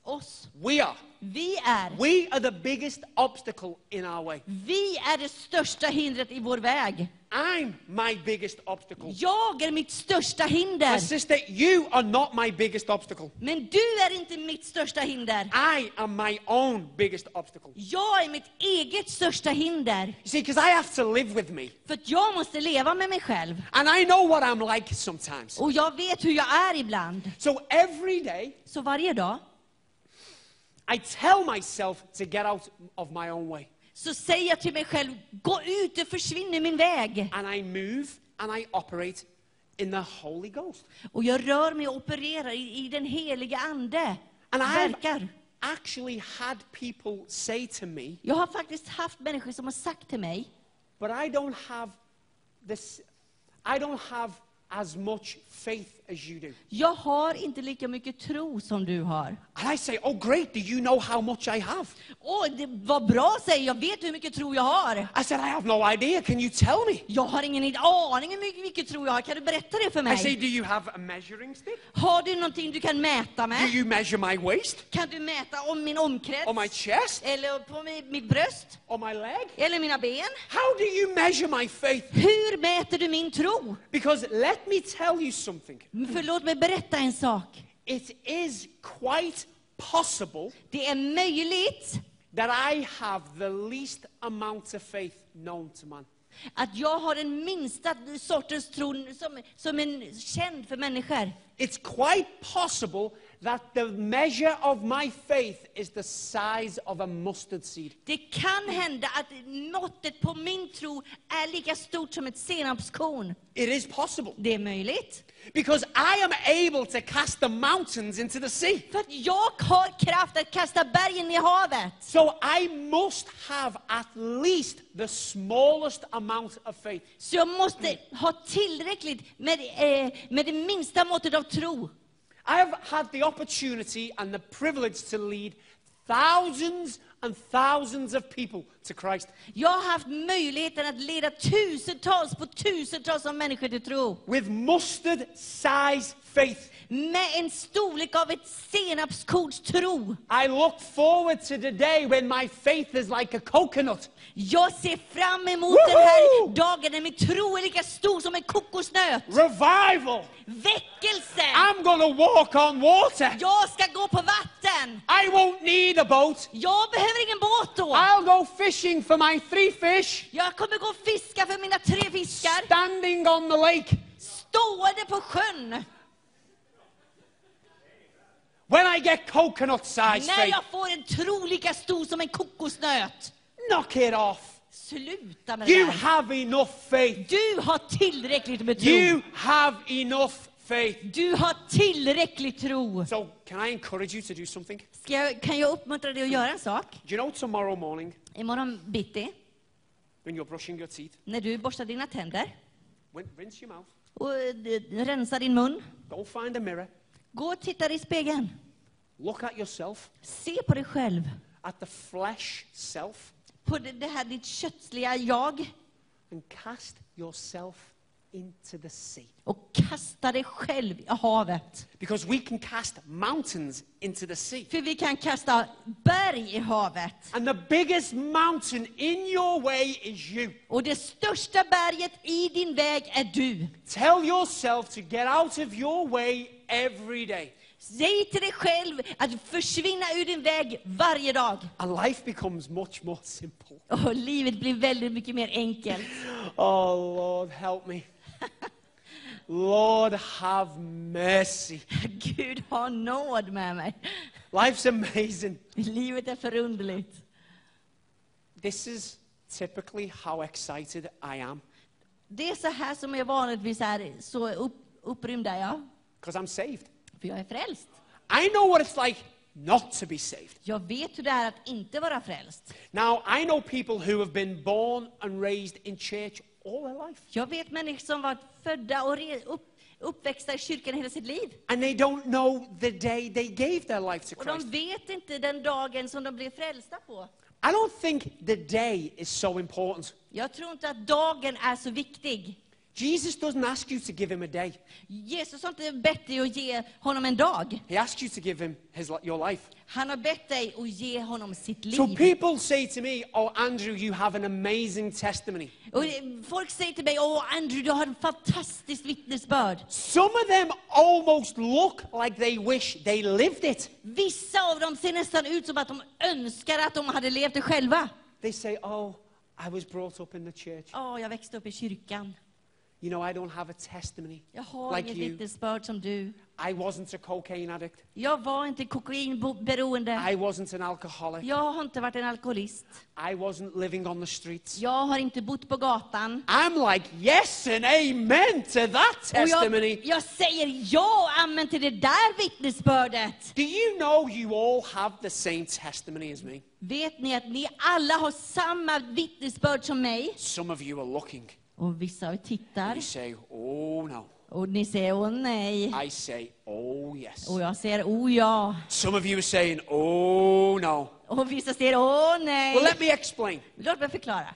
C: Oss.
D: We are.
C: Vi är.
D: We are the biggest obstacle in our way.
C: Vi är det största hindret i vår väg.
D: I'm my biggest obstacle.
C: Jag är mitt största
D: My
C: hinder.
D: sister, you are not my biggest obstacle.
C: Men du är inte mitt största hinder.
D: I am my own biggest obstacle.
C: Jag är mitt eget största hinder.
D: You see, because I have to live with me.
C: För att jag måste leva med mig själv.
D: And I know what I'm like sometimes.
C: Och jag vet hur jag är ibland.
D: So every day,
C: Så varje dag
D: I tell myself to get out of my own way.
C: så säger jag till mig själv, gå ut, det försvinner min väg.
D: And I move and I operate in the Holy Ghost.
C: Och jag rör mig och opererar i, i den heliga Ande.
D: And I've
C: Verkar.
D: actually had people say to me,
C: Jag har faktiskt haft människor som har sagt till mig,
D: but I don't have this, I don't have as much faith as you do.
C: jag har inte lika mycket tro som du har.
D: And I say, oh, great, do you know how much I have?
C: Åh, det var bra säger jag, vet du hur mycket tro jag har?
D: I said, I have no idea. Can you tell me?
C: Jag har ingen id- aning hur mycket, mycket tro jag har, kan du berätta det för
D: I say,
C: mig?
D: do you have a measuring stick?
C: Har du någonting du kan mäta
D: Do
C: med?
D: you measure my waist?
C: Kan du mäta om min omkrets?
D: Or my chest?
C: Eller på mi- mitt bröst?
D: Or my leg?
C: Eller mina ben?
D: How do you measure my faith?
C: Hur mäter du min tro?
D: Because let me tell you something.
C: Men Förlåt mig berätta en sak.
D: It is quite possible
C: Det är möjligt
D: that I have the least amount of faith known to man.
C: att jag har den minsta sortens tro som, som är känd för människor.
D: It's quite possible that the measure of my faith is the size of a mustard seed.
C: Det kan hända att måttet på min tro är lika stort som ett senapskorn.
D: It is possible
C: Det är möjligt.
D: because I am able to cast the mountains into the sea.
C: För att jag har kraft att kasta bergen i havet.
D: So I must have at least the smallest amount of faith.
C: Så jag måste ha tillräckligt med, eh, med det minsta måttet av tro.
D: I have had the opportunity and the privilege to lead thousands and thousands of people to Christ.
C: Jag har haft möjligheten att leda tusentals på tusentals av människor till tro.
D: with mustard size faith.
C: Med en storlek av ett senapskorns tro.
D: I look forward to the day when my faith is like a coconut.
C: Jag ser fram emot
D: Woho!
C: den här dagen när min tro är lika stor som en kokosnöt.
D: Revival.
C: Väckelse!
D: I'm going to walk on water.
C: Jag ska gå på vatten!
D: I won't need a boat.
C: Jag behöver ingen båt då!
D: I'll go fishing for my three fish
C: Jag kommer gå och fiska för mina tre fiskar,
D: standing on the lake.
C: stående på sjön.
D: When I get coconut size
C: När
D: faith,
C: jag får en tro lika stor som en kokosnöt.
D: knock it off.
C: Sluta med det
D: You
C: där.
D: have enough faith.
C: Du har tillräckligt med tro.
D: You have enough faith.
C: Du har tillräcklig tro.
D: So, can I encourage you to do something? Do
C: Ska jag, kan jag uppmuntra dig att göra en sak?
D: you know tomorrow morning
C: Imorgon bitti,
D: when you're brushing your teeth,
C: när du borstar dina tänder
D: when, rinse your mouth,
C: och eh, d- rensar din mun,
D: go find a mirror,
C: gå och titta dig i spegeln.
D: look at yourself,
C: Se på dig själv,
D: at the flesh self,
C: på det, det här ditt kötsliga jag
D: and cast yourself into the sea.
C: och kasta dig själv i havet.
D: Because we can cast mountains into the sea.
C: För vi kan kasta berg i havet.
D: And the biggest mountain in your way is you.
C: Och det största berget i din väg är du.
D: Tell yourself to get out of your way every day.
C: Säg till dig själv att försvinna ur din väg varje dag.
D: And life becomes much more simple.
C: Och livet blir väldigt mycket mer enkelt. [LAUGHS]
D: Oh, Lord, help me. Lord, have mercy.
C: Gud har nåd med mig.
D: Life's amazing.
C: Livet är förunderligt.
D: This is typically how excited I am.
C: Det är så här som jag vanligtvis är, så upp, upprymd är jag.
D: because I'm saved.
C: För jag är frälst.
D: I know what it's like not to be saved.
C: Jag vet hur det är att inte vara frälst.
D: Now, I know people who have been born and raised in church all their life,
C: Jag vet människor som varit födda och re, upp, uppväxta i kyrkan hela sitt liv.
D: and they don't know the day they gave their life to
C: Och de
D: Christ.
C: vet inte den dagen som de blev frälsta på.
D: I don't think the day is so important.
C: Jag tror inte att dagen är så viktig.
D: Jesus doesn't ask you to give him a day,
C: Jesus har inte bett dig att ge honom en dag.
D: he asks you to give him his, li- your life.
C: Han har bett dig att ge honom sitt
D: So
C: liv.
D: people say to me, Oh, Andrew, you have an amazing testimony.
C: Och eh, folk säger till mig, åh Andrew, du har en fantastisk vittnesbörd.
D: Some of them almost look like they wish they lived it.
C: Vissa av dem ser nästan ut som att de önskar att de hade levt det själva.
D: They say, Oh, I was brought up in the church.
C: Åh, jag växte upp i kyrkan.
D: You know, I don't have a testimony
C: Jag har
D: like
C: inget
D: you.
C: vittnesbörd som du.
D: I wasn't a cocaine addict.
C: Jag var inte kokainberoende.
D: I wasn't an alcoholic.
C: Jag har inte varit en alkoholist.
D: I wasn't living on the streets.
C: Jag har inte bott på gatan.
D: I'm like, yes and amen to that
C: Och jag,
D: testimony.
C: jag säger ja, amen till det där vittnesbördet.
D: Do you know you all have the same testimony as me?
C: Vet ni att ni alla har samma vittnesbörd som mig?
D: Some of you are looking.
C: Och vissa av er tittar
D: You say, oh no.
C: och ni säger åh nej.
D: I say, oh yes.
C: Och jag säger åh ja.
D: Some of you are saying, oh no.
C: Och vissa säger åh
D: Well,
C: nej.
D: let me explain.
C: Låt mig förklara.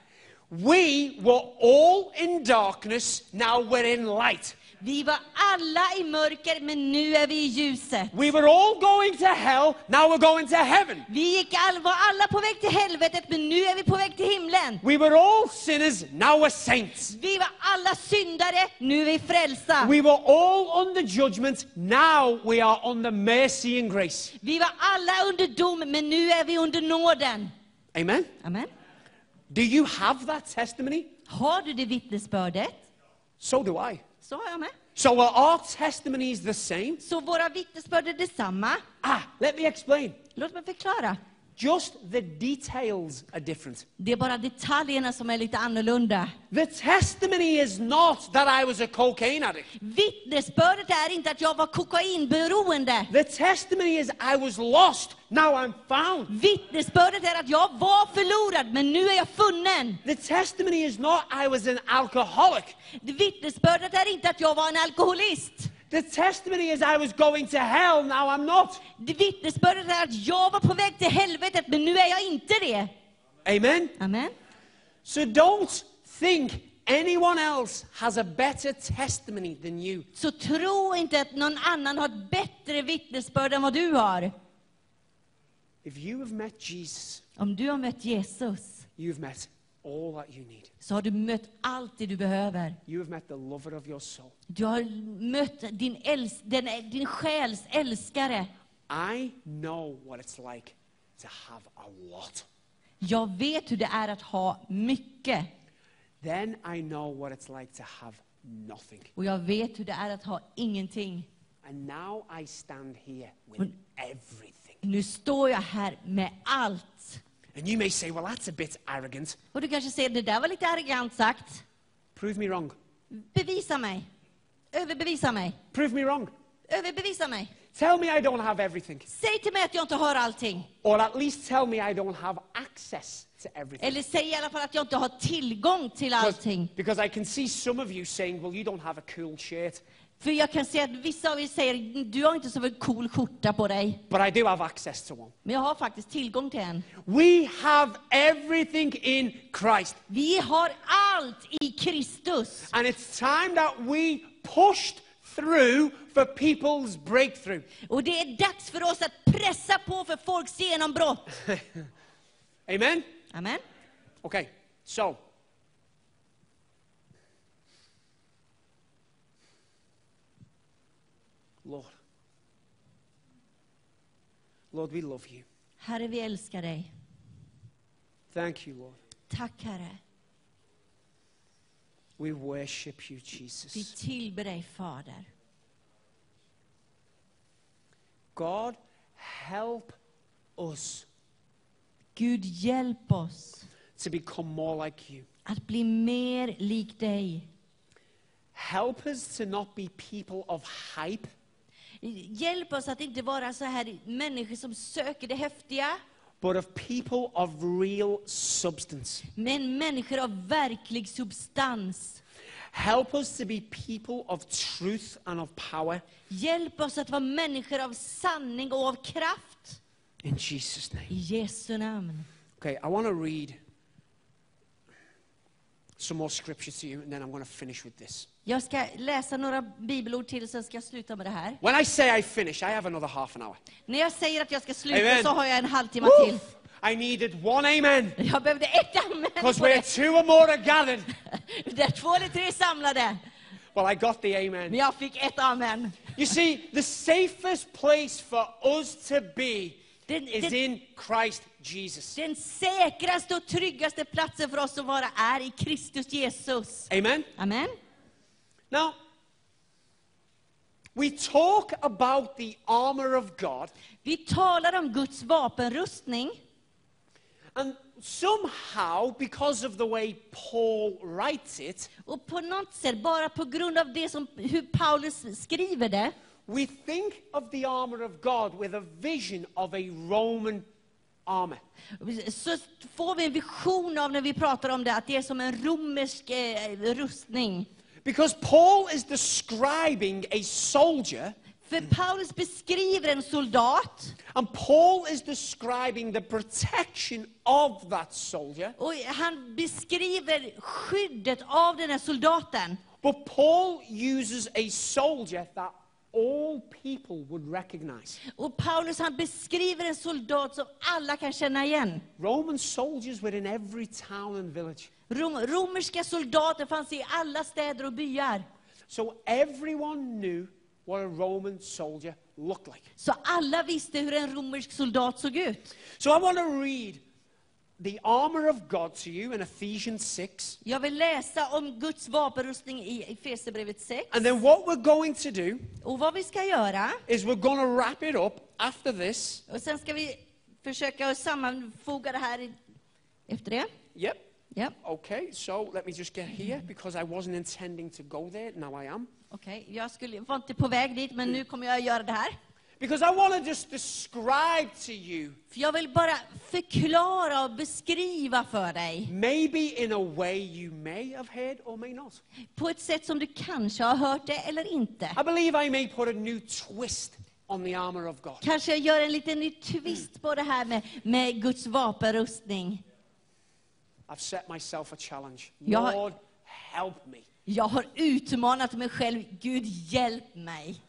D: We were all in darkness, now we're in light.
C: Vi var alla i mörker, men nu är vi i ljuset.
D: We were all going to hell, now we're going to heaven.
C: Vi gick all, var alla på väg till helvetet, men nu är vi på väg till himlen.
D: We were all sinners, now we're saints.
C: Vi var alla syndare, nu är vi frälsta.
D: We were all under judgment, now we are under mercy and grace.
C: Vi var alla under dom, men nu är vi under nåden.
D: Amen?
C: Amen.
D: Do you have that testimony?
C: Har du det vittnesbördet,
D: So do I.
C: så har jag med.
D: So are our testimonies the same?
C: Så våra vittnesbörd är detsamma.
D: Ah, let me explain.
C: Låt mig förklara.
D: Just the details are different.
C: Det är bara detaljerna som är lite annorlunda.
D: The testimony is not that I was a cocaine addict.
C: Vittnesbördet är inte att jag var kokainberoende.
D: The testimony is I was lost, now I'm found.
C: Vittnesbördet är att jag var förlorad, men nu är jag funnen.
D: The testimony is not I was an alcoholic.
C: Vittnesbördet är inte att jag var en alkoholist.
D: The testimony is I was going to hell, now I'm not.
C: Det Vittnesbördet är att jag var på väg till helvetet, men nu är jag inte det.
D: Amen?
C: Amen.
D: So don't think anyone else has a better testimony than you.
C: Så tro inte att någon annan har ett bättre vittnesbörd än vad du har.
D: If you have met Jesus,
C: Om du har mött Jesus
D: you've met all that you need.
C: så har du mött allt det du behöver.
D: You have met the lover of your soul.
C: Du har mött din, äls- den, din själs älskare.
D: I know what it's like to have a lot.
C: Jag vet hur det är att ha mycket.
D: Then I know what it's like to have nothing.
C: Och jag vet hur det är att ha ingenting.
D: And now I stand here with
C: When-
D: everything.
C: Nu står jag här med allt.
D: And you may say, well, that's a bit arrogant.
C: Och du kanske säger, det där var lite arrogant sagt.
D: Prove me wrong.
C: Bevisa mig. Överbevisa mig.
D: Prove me wrong.
C: Överbevisa mig.
D: Tell me I don't have everything.
C: Säg till mig att jag inte har allting.
D: Or at least tell me I don't have access to everything.
C: Eller säg i alla fall att jag inte har tillgång till allting.
D: Because I can see some of you saying, well, you don't have a cool shirt,
C: För jag kan se att vissa av er säger, du har inte så en cool skjorta på dig.
D: but I do have access to one.
C: Men jag har faktiskt tillgång till en.
D: We have everything in Christ.
C: Vi har allt i Kristus.
D: And it's time that we pushed through for people's breakthrough.
C: Och det är dags för oss att pressa på för folks genombrott.
D: Amen?
C: Amen.
D: Okay, so. Lord. Lord, we love you.
C: Herre, vi älskar dig.
D: Thank you, Lord.
C: Tack Herre.
D: We worship you,
C: Vi
D: Jesus.
C: tillber dig Fader.
D: God, help us
C: Gud hjälp oss
D: to become more like you.
C: att bli mer lik dig.
D: Help us to not be people of hype,
C: Hjälp oss att inte vara så här människor som söker det häftiga,
D: but of people of real substance.
C: men människor av verklig substans.
D: Help us to be people of truth and of power.
C: Hjälp oss att vara människor av sanning och av kraft.
D: In Jesus'
C: I
D: name.
C: Jesu namn.
D: Okay, I want to read some more scripture to you, and then I'm going to finish with this.
C: Jag ska läsa några bibelord till, sen ska jag sluta med det här.
D: When I say I finish, I have another half an hour.
C: När jag säger att jag ska sluta
D: Amen.
C: så har jag en halvtimme till.
D: Woof! I needed one amen,
C: Jag behövde ett amen
D: because
C: på
D: where
C: det.
D: two or more are gathered.
C: Där två eller tre är samlade.
D: Well, I got the
C: Men
D: amen.
C: jag fick ett amen.
D: You see, the safest place for us to be
C: Den,
D: is
C: den,
D: in Christ Jesus.
C: den säkraste och tryggaste platsen för oss att vara är i Kristus Jesus.
D: Amen?
C: Amen.
D: Now, we talk about the armor of God,
C: Vi talar om Guds vapenrustning.
D: and somehow, because of the way Paul writes it,
C: Och på något sätt, bara på grund av det som, hur Paulus skriver det,
D: we think of the armor of God with a vision of a Roman armor.
C: så får vi en vision av när vi pratar om det, att det är som en romersk eh, rustning.
D: Because Paul is describing a soldier,
C: För Paulus beskriver en soldat,
D: and Paul is describing the protection of that soldier,
C: och han beskriver skyddet av den här soldaten.
D: but Paul uses a soldier that all people would recognize.
C: Och Paulus han beskriver en soldat som alla kan känna igen.
D: Roman soldiers were in every town and village.
C: Rom, romerska soldater fanns i alla städer och byar.
D: So everyone knew what a Roman soldier looked like.
C: Så alla visste hur en romersk soldat såg ut.
D: So I want to read the armor of God to you in Ephesians 6.
C: Jag vill läsa om Guds vapenrustning i Efesierbrevet 6.
D: And then what we're going to do
C: Och vad vi ska göra,
D: is we're going to wrap it up after this.
C: och sen ska vi försöka sammanfoga det här i- efter det.
D: Yep.
C: Ja,
D: Okay, so let me just get here because I wasn't intending to go there. Now I am.
C: okej. Jag skulle, var inte på väg dit, men nu kommer jag att göra det här.
D: Because I want to just describe to you,
C: För jag vill bara förklara och beskriva för dig
D: maybe in a way you may have heard or may not.
C: på ett sätt som du kanske har hört det eller inte.
D: I believe I may put a new twist on the armor of God.
C: Kanske jag gör en liten ny twist på det här med, med Guds vapenrustning.
D: I've set myself a challenge.
C: Ja.
D: Lord, help me.
C: Jag har utmanat mig själv. Gud, hjälp mig.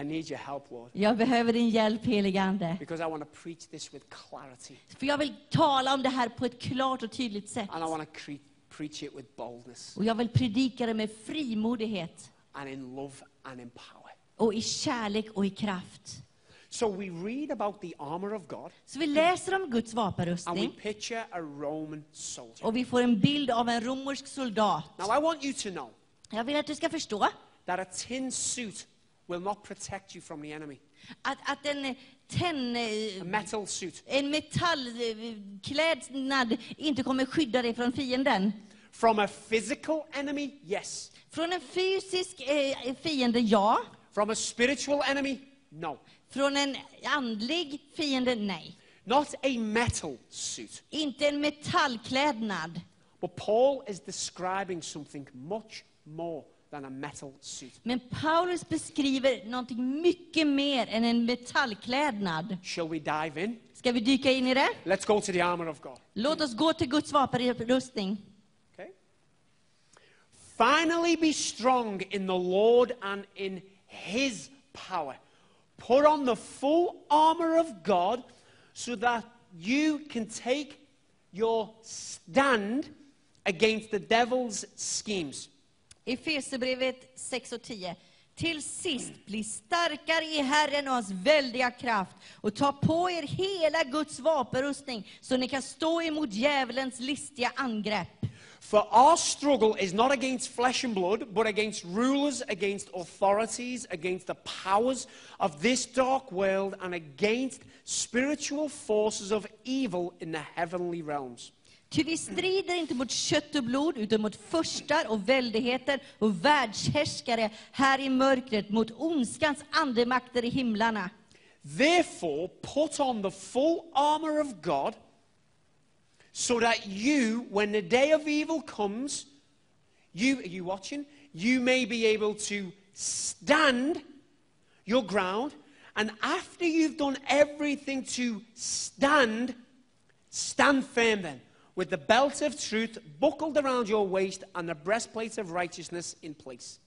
D: I need your help, Lord,
C: Jag behöver din hjälp, helige Ande.
D: because I want to preach this with clarity
C: För jag vill tala om det här på ett klart och tydligt sätt.
D: and I want to cre- preach it with boldness
C: Och jag vill predika det med frimodighet
D: and in love and in power.
C: och i kärlek och i kraft.
D: So we read about the armor of God
C: Så vi läser om Guds
D: and we
C: vapenrustning
D: picture a Roman soldier.
C: och vi får en bild av en romersk soldat.
D: Now, I want you to know
C: Jag vill att du ska förstå
D: that a tin suit will not protect you from the enemy.
C: att, att en tenn...
D: A metal suit.
C: En metallklädnad inte kommer skydda dig från fienden.
D: From a physical enemy, yes.
C: Från en fysisk eh, fiende, ja.
D: From a spiritual enemy, no.
C: Från en andlig fiende, nej.
D: Not a metal suit.
C: Inte en metallklädnad.
D: But Paul is describing something much more than a metal suit.
C: Men Paulus beskriver någonting mycket mer än en metallklädnad.
D: Shall we dive in?
C: Ska vi dyka in i det?
D: Let's go to the armor of God.
C: Låt oss gå till Guds vapenrustning.
D: Okay? Finally, be strong in the Lord and in his power. Put on the full armor of God so that you can take your stand against the devil's schemes.
C: Efesierbrevet 6 och 10. Till sist, bli starkare i Herren och hans väldiga kraft och ta på er hela Guds vapenrustning så ni kan stå emot djävulens listiga angrepp.
D: For our struggle is not against flesh and blood, but against rulers, against authorities, against the powers of this dark world, and against spiritual forces of evil in the heavenly realms.
C: Ty vi strider inte mot kött och blod, utan mot förstar och väldigheter och världshärskare här i mörkret, mot ondskans andemakter i himlarna.
D: Therefore, put on the full armor of God, so that you, when the day of evil comes, you are you watching? You may be able to stand your ground, and after you've done everything to stand, stand firm then, with the belt of truth buckled around your waist and the breastplate of righteousness in place.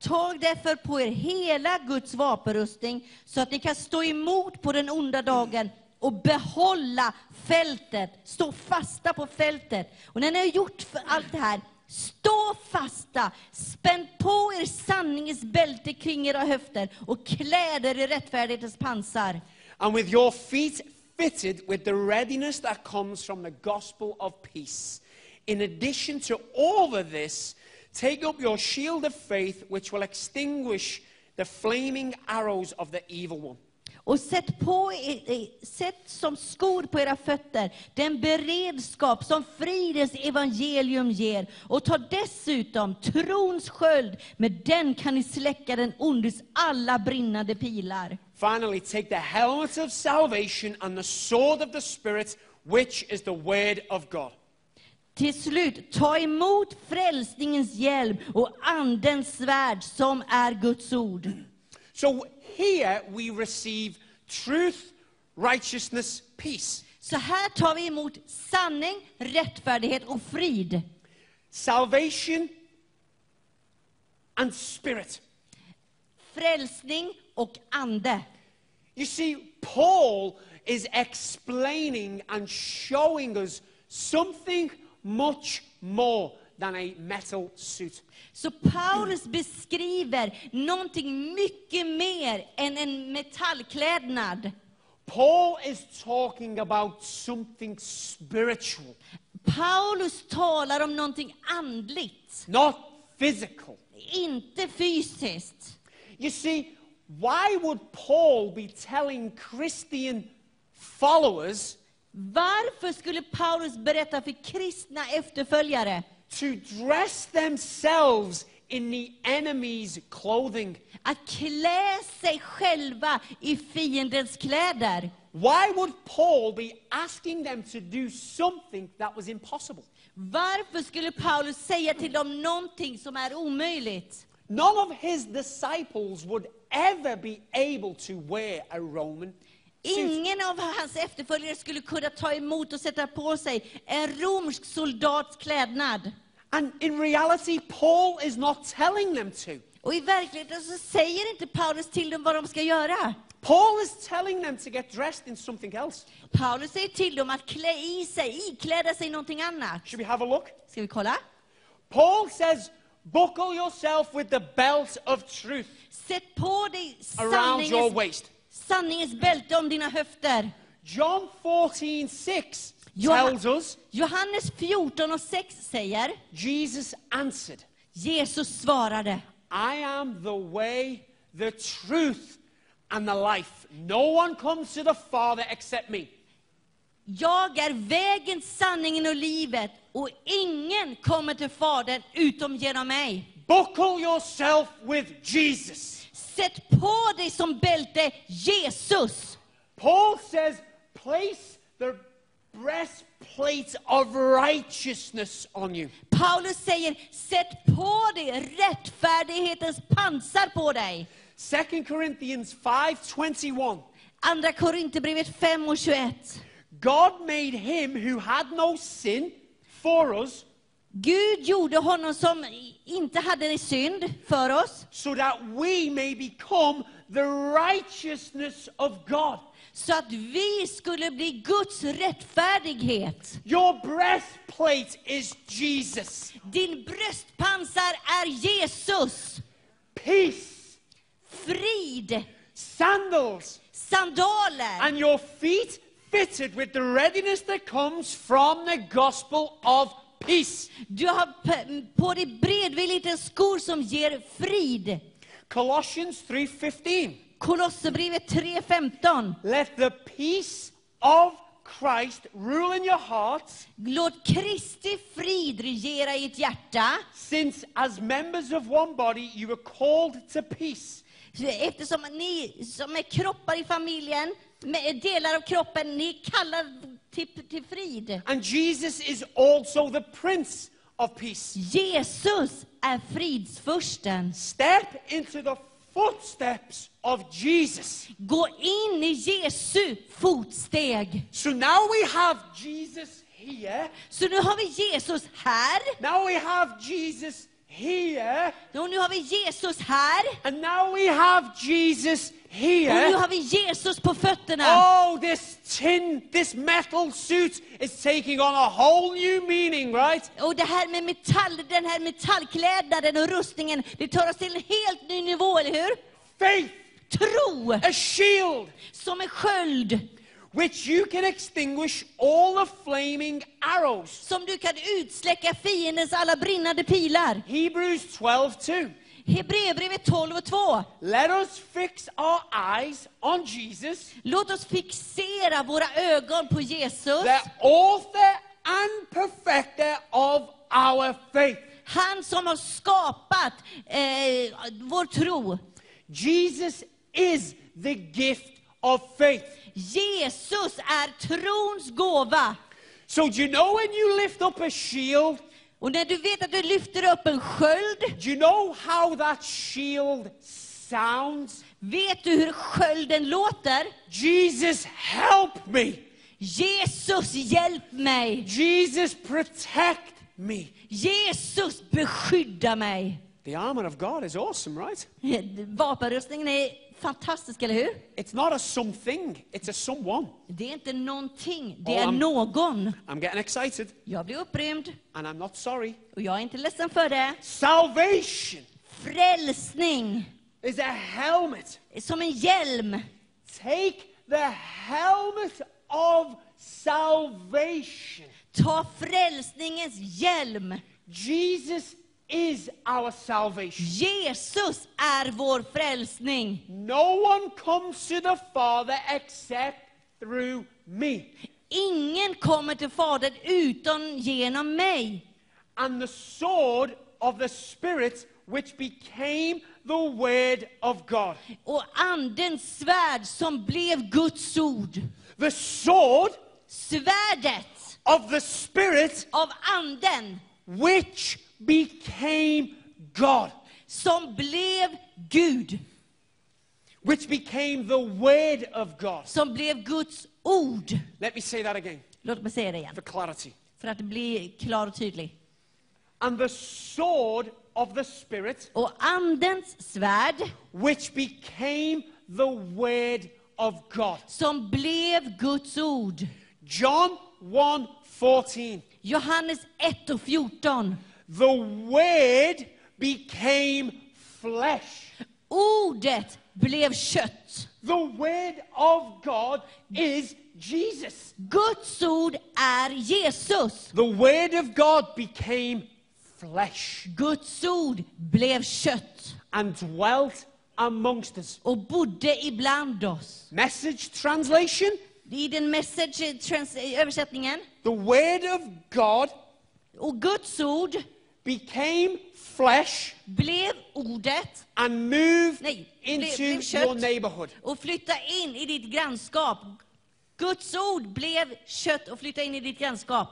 C: Tag därför på er hela Guds vapenrustning, så att ni kan stå emot på den onda dagen och behålla fältet, stå fasta på fältet. Och när ni har gjort för allt det här, stå fasta, spänn på er sanningens bälte kring era höfter och kläd er i rättfärdighetens pansar.
D: and with your feet fitted with the readiness that comes from the gospel of peace. In addition to all of this, take up your shield of faith, which will extinguish the flaming arrows of the evil one.
C: Och sätt, på, i- i- sätt som skor på era fötter den beredskap som fridens evangelium ger. Och ta dessutom trons sköld, med den kan ni släcka den ondes alla brinnande pilar.
D: Finally, take the helmet of salvation and the sword of the Spirit, which is the word of God.
C: Till slut, ta emot frälsningens hjälm och andens svärd som är Guds ord.
D: So here we receive truth, righteousness, peace.
C: Så här tar vi emot sanning, rättfärdighet och frid.
D: Salvation and spirit.
C: Frälsning och ande.
D: You see, Paul is explaining and showing us something much more than a metal suit.
C: Så Paulus beskriver någonting mycket mer än en metallklädnad.
D: Paul is talking about something spiritual,
C: Paulus talar om någonting andligt,
D: not physical.
C: inte fysiskt.
D: You see, why would Paul be telling Christian followers
C: Varför skulle Paulus berätta för kristna efterföljare
D: to dress themselves in the enemy's clothing.
C: Att klä sig själva i fiendens kläder.
D: Why would Paul be asking them to do something that was impossible?
C: Varför skulle Paulus säga till dem någonting som är omöjligt?
D: None of his disciples would ever be able to wear a Roman suit.
C: Ingen av hans efterföljare skulle kunna ta emot och sätta på sig en romersk soldats klädnad.
D: And in reality, Paul is not telling them to.
C: Och i verkligheten så säger inte Paulus till dem vad de ska göra.
D: Paul is telling them to get dressed in something else.
C: Paulus säger till dem att klä i sig, ikläda sig någonting annat.
D: Should we have a look?
C: Ska vi kolla?
D: Paul says, Buckle yourself with the belt of truth
C: Sätt på dig
D: around your
C: sanningens,
D: waist.
C: sanningens bälte om dina höfter.
D: John 14, 6
C: Johan-
D: tells us,
C: Johannes 14 och 6 säger,
D: Jesus answered,
C: Jesus svarade,
D: I am the way, the truth, and the life. No one comes to the Father except me.
C: Jag är vägen, sanningen och livet och ingen kommer till Fadern utom genom mig.
D: Buckle yourself with Jesus.
C: Sätt på dig som bälte Jesus.
D: Paul says, place the breastplate of righteousness on you.
C: Paulus säger, sätt på dig rättfärdighetens pansar på dig.
D: 2 Corinthians 5:21
C: Andra Korinthierbrevet 5 och 21.
D: God made him who had no sin for us
C: Gud gjorde honom som inte hade synd för oss,
D: so that we may become the righteousness of God.
C: så att vi skulle bli Guds rättfärdighet.
D: Your breastplate is Jesus.
C: Din bröstpansar är Jesus.
D: Peace,
C: Frid,
D: sandals,
C: sandaler
D: and your feet fitted with the readiness that comes from the gospel of peace.
C: Du har p- på dig beredvilligt skor som ger frid.
D: Colossians 3:15
C: Kolosserbrevet 3.15.
D: Let the peace of Christ rule in your hearts
C: Låt Kristi frid regera i ert hjärta.
D: Since, as members of one body, you were called to peace.
C: Eftersom ni som är kroppar i familjen, med delar av kroppen, ni kallar till, till frid.
D: And Jesus is also the Prince of Peace.
C: Jesus är fridsfursten.
D: Step into the footsteps of Jesus.
C: Gå in i Jesu fotsteg.
D: So now we have Jesus here.
C: Så nu har vi Jesus här,
D: Now we have Jesus here.
C: och nu har vi Jesus här,
D: And now we have Jesus
C: och nu
D: here.
C: har vi Jesus på fötterna.
D: Oh, this tin, this metal suit is taking on a whole new meaning, right?
C: Och det här med metall, den här metallklädnaden och rustningen, det tar oss till en helt ny nivå, eller hur?
D: Faith,
C: Tro
D: a shield.
C: som en sköld
D: which you can extinguish all the flaming arrows.
C: som du kan utsläcka fiendens alla brinnande pilar.
D: Hebrews 12 2.
C: Hebreerbrevet 12 och 2.
D: Let us fix our eyes on Jesus,
C: Låt oss fixera våra ögon på Jesus,
D: the author and perfecter of our faith.
C: han som har skapat eh, vår tro.
D: Jesus is the gift of faith.
C: Jesus är trons gåva.
D: So, do you know when you lift up a shield,
C: Och när du vet att du lyfter upp en sköld,
D: do you know how that shield sounds?
C: vet du hur skölden låter?
D: Jesus, help me.
C: Jesus, hjälp mig!
D: Jesus, protect me.
C: Jesus, beskydda mig!
D: The armor of God is awesome, right?
C: Vapenrustningen är fantastisk, eller hur?
D: It's not a something, it's a someone.
C: Det är inte någonting, det
D: Och
C: är
D: han-
C: någon.
D: I'm getting excited,
C: Jag blir upprymd,
D: and I'm not sorry.
C: och jag är inte ledsen för det.
D: Salvation
C: Frälsning,
D: is a helmet.
C: som en hjälm.
D: Take the helmet of salvation.
C: Ta frälsningens hjälm.
D: Jesus is our salvation.
C: Jesus är vår frälsning.
D: No one comes to the Father except through me.
C: Ingen kommer till Fadern utan genom mig.
D: And the sword of the Spirit, which became the Word of God.
C: och andens svärd som blev Guds ord.
D: The sword
C: Svärdet
D: of the Spirit,
C: av anden
D: which became God,
C: som blev Gud,
D: which became the Word of God.
C: som blev Guds ord.
D: Let me say that again
C: Låt mig säga det igen,
D: for clarity.
C: för att bli klar och tydlig.
D: And the sword of the Spirit,
C: Och andens svärd
D: which became the Word of God.
C: som blev Guds ord.
D: John 1 14.
C: Johannes 1 och 14.
D: The Word became flesh.
C: Ordet blev kött.
D: The Word of God is Jesus.
C: Guds ord är Jesus.
D: The Word of God became flesh
C: Guds ord blev kött
D: and dwelt amongst us.
C: och bodde ibland oss.
D: Message translation
C: I den message eh, trans- eh, översättningen.
D: The Word of God
C: Och Guds ord
D: became flesh
C: blev ordet
D: and moved
C: Nej, blev-
D: into
C: blev kött.
D: your neighborhood.
C: och flytta in i ditt grannskap. Guds ord blev kött och flytta in i ditt grannskap.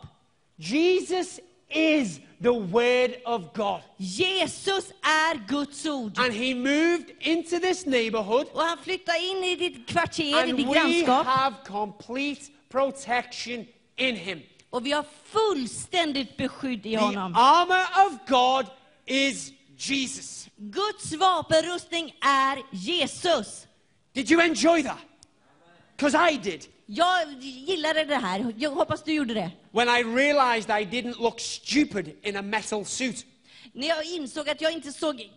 D: Jesus is the Word of God.
C: Jesus är Guds ord.
D: And he moved into this neighborhood
C: Och han flyttar in i ditt kvarter, i
D: and
C: ditt
D: we
C: grannskap.
D: have complete protection in him.
C: Och vi har fullständigt beskydd i
D: The
C: honom.
D: armor of God is Jesus.
C: Guds vapenrustning är Jesus.
D: Did you enjoy that? Because I did.
C: Jag gillade det här. Jag hoppas du gjorde det.
D: When I realized I didn't look stupid in a metal suit.
C: När jag insåg att jag inte såg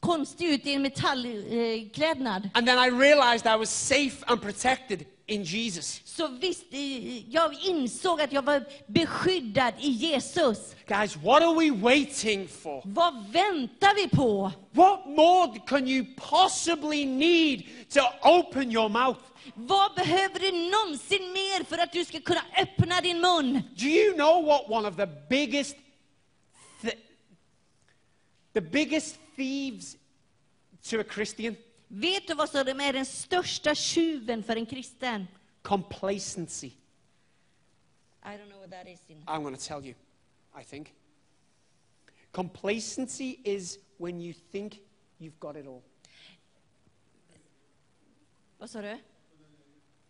C: konstig ut i en metallklädnad.
D: And then I realized I was safe and protected in Jesus.
C: Så visst, eh, jag insåg att jag var beskyddad i Jesus.
D: Guys, what are we waiting for?
C: Vad väntar vi på?
D: What more can you possibly need to open your mouth?
C: Vad behöver du någonsin mer för att du ska kunna öppna din mun?
D: Do you know what one of the biggest, th- the biggest thieves to a Christian?
C: Vet du vad som är den största tjuven för en kristen?
D: Complacency.
C: I don't know what that is in.
D: I'm going to tell you. I think. Complacency is when you think you've got it all.
C: Vad sa du?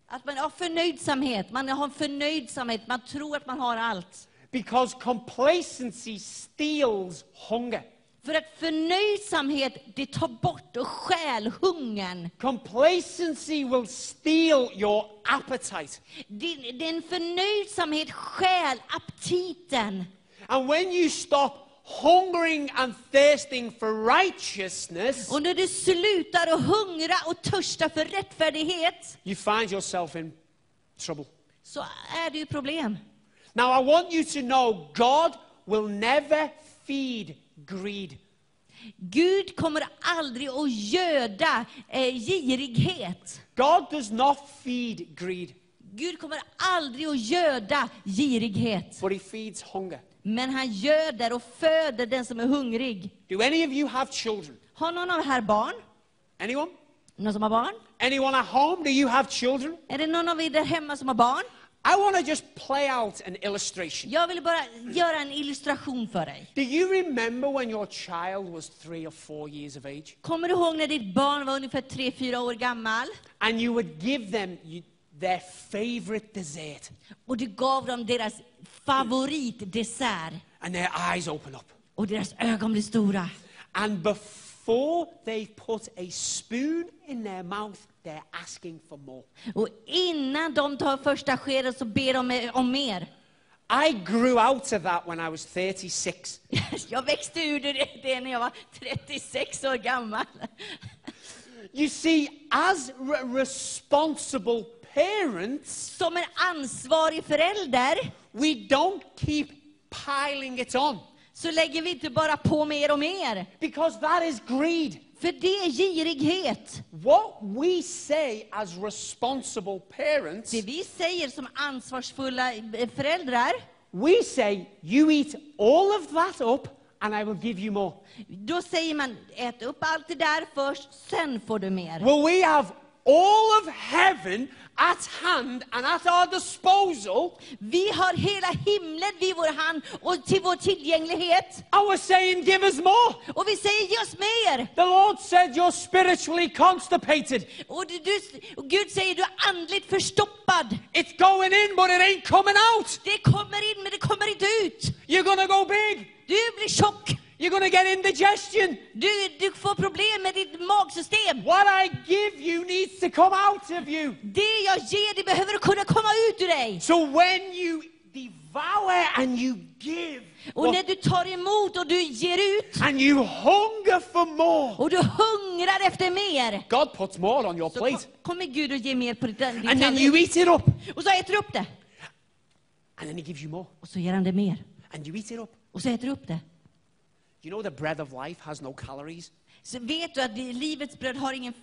C: Att man har förnöjsamhet. Man har förnöjsamhet. Man tror att man har allt.
D: Because complacency steals hunger.
C: För att förnöjsamhet, det tar bort och stjäl hungern.
D: Complacency will steal your appetite.
C: Din, din förnöjsamhet stjäl aptiten.
D: And when you stop hungering and thirsting for righteousness,
C: Och när du slutar att hungra och törsta för rättfärdighet,
D: you find yourself in trouble.
C: så är det ju problem.
D: Now, I want you to know God will never feed greed.
C: Gud kommer aldrig att göda eh, girighet.
D: God does not feed greed,
C: Gud kommer aldrig att göda girighet,
D: but He feeds hunger.
C: men han göder och föder den som är hungrig.
D: Do any of you have children?
C: Har någon av er här barn?
D: Anyone?
C: Någon som har barn?
D: Anyone at home? Do you have children?
C: Är det någon av er där hemma som har barn?
D: I want to just play out an illustration.
C: Jag vill bara göra en illustration för dig.
D: Do you remember when your child was three or four years of age
C: Kommer du ihåg när ditt barn var ungefär 3-4 år gammal?
D: and you would give them you, their favorite dessert?
C: Och du gav dem deras favoritdessert.
D: and their eyes open up.
C: Och deras ögon blev stora.
D: And before they put a spoon in their mouth, they're asking for more.
C: Och innan de tar första skeden så ber de om mer. [LAUGHS]
D: I grew out of that when I was 36.
C: Jag växte ur det, det när jag var 36 år gammal.
D: You see, as re- responsible parents,
C: Som en ansvarig förälder
D: we don't keep piling it on
C: så lägger vi inte bara på mer och mer.
D: because that is greed.
C: För det är girighet.
D: What we say as responsible parents,
C: Det vi säger som ansvarsfulla eh, föräldrar,
D: we say, you eat all of that up and I will give you more.
C: Då säger man, ät upp allt det där först, sen får du mer.
D: Well, we have all of heaven at hand and at our disposal.
C: Vi har hela himlen vid vår hand och till vår tillgänglighet.
D: And we're saying, give us more.
C: Och vi säger, ge oss mer!
D: The Lord said, you're spiritually constipated.
C: Och, du, du, och Gud säger, du är andligt förstoppad.
D: It's going in, but it ain't coming out.
C: Det kommer in, men det kommer inte ut.
D: You're going to go big.
C: Du blir tjock.
D: You're going to get indigestion.
C: Du, du får problem med ditt magsystem.
D: What I give you needs to come out of you.
C: Det jag ger dig behöver kunna komma ut ur dig.
D: So when you devour and you give,
C: Och när du tar emot och du ger ut
D: and you hunger for more,
C: och du hungrar efter mer,
D: God puts more on your
C: så kom,
D: plate.
C: kommer Gud att ge mer på ditt- din
D: And then you
C: tallrik.
D: eat it up.
C: Och så äter du upp det.
D: And then He gives you more.
C: Och så ger han dig mer.
D: And you eat it up.
C: Och så äter du upp det.
D: You know the bread of life has no calories.
C: Så vet du att det- livets bröd har, ingen,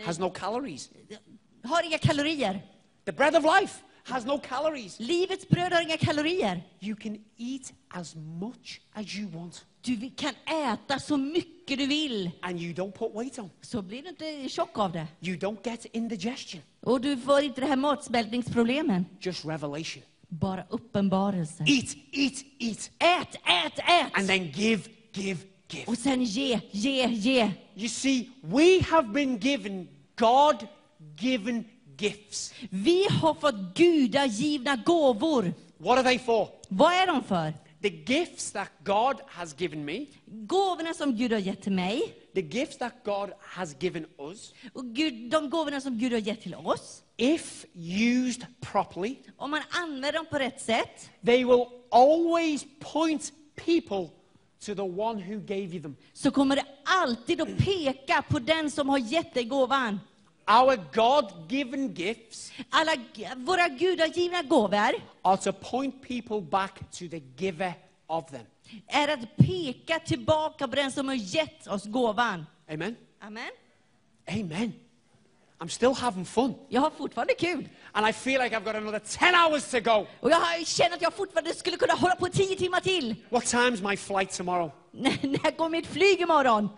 C: eh,
D: Has no calories.
C: har inga kalorier.
D: The bread of life has no calories.
C: Livets bröd har inga kalorier.
D: You can eat as much as you want.
C: Du vi- kan äta så mycket du vill,
D: And you don't put weight on.
C: så blir du inte tjock av det.
D: You don't get indigestion.
C: Och du får inte det här matsmältningsproblemen.
D: Just revelation.
C: Bara uppenbarelse.
D: Eat, eat, eat.
C: Ät, ät,
D: And
C: ät!
D: then give, give, give.
C: Och sen ge, ge, ge.
D: You see, we have been given God given gifts.
C: Vi har fått gudagivna gåvor.
D: What are they for?
C: Vad är de för?
D: The gifts that God has given me,
C: Gåvorna som Gud har gett till mig,
D: the gifts that God has given us,
C: och Gud, de gåvorna som Gud har gett till oss,
D: if used properly,
C: om man använder dem på rätt sätt,
D: they will always point people to the one who gave you them.
C: så kommer det alltid att peka på den som har gett dig gåvan.
D: Our God given gifts
C: Alla g- våra gudagivna gåvor
D: are to point people back to the giver of them.
C: är att peka tillbaka på den som har gett oss gåvan.
D: Amen?
C: Amen.
D: Amen. I'm still having fun.
C: Jag har fortfarande kul.
D: And I feel like I've got another 10 hours to go.
C: Och jag har- känner att jag fortfarande skulle kunna hålla på tio timmar till. [LAUGHS]
D: What time's my flight tomorrow?
C: När när går mitt flyg imorgon?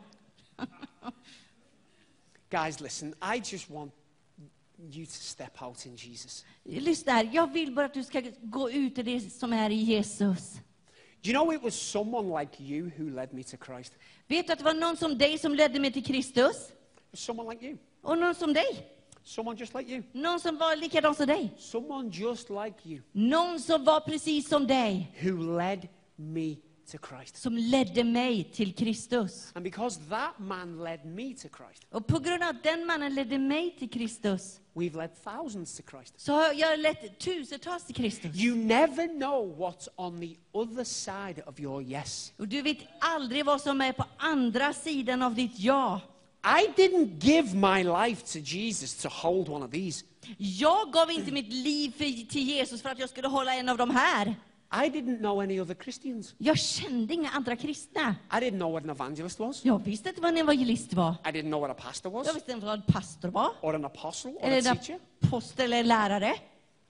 D: Guys, listen, I just want you to step out in Jesus.
C: Lyssna här, jag vill bara att du ska gå ut i det som är i Jesus.
D: Do you know it was someone like you who led me to Christ? It
C: Vet du att det var någon som dig som ledde mig till Kristus?
D: was someone like you.
C: Och någon som dig?
D: Someone just like you.
C: Någon som var likadan som dig?
D: Someone just like you
C: Någon som var precis som dig,
D: who led me to Christ.
C: som ledde mig till Kristus.
D: And because that man led me to Christ,
C: Och på grund av att den mannen ledde mig till Kristus,
D: we've led thousands to Christ.
C: så har jag lett tusentals till Kristus.
D: You never know what's on the other side of your yes.
C: Och du vet aldrig vad som är på andra sidan av ditt ja.
D: I didn't give my life to Jesus to hold one of these.
C: Jag gav inte mitt liv för, till Jesus för att jag skulle hålla en av de här.
D: I didn't know any other Christians.
C: Jag kände inga andra kristna.
D: I didn't know what an evangelist was.
C: Jag visste inte vad en evangelist var.
D: I didn't know what a pastor
C: Jag
D: was,
C: visste inte vad en pastor var.
D: or an apostle, or a
C: Eller en
D: teacher.
C: apostel eller en lärare.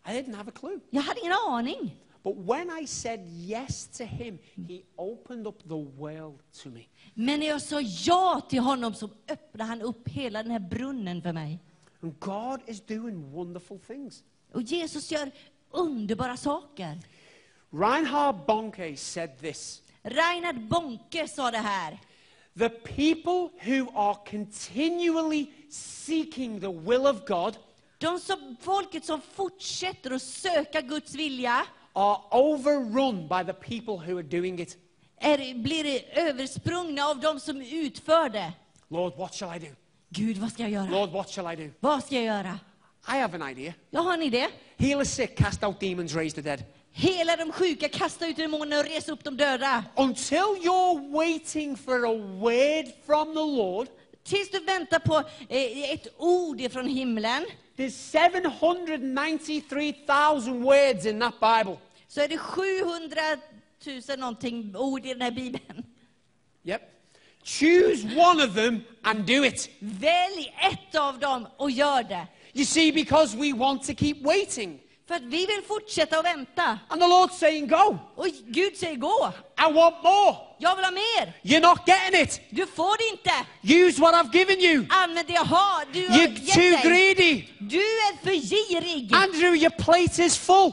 D: I didn't have a clue.
C: Jag hade ingen aning.
D: But when I said yes to him, he opened up the world to me.
C: Men när jag sa ja till honom så öppnade han upp hela den här brunnen för mig.
D: And God is doing wonderful things.
C: Och Jesus gör underbara saker.
D: Reinhard Bonke said this
C: Reinhard Bonke sa det här.
D: The people who are continually seeking the will of God
C: De som, folket som fortsätter att söka Guds vilja
D: are overrun by the people who are doing it.
C: är, blir översprungna av de som utför det.
D: Lord, what shall I do?
C: Gud, vad ska jag göra?
D: Lord, what shall I do?
C: Vad ska jag göra?
D: I have an idea.
C: Jag har en idé.
D: Heal the sick, cast out demons, raise the dead.
C: Hela de sjuka, kasta ut demoner och res upp de döda.
D: Until you're waiting for a word from the Lord,
C: Tills du väntar på eh, ett ord från himlen
D: there's 793,000 words in that Bible.
C: så är det 700 000 någonting ord i den här bibeln.
D: Yep. Choose one of them and do it.
C: Välj ett av dem och gör det.
D: You see, because we want to keep waiting.
C: För att vi vill fortsätta att vänta.
D: And the Lord's saying, Go.
C: Och Gud säger gå.
D: I want more.
C: Jag vill ha mer.
D: You're not getting it.
C: Du får det inte.
D: Use what I've given you.
C: Använd det jag har. Du har
D: You're
C: gett
D: too
C: dig.
D: greedy.
C: Du är för girig.
D: Andrew, your plate is full.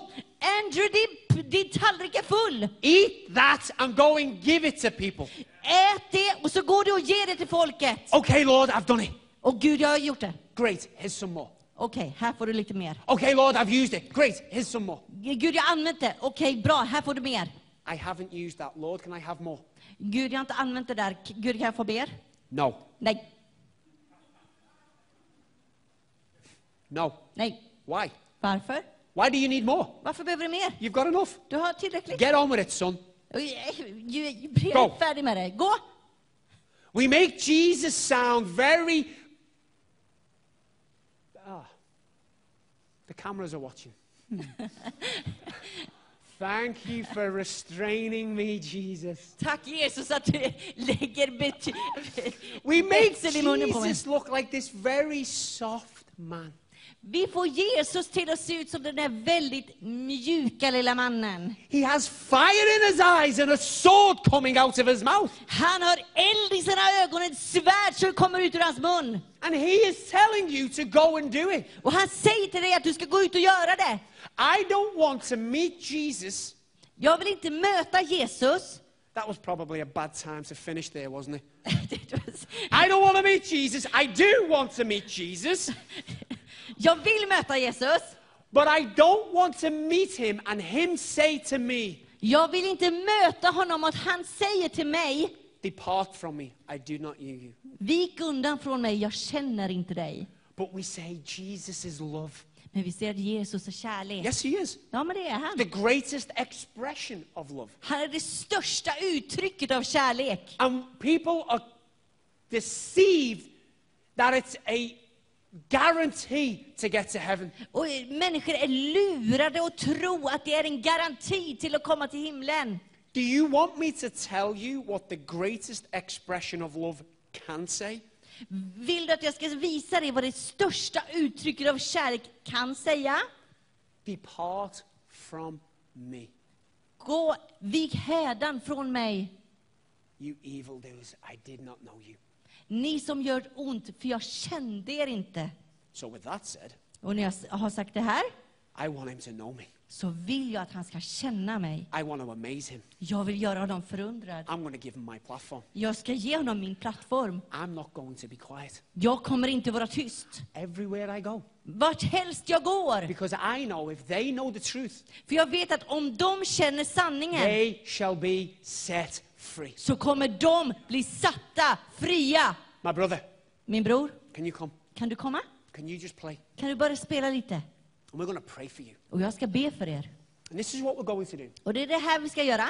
C: Andrew, din, din tallrik är full.
D: Eat that and go and give it to people.
C: Ät det och så går du och ger det till folket.
D: Okay, Lord, I've done it.
C: Och Gud, jag har gjort det.
D: Great, here's some more.
C: Okej, här får du lite mer.
D: Okay, Lord, I've used it. Great, here's some more.
C: Gud, jag har använt det. Okej, bra, här får du mer.
D: I haven't used that. Lord, can I have more?
C: Gud, jag har inte använt det där. K- Gud, kan jag få mer?
D: No,
C: Nej,
D: no.
C: nej.
D: Why?
C: Varför?
D: Why do you need more?
C: Varför behöver du mer?
D: You've got enough.
C: Du har tillräckligt.
D: Get on with it, son.
C: Oj, eh, ju- ju- bli
D: Go.
C: helt färdig med det. Gå!
D: We make Jesus sound very. Ah, the cameras are watching. Thank you for restraining me, Jesus.
C: Tack Jesus att du [LAUGHS] lägger [LAUGHS] bet-
D: We make
C: växel i munnen på mig.
D: Jesus look like this very soft man.
C: Vi får Jesus till att se ut som den där väldigt mjuka lilla mannen.
D: He has fire in his eyes and a sword coming out of his mouth.
C: Han har eld i sina ögon, ett svärd som kommer ut ur hans mun.
D: And he is telling you to go and do it.
C: Och han säger till dig att du ska gå ut och göra det.
D: I don't want to meet Jesus.
C: Jag vill inte möta Jesus. [LAUGHS]
D: That was probably a bad time to finish there, wasn't it? I don't want to meet Jesus. I do want to meet Jesus,
C: Jag vill möta Jesus.
D: but I don't want to meet him and him say to me,
C: Jag vill inte möta honom och han säger till mig,
D: Depart from me, I do not know you.
C: vik undan från mig, jag känner inte dig.
D: But we say, Jesus is love.
C: Men vi ser att Jesus är kärlek.
D: Yes, he is.
C: Ja, men det är han.
D: The greatest expression of love.
C: Han är det största uttrycket av kärlek.
D: And people are deceived that it's a guarantee to get to heaven.
C: Och eh, människor är lurade att tro att det är en garanti till att komma till himlen.
D: Do you want me to tell you what the greatest expression of love can say?
C: Vill du att jag ska visa dig vad det största uttrycket av kärlek kan säga?
D: Depart from me,
C: Gå, vik hädan från mig,
D: you evildoers. I did not know you.
C: ni som gör ont, för jag kände er inte.
D: So, with that said,
C: Och när jag s- har sagt det här,
D: I want him to know me.
C: så vill jag att han ska känna mig.
D: I want to amaze him.
C: Jag vill göra honom förundrad.
D: I'm going to give him my platform.
C: Jag ska ge honom min plattform.
D: I'm not going to be quiet
C: Jag kommer inte vara tyst.
D: everywhere I go
C: Vart helst jag går.
D: because I know if they know the truth,
C: För jag vet att om de känner sanningen
D: they shall be set free.
C: så kommer de bli satta fria.
D: My brother,
C: Min bror,
D: can you come?
C: kan du komma?
D: Can you just play?
C: Kan du börja spela lite?
D: And we're going to pray for you.
C: Och jag ska be för er.
D: And this is what we're going to do.
C: Och det är det här vi ska göra.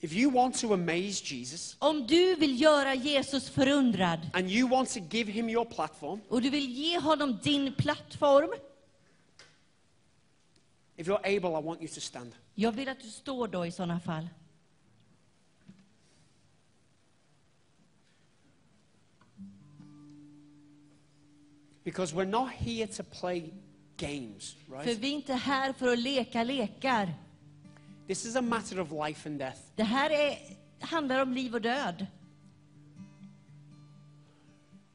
D: If you want to amaze Jesus
C: Om du vill göra Jesus förundrad
D: and you want to give him your platform,
C: och du vill ge honom din plattform.
D: if you're able, I want you to stand.
C: Jag vill att du står då i sådana fall.
D: Because we're not here to play games,
C: För
D: right?
C: vi är inte här för att leka lekar.
D: This is a matter of life and death.
C: Det här är, handlar om liv och död.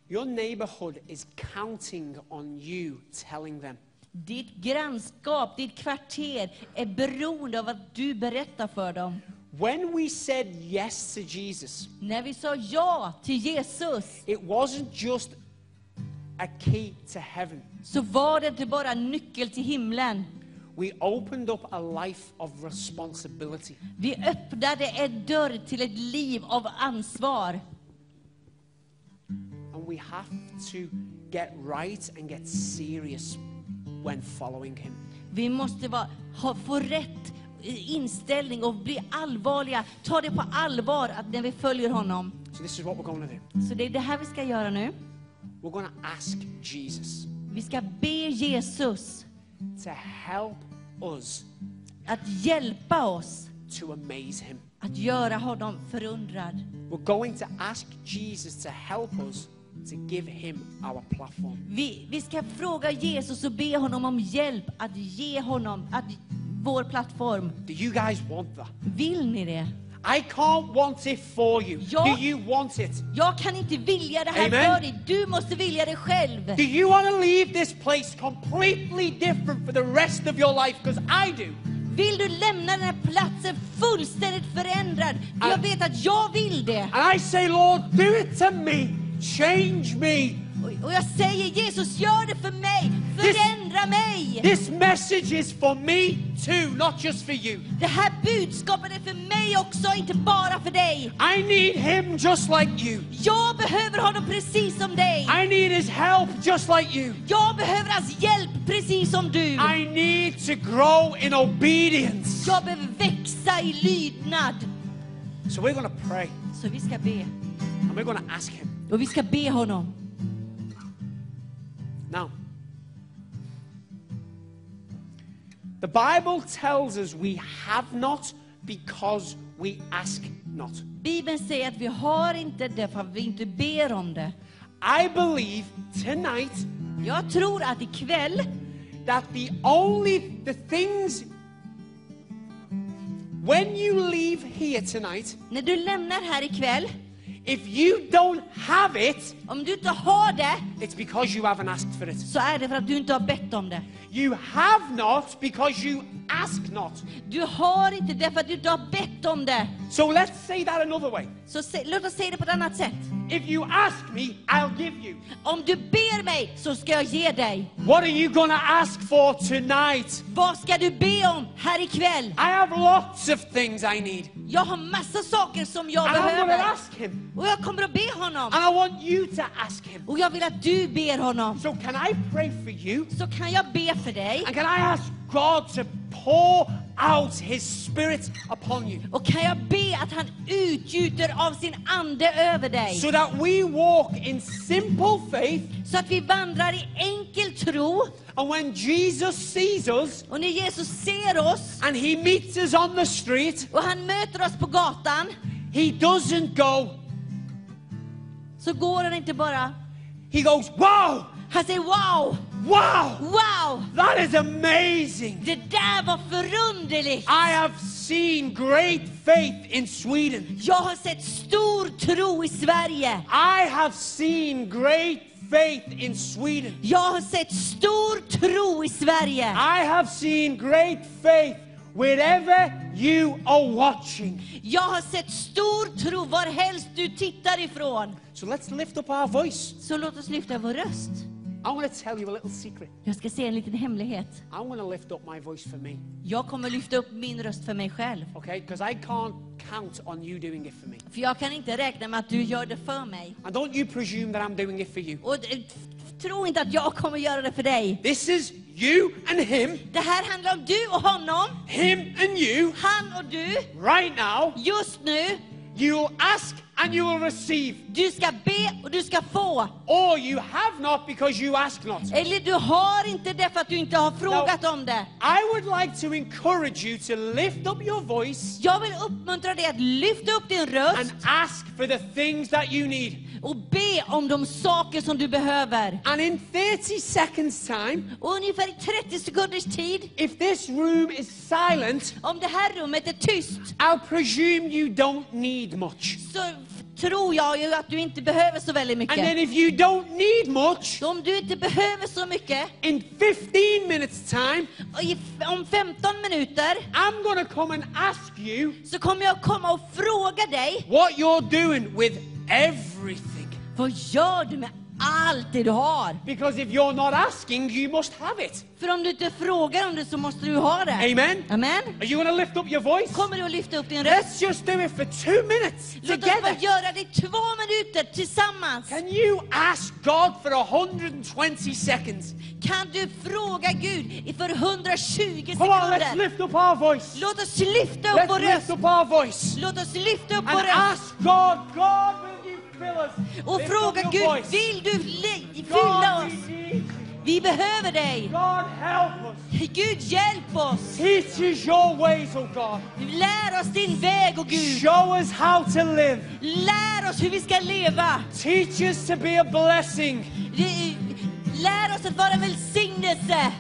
D: Your neighborhood is counting on you telling them.
C: Ditt grannskap, ditt kvarter är beroende av att du berättar för dem.
D: When we said yes to Jesus,
C: När vi sa ja till Jesus
D: it wasn't just a key to heaven.
C: så var det inte bara en nyckel till himlen.
D: We opened up a life of responsibility.
C: Vi öppnade en dörr till ett liv av ansvar.
D: And we have to get right and get serious when following him.
C: Vi måste vara, ha, få rätt eh, inställning och bli allvarliga. Ta det på allvar att när vi följer honom.
D: So, this is what we're going to do.
C: Så det är det här vi ska göra nu.
D: We're going to ask Jesus
C: Vi ska be Jesus
D: to help us
C: att hjälpa oss
D: to amaze him.
C: att göra honom förundrad.
D: We're going to ask Jesus to help us to give him our platform.
C: Vi, vi ska fråga Jesus och be honom om hjälp att ge honom att, vår plattform.
D: Do you guys want that?
C: Vill ni det?
D: I can't want it for you.
C: Ja.
D: Do you want it?
C: Jag kan inte vilja det här
D: Amen.
C: för dig. Du måste vilja det själv.
D: Do you want to leave this place completely different for the rest of your life? Because I do.
C: Vill du lämna den här platsen fullständigt förändrad? För Jag
D: Ah.
C: vet att jag vill det.
D: And I say, Lord, do it to me. Change me.
C: Och- Och jag säger Jesus, gör det för mig.
D: This-
C: Förändra mig.
D: This message is for me too, not just for you.
C: Det här budskapet är för mig också, inte bara för dig.
D: I need him just like you.
C: Jag behöver honom precis som dig.
D: I need his help just like you.
C: Jag behöver hans hjälp precis som du.
D: I need to grow in obedience.
C: Jag behöver växa i lydnad.
D: So we're going to pray
C: Så vi ska be.
D: and we're going to ask him.
C: Och vi ska be honom.
D: Now, the Bible tells us we have not because we ask not.
C: Bibeln säger att vi har inte det för att vi inte ber om det.
D: I believe tonight
C: Jag tror att ikväll
D: that the only the things when you leave here tonight,
C: När du lämnar här ikväll,
D: if you don't have it,
C: om du inte har det,
D: it's because you haven't asked for it.
C: så är det för att du inte har bett om det.
D: You have not because you ask not.
C: Du har inte det för att du inte har bett om det.
D: So let's say that another way.
C: Så se, låt oss säga det på ett annat sätt.
D: If you ask me, I'll give you.
C: Om du ber mig så ska jag ge dig.
D: What are you gonna ask for tonight?
C: Vad ska du be om här ikväll?
D: I have lots of things I need.
C: Jag har massa saker som jag
D: And I'm gonna
C: behöver.
D: ask him.
C: Och jag kommer att be honom.
D: And I want you to ask him.
C: Och jag vill att du ber honom.
D: So can I pray for you?
C: Så kan jag be för dig.
D: And can I ask God to pour out His Spirit upon you
C: Och kan jag be att han utgjuter av sin ande över dig.
D: so that we walk in simple faith?
C: Så att vi vandrar i enkel tro.
D: And when Jesus sees us
C: Och när Jesus ser oss
D: and He meets us on the street,
C: och han möter oss på gatan
D: He doesn't go,
C: så går han inte bara,
D: He goes, Wow,
C: han säger wow,
D: wow,
C: wow,
D: that is amazing.
C: det där var förunderligt.
D: I have seen great faith in Sweden.
C: Jag har sett stor tro i Sverige.
D: I have seen great faith in Sweden.
C: Jag har sett stor tro i Sverige.
D: I have seen great faith wherever you are watching.
C: Jag har sett stor tro var helst du tittar ifrån.
D: So let's lift up our voice.
C: Så låt oss lyfta vår röst.
D: I want to tell you a little secret.
C: Jag ska säga en liten hemlighet.
D: I'm going to lift up my voice for me,
C: Jag kommer lyfta upp min röst för mig själv.
D: okay? Because I can't count on you doing it for me.
C: För jag kan inte räkna med att du gör det för mig.
D: And don't you presume that I'm doing it for you.
C: Och eh, tro inte att jag kommer göra det för dig.
D: This is you and him,
C: Det här handlar om du och honom,
D: him and you.
C: han och du.
D: Right now,
C: Just nu,
D: you will ask and you will receive.
C: du ska be och du ska få.
D: Or you have not because you ask not.
C: Eller du har inte det för att du inte har frågat om det.
D: I would like to encourage you to lift up your voice
C: Jag vill uppmuntra dig att lyfta upp din röst
D: and ask for the things that you need.
C: och be om de saker som du behöver.
D: And in 30 seconds' time,
C: Och ungefär i 30 sekunders tid,
D: if this room is silent,
C: om det här rummet är tyst,
D: I'll presume you don't need much.
C: så f- tror jag ju att du inte behöver så väldigt
D: And then
C: mycket.
D: if you don't need much,
C: Så om du inte behöver så mycket,
D: in 15 minutes time,
C: och i f- om 15 minuter,
D: I'm going to come and ask you
C: så kommer jag komma och fråga dig,
D: what you're doing with everything.
C: vad gör du med allt det du har?
D: Because if you're not asking, you must have it.
C: För om du inte frågar om det så måste du ha det.
D: Amen?
C: Amen.
D: Are you going to lift up your voice?
C: Kommer du att lyfta upp din röst?
D: Let's just do it for two minutes
C: Låt oss bara
D: together.
C: göra det i två minuter tillsammans.
D: Can you ask God for 120 seconds?
C: Kan du fråga Gud i för 120
D: Come on, let's
C: sekunder?
D: lift up our voice.
C: Låt oss lyfta upp
D: Let's
C: vår röst.
D: lift up our voice.
C: Låt oss lyfta upp
D: And
C: vår röst
D: ask God, God, will you fill us?
C: och
D: Lift up
C: fråga
D: your
C: Gud,
D: voice.
C: vill du li- fylla
D: God,
C: oss?
D: we need you.
C: Vi behöver dig.
D: God, help us.
C: Gud, hjälp oss.
D: Teach us your ways, oh God.
C: Lär oss din väg, väg, oh Gud.
D: Show us how to live.
C: Lär oss hur vi ska leva.
D: Teach us to be a blessing.
C: Vi- Lär oss att vara en välsignelse.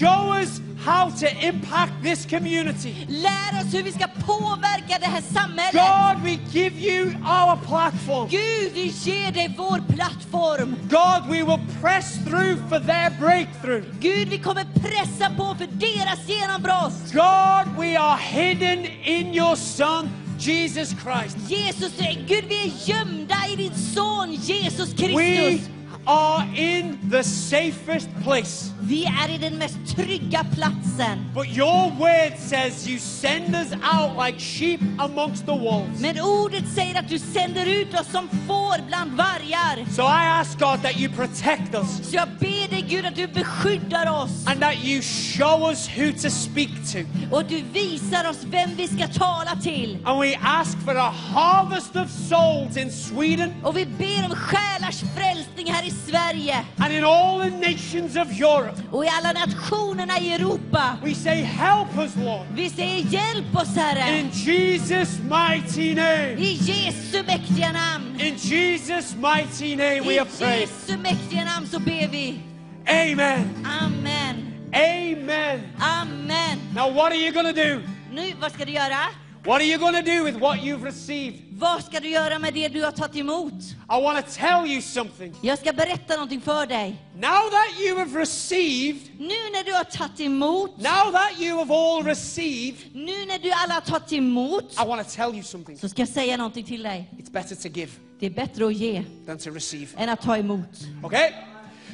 D: Show us how to impact this community.
C: Lär oss hur vi ska påverka det här samhället.
D: God, we give you our platform.
C: Gud, vi ger dig vår plattform.
D: God, we will press through for their breakthrough.
C: Gud, vi kommer pressa på för deras genombrott.
D: God, we are hidden in your Son, Jesus Christ.
C: Jesus, Gud, vi är gömda i din son Jesus
D: We
C: Kristus.
D: are in the safest place.
C: Vi är i den mest trygga platsen.
D: But your word says you send us out like sheep amongst the wolves.
C: Men ordet säger att du sänder ut oss som får bland vargar.
D: So I ask God that you protect us
C: Så jag ber dig Gud att du beskyddar oss
D: and that you show us who to speak to.
C: och du visar oss vem vi ska tala till.
D: And we ask for a harvest of souls in Sweden
C: Och vi ber om själars frälsning här i Sverige
D: and in all the nations of Europe.
C: och i alla nationerna i Europa.
D: We say, Help us, Lord,
C: Vi säger hjälp oss Herre,
D: in Jesus' mighty name.
C: i Jesu mäktiga namn.
D: In Jesus' mighty name
C: I
D: we have prayed.
C: Jesu mäktiga namn så ber vi.
D: Amen.
C: Amen,
D: Amen.
C: amen.
D: Now, what are you going to do?
C: Nu, vad ska du göra?
D: What are you going to do with what you've received?
C: Vad ska du göra med det du har tagit emot?
D: I want to tell you something.
C: Jag ska berätta någonting för dig.
D: Now that you have received,
C: Nu när du har tagit emot,
D: now that you have all received,
C: nu när du alla har tagit emot,
D: I want to tell you something.
C: så ska jag säga någonting till dig.
D: It's better to give
C: Det är bättre att ge
D: than to receive.
C: än att ta emot.
D: Okay?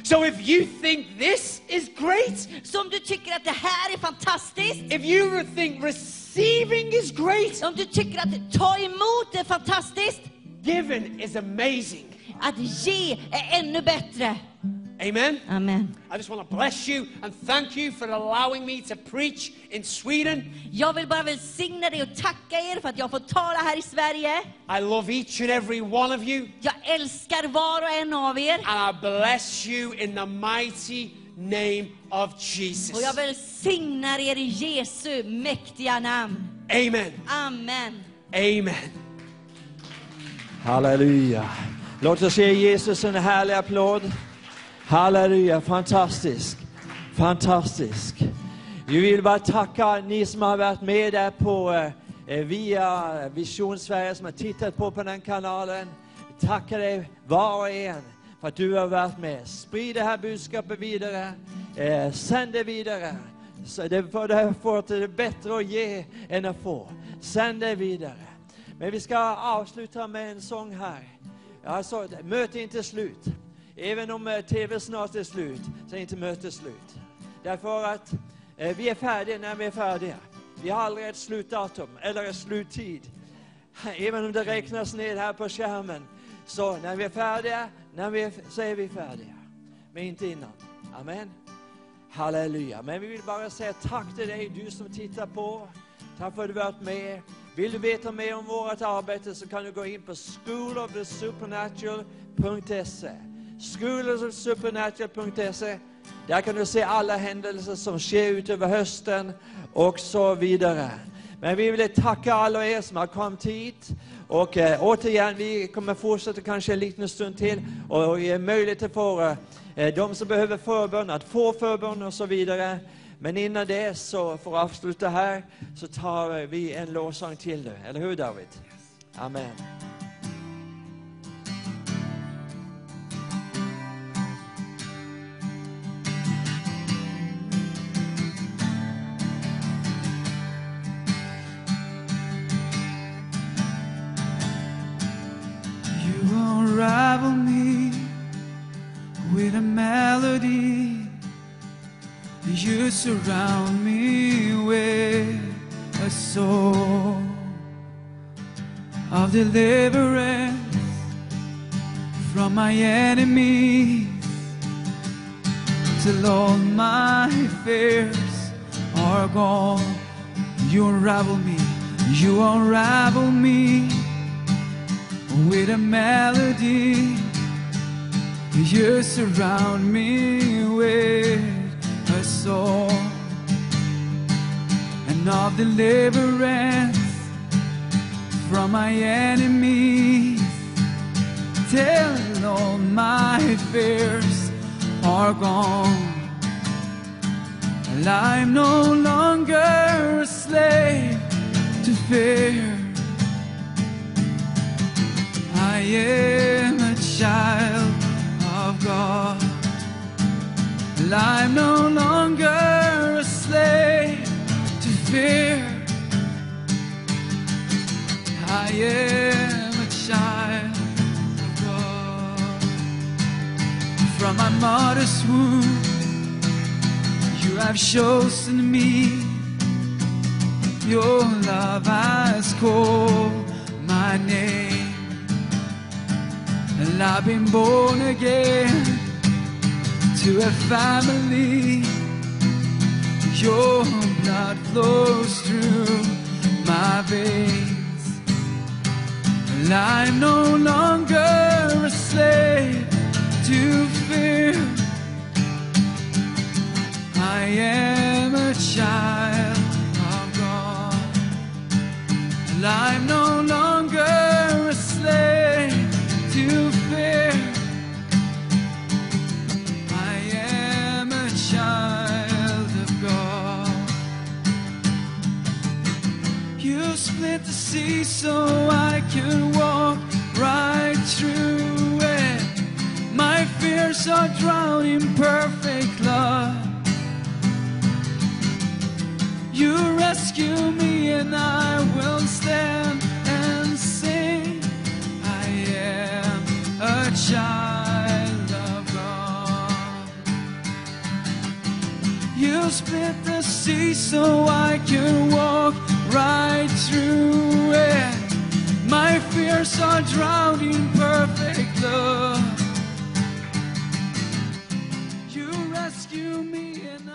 D: So if you think this is great,
C: Så om du tycker att det här är fantastiskt,
D: if you re- think receiving is great,
C: om du tycker att ta emot är fantastiskt,
D: giving is amazing.
C: att ge är ännu bättre.
D: Amen?
C: Amen.
D: I just want to bless you and thank you for allowing me to preach in Sweden.
C: Jag vill bara välsigna dig och tacka er för att jag får tala här i Sverige.
D: I love each and every one of you,
C: Jag älskar var och en av er.
D: and I bless you in the mighty name of
C: Och
D: Jesus.
C: jag välsignar er i Jesu mäktiga namn.
D: Amen.
C: Amen.
D: Amen.
A: Halleluja. Låt oss ge Jesus en härlig applåd. Halleluja, fantastisk. Fantastisk. Vi vill bara tacka ni som har varit med där på eh, via Vision Sverige som har tittat på på den kanalen. Tackar dig var och en för att du har varit med. Sprid det här budskapet vidare. Eh, sänd det vidare. Så det, för det här fåret är det bättre att ge än att få. Sänd det vidare. Men vi ska avsluta med en sång här. Alltså, möte är inte slut. Även om eh, TV snart är slut, så är inte mötet slut. Därför att eh, vi är färdiga när vi är färdiga. Vi har aldrig ett slutdatum eller ett sluttid. [LAUGHS] Även om det räknas ned här på skärmen. Så när vi är färdiga, när vi är, så är vi färdiga. Men inte innan. Amen. Halleluja. Men vi vill bara säga tack till dig, du som tittar på. Tack för att du varit med. Vill du veta mer om vårt arbete så kan du gå in på schoolofthesupernatural.se schoolofthesupernatural.se E. Där kan du se alla händelser som sker utöver hösten och så vidare. Men vi vill tacka alla er som har kommit hit. Och eh, återigen, vi kommer fortsätta kanske en liten stund till och, och ge möjlighet för eh, de som behöver förbön att få förbön och så vidare. Men innan det, så för att avsluta här, så tar eh, vi en lovsång till nu. Eller hur David? Amen.
B: You won't rival me with a melody. You surround me with a soul of deliverance from my enemies. Till all my fears are gone. You unravel me, you unravel me with a melody. You surround me with a song and of deliverance from my enemies. Till all my fears are gone. And I'm no longer a slave to fear. I am a child of God. And I'm no longer a slave to fear. I am a child of God. From my mother's womb, you have chosen me. Your love has called my name, and I've been born again to a family. Your blood flows through my veins. And I'm no longer a slave to fear. I am a child of God. And I'm no longer a slave to fear. I am a child of God. You split the sea so I can walk right through it. My fears are drowned in perfect love. You rescue me and I will stand and sing. I am a child of God. You split the sea so I can walk right through it. My fears are drowned in perfect love. You rescue me and I.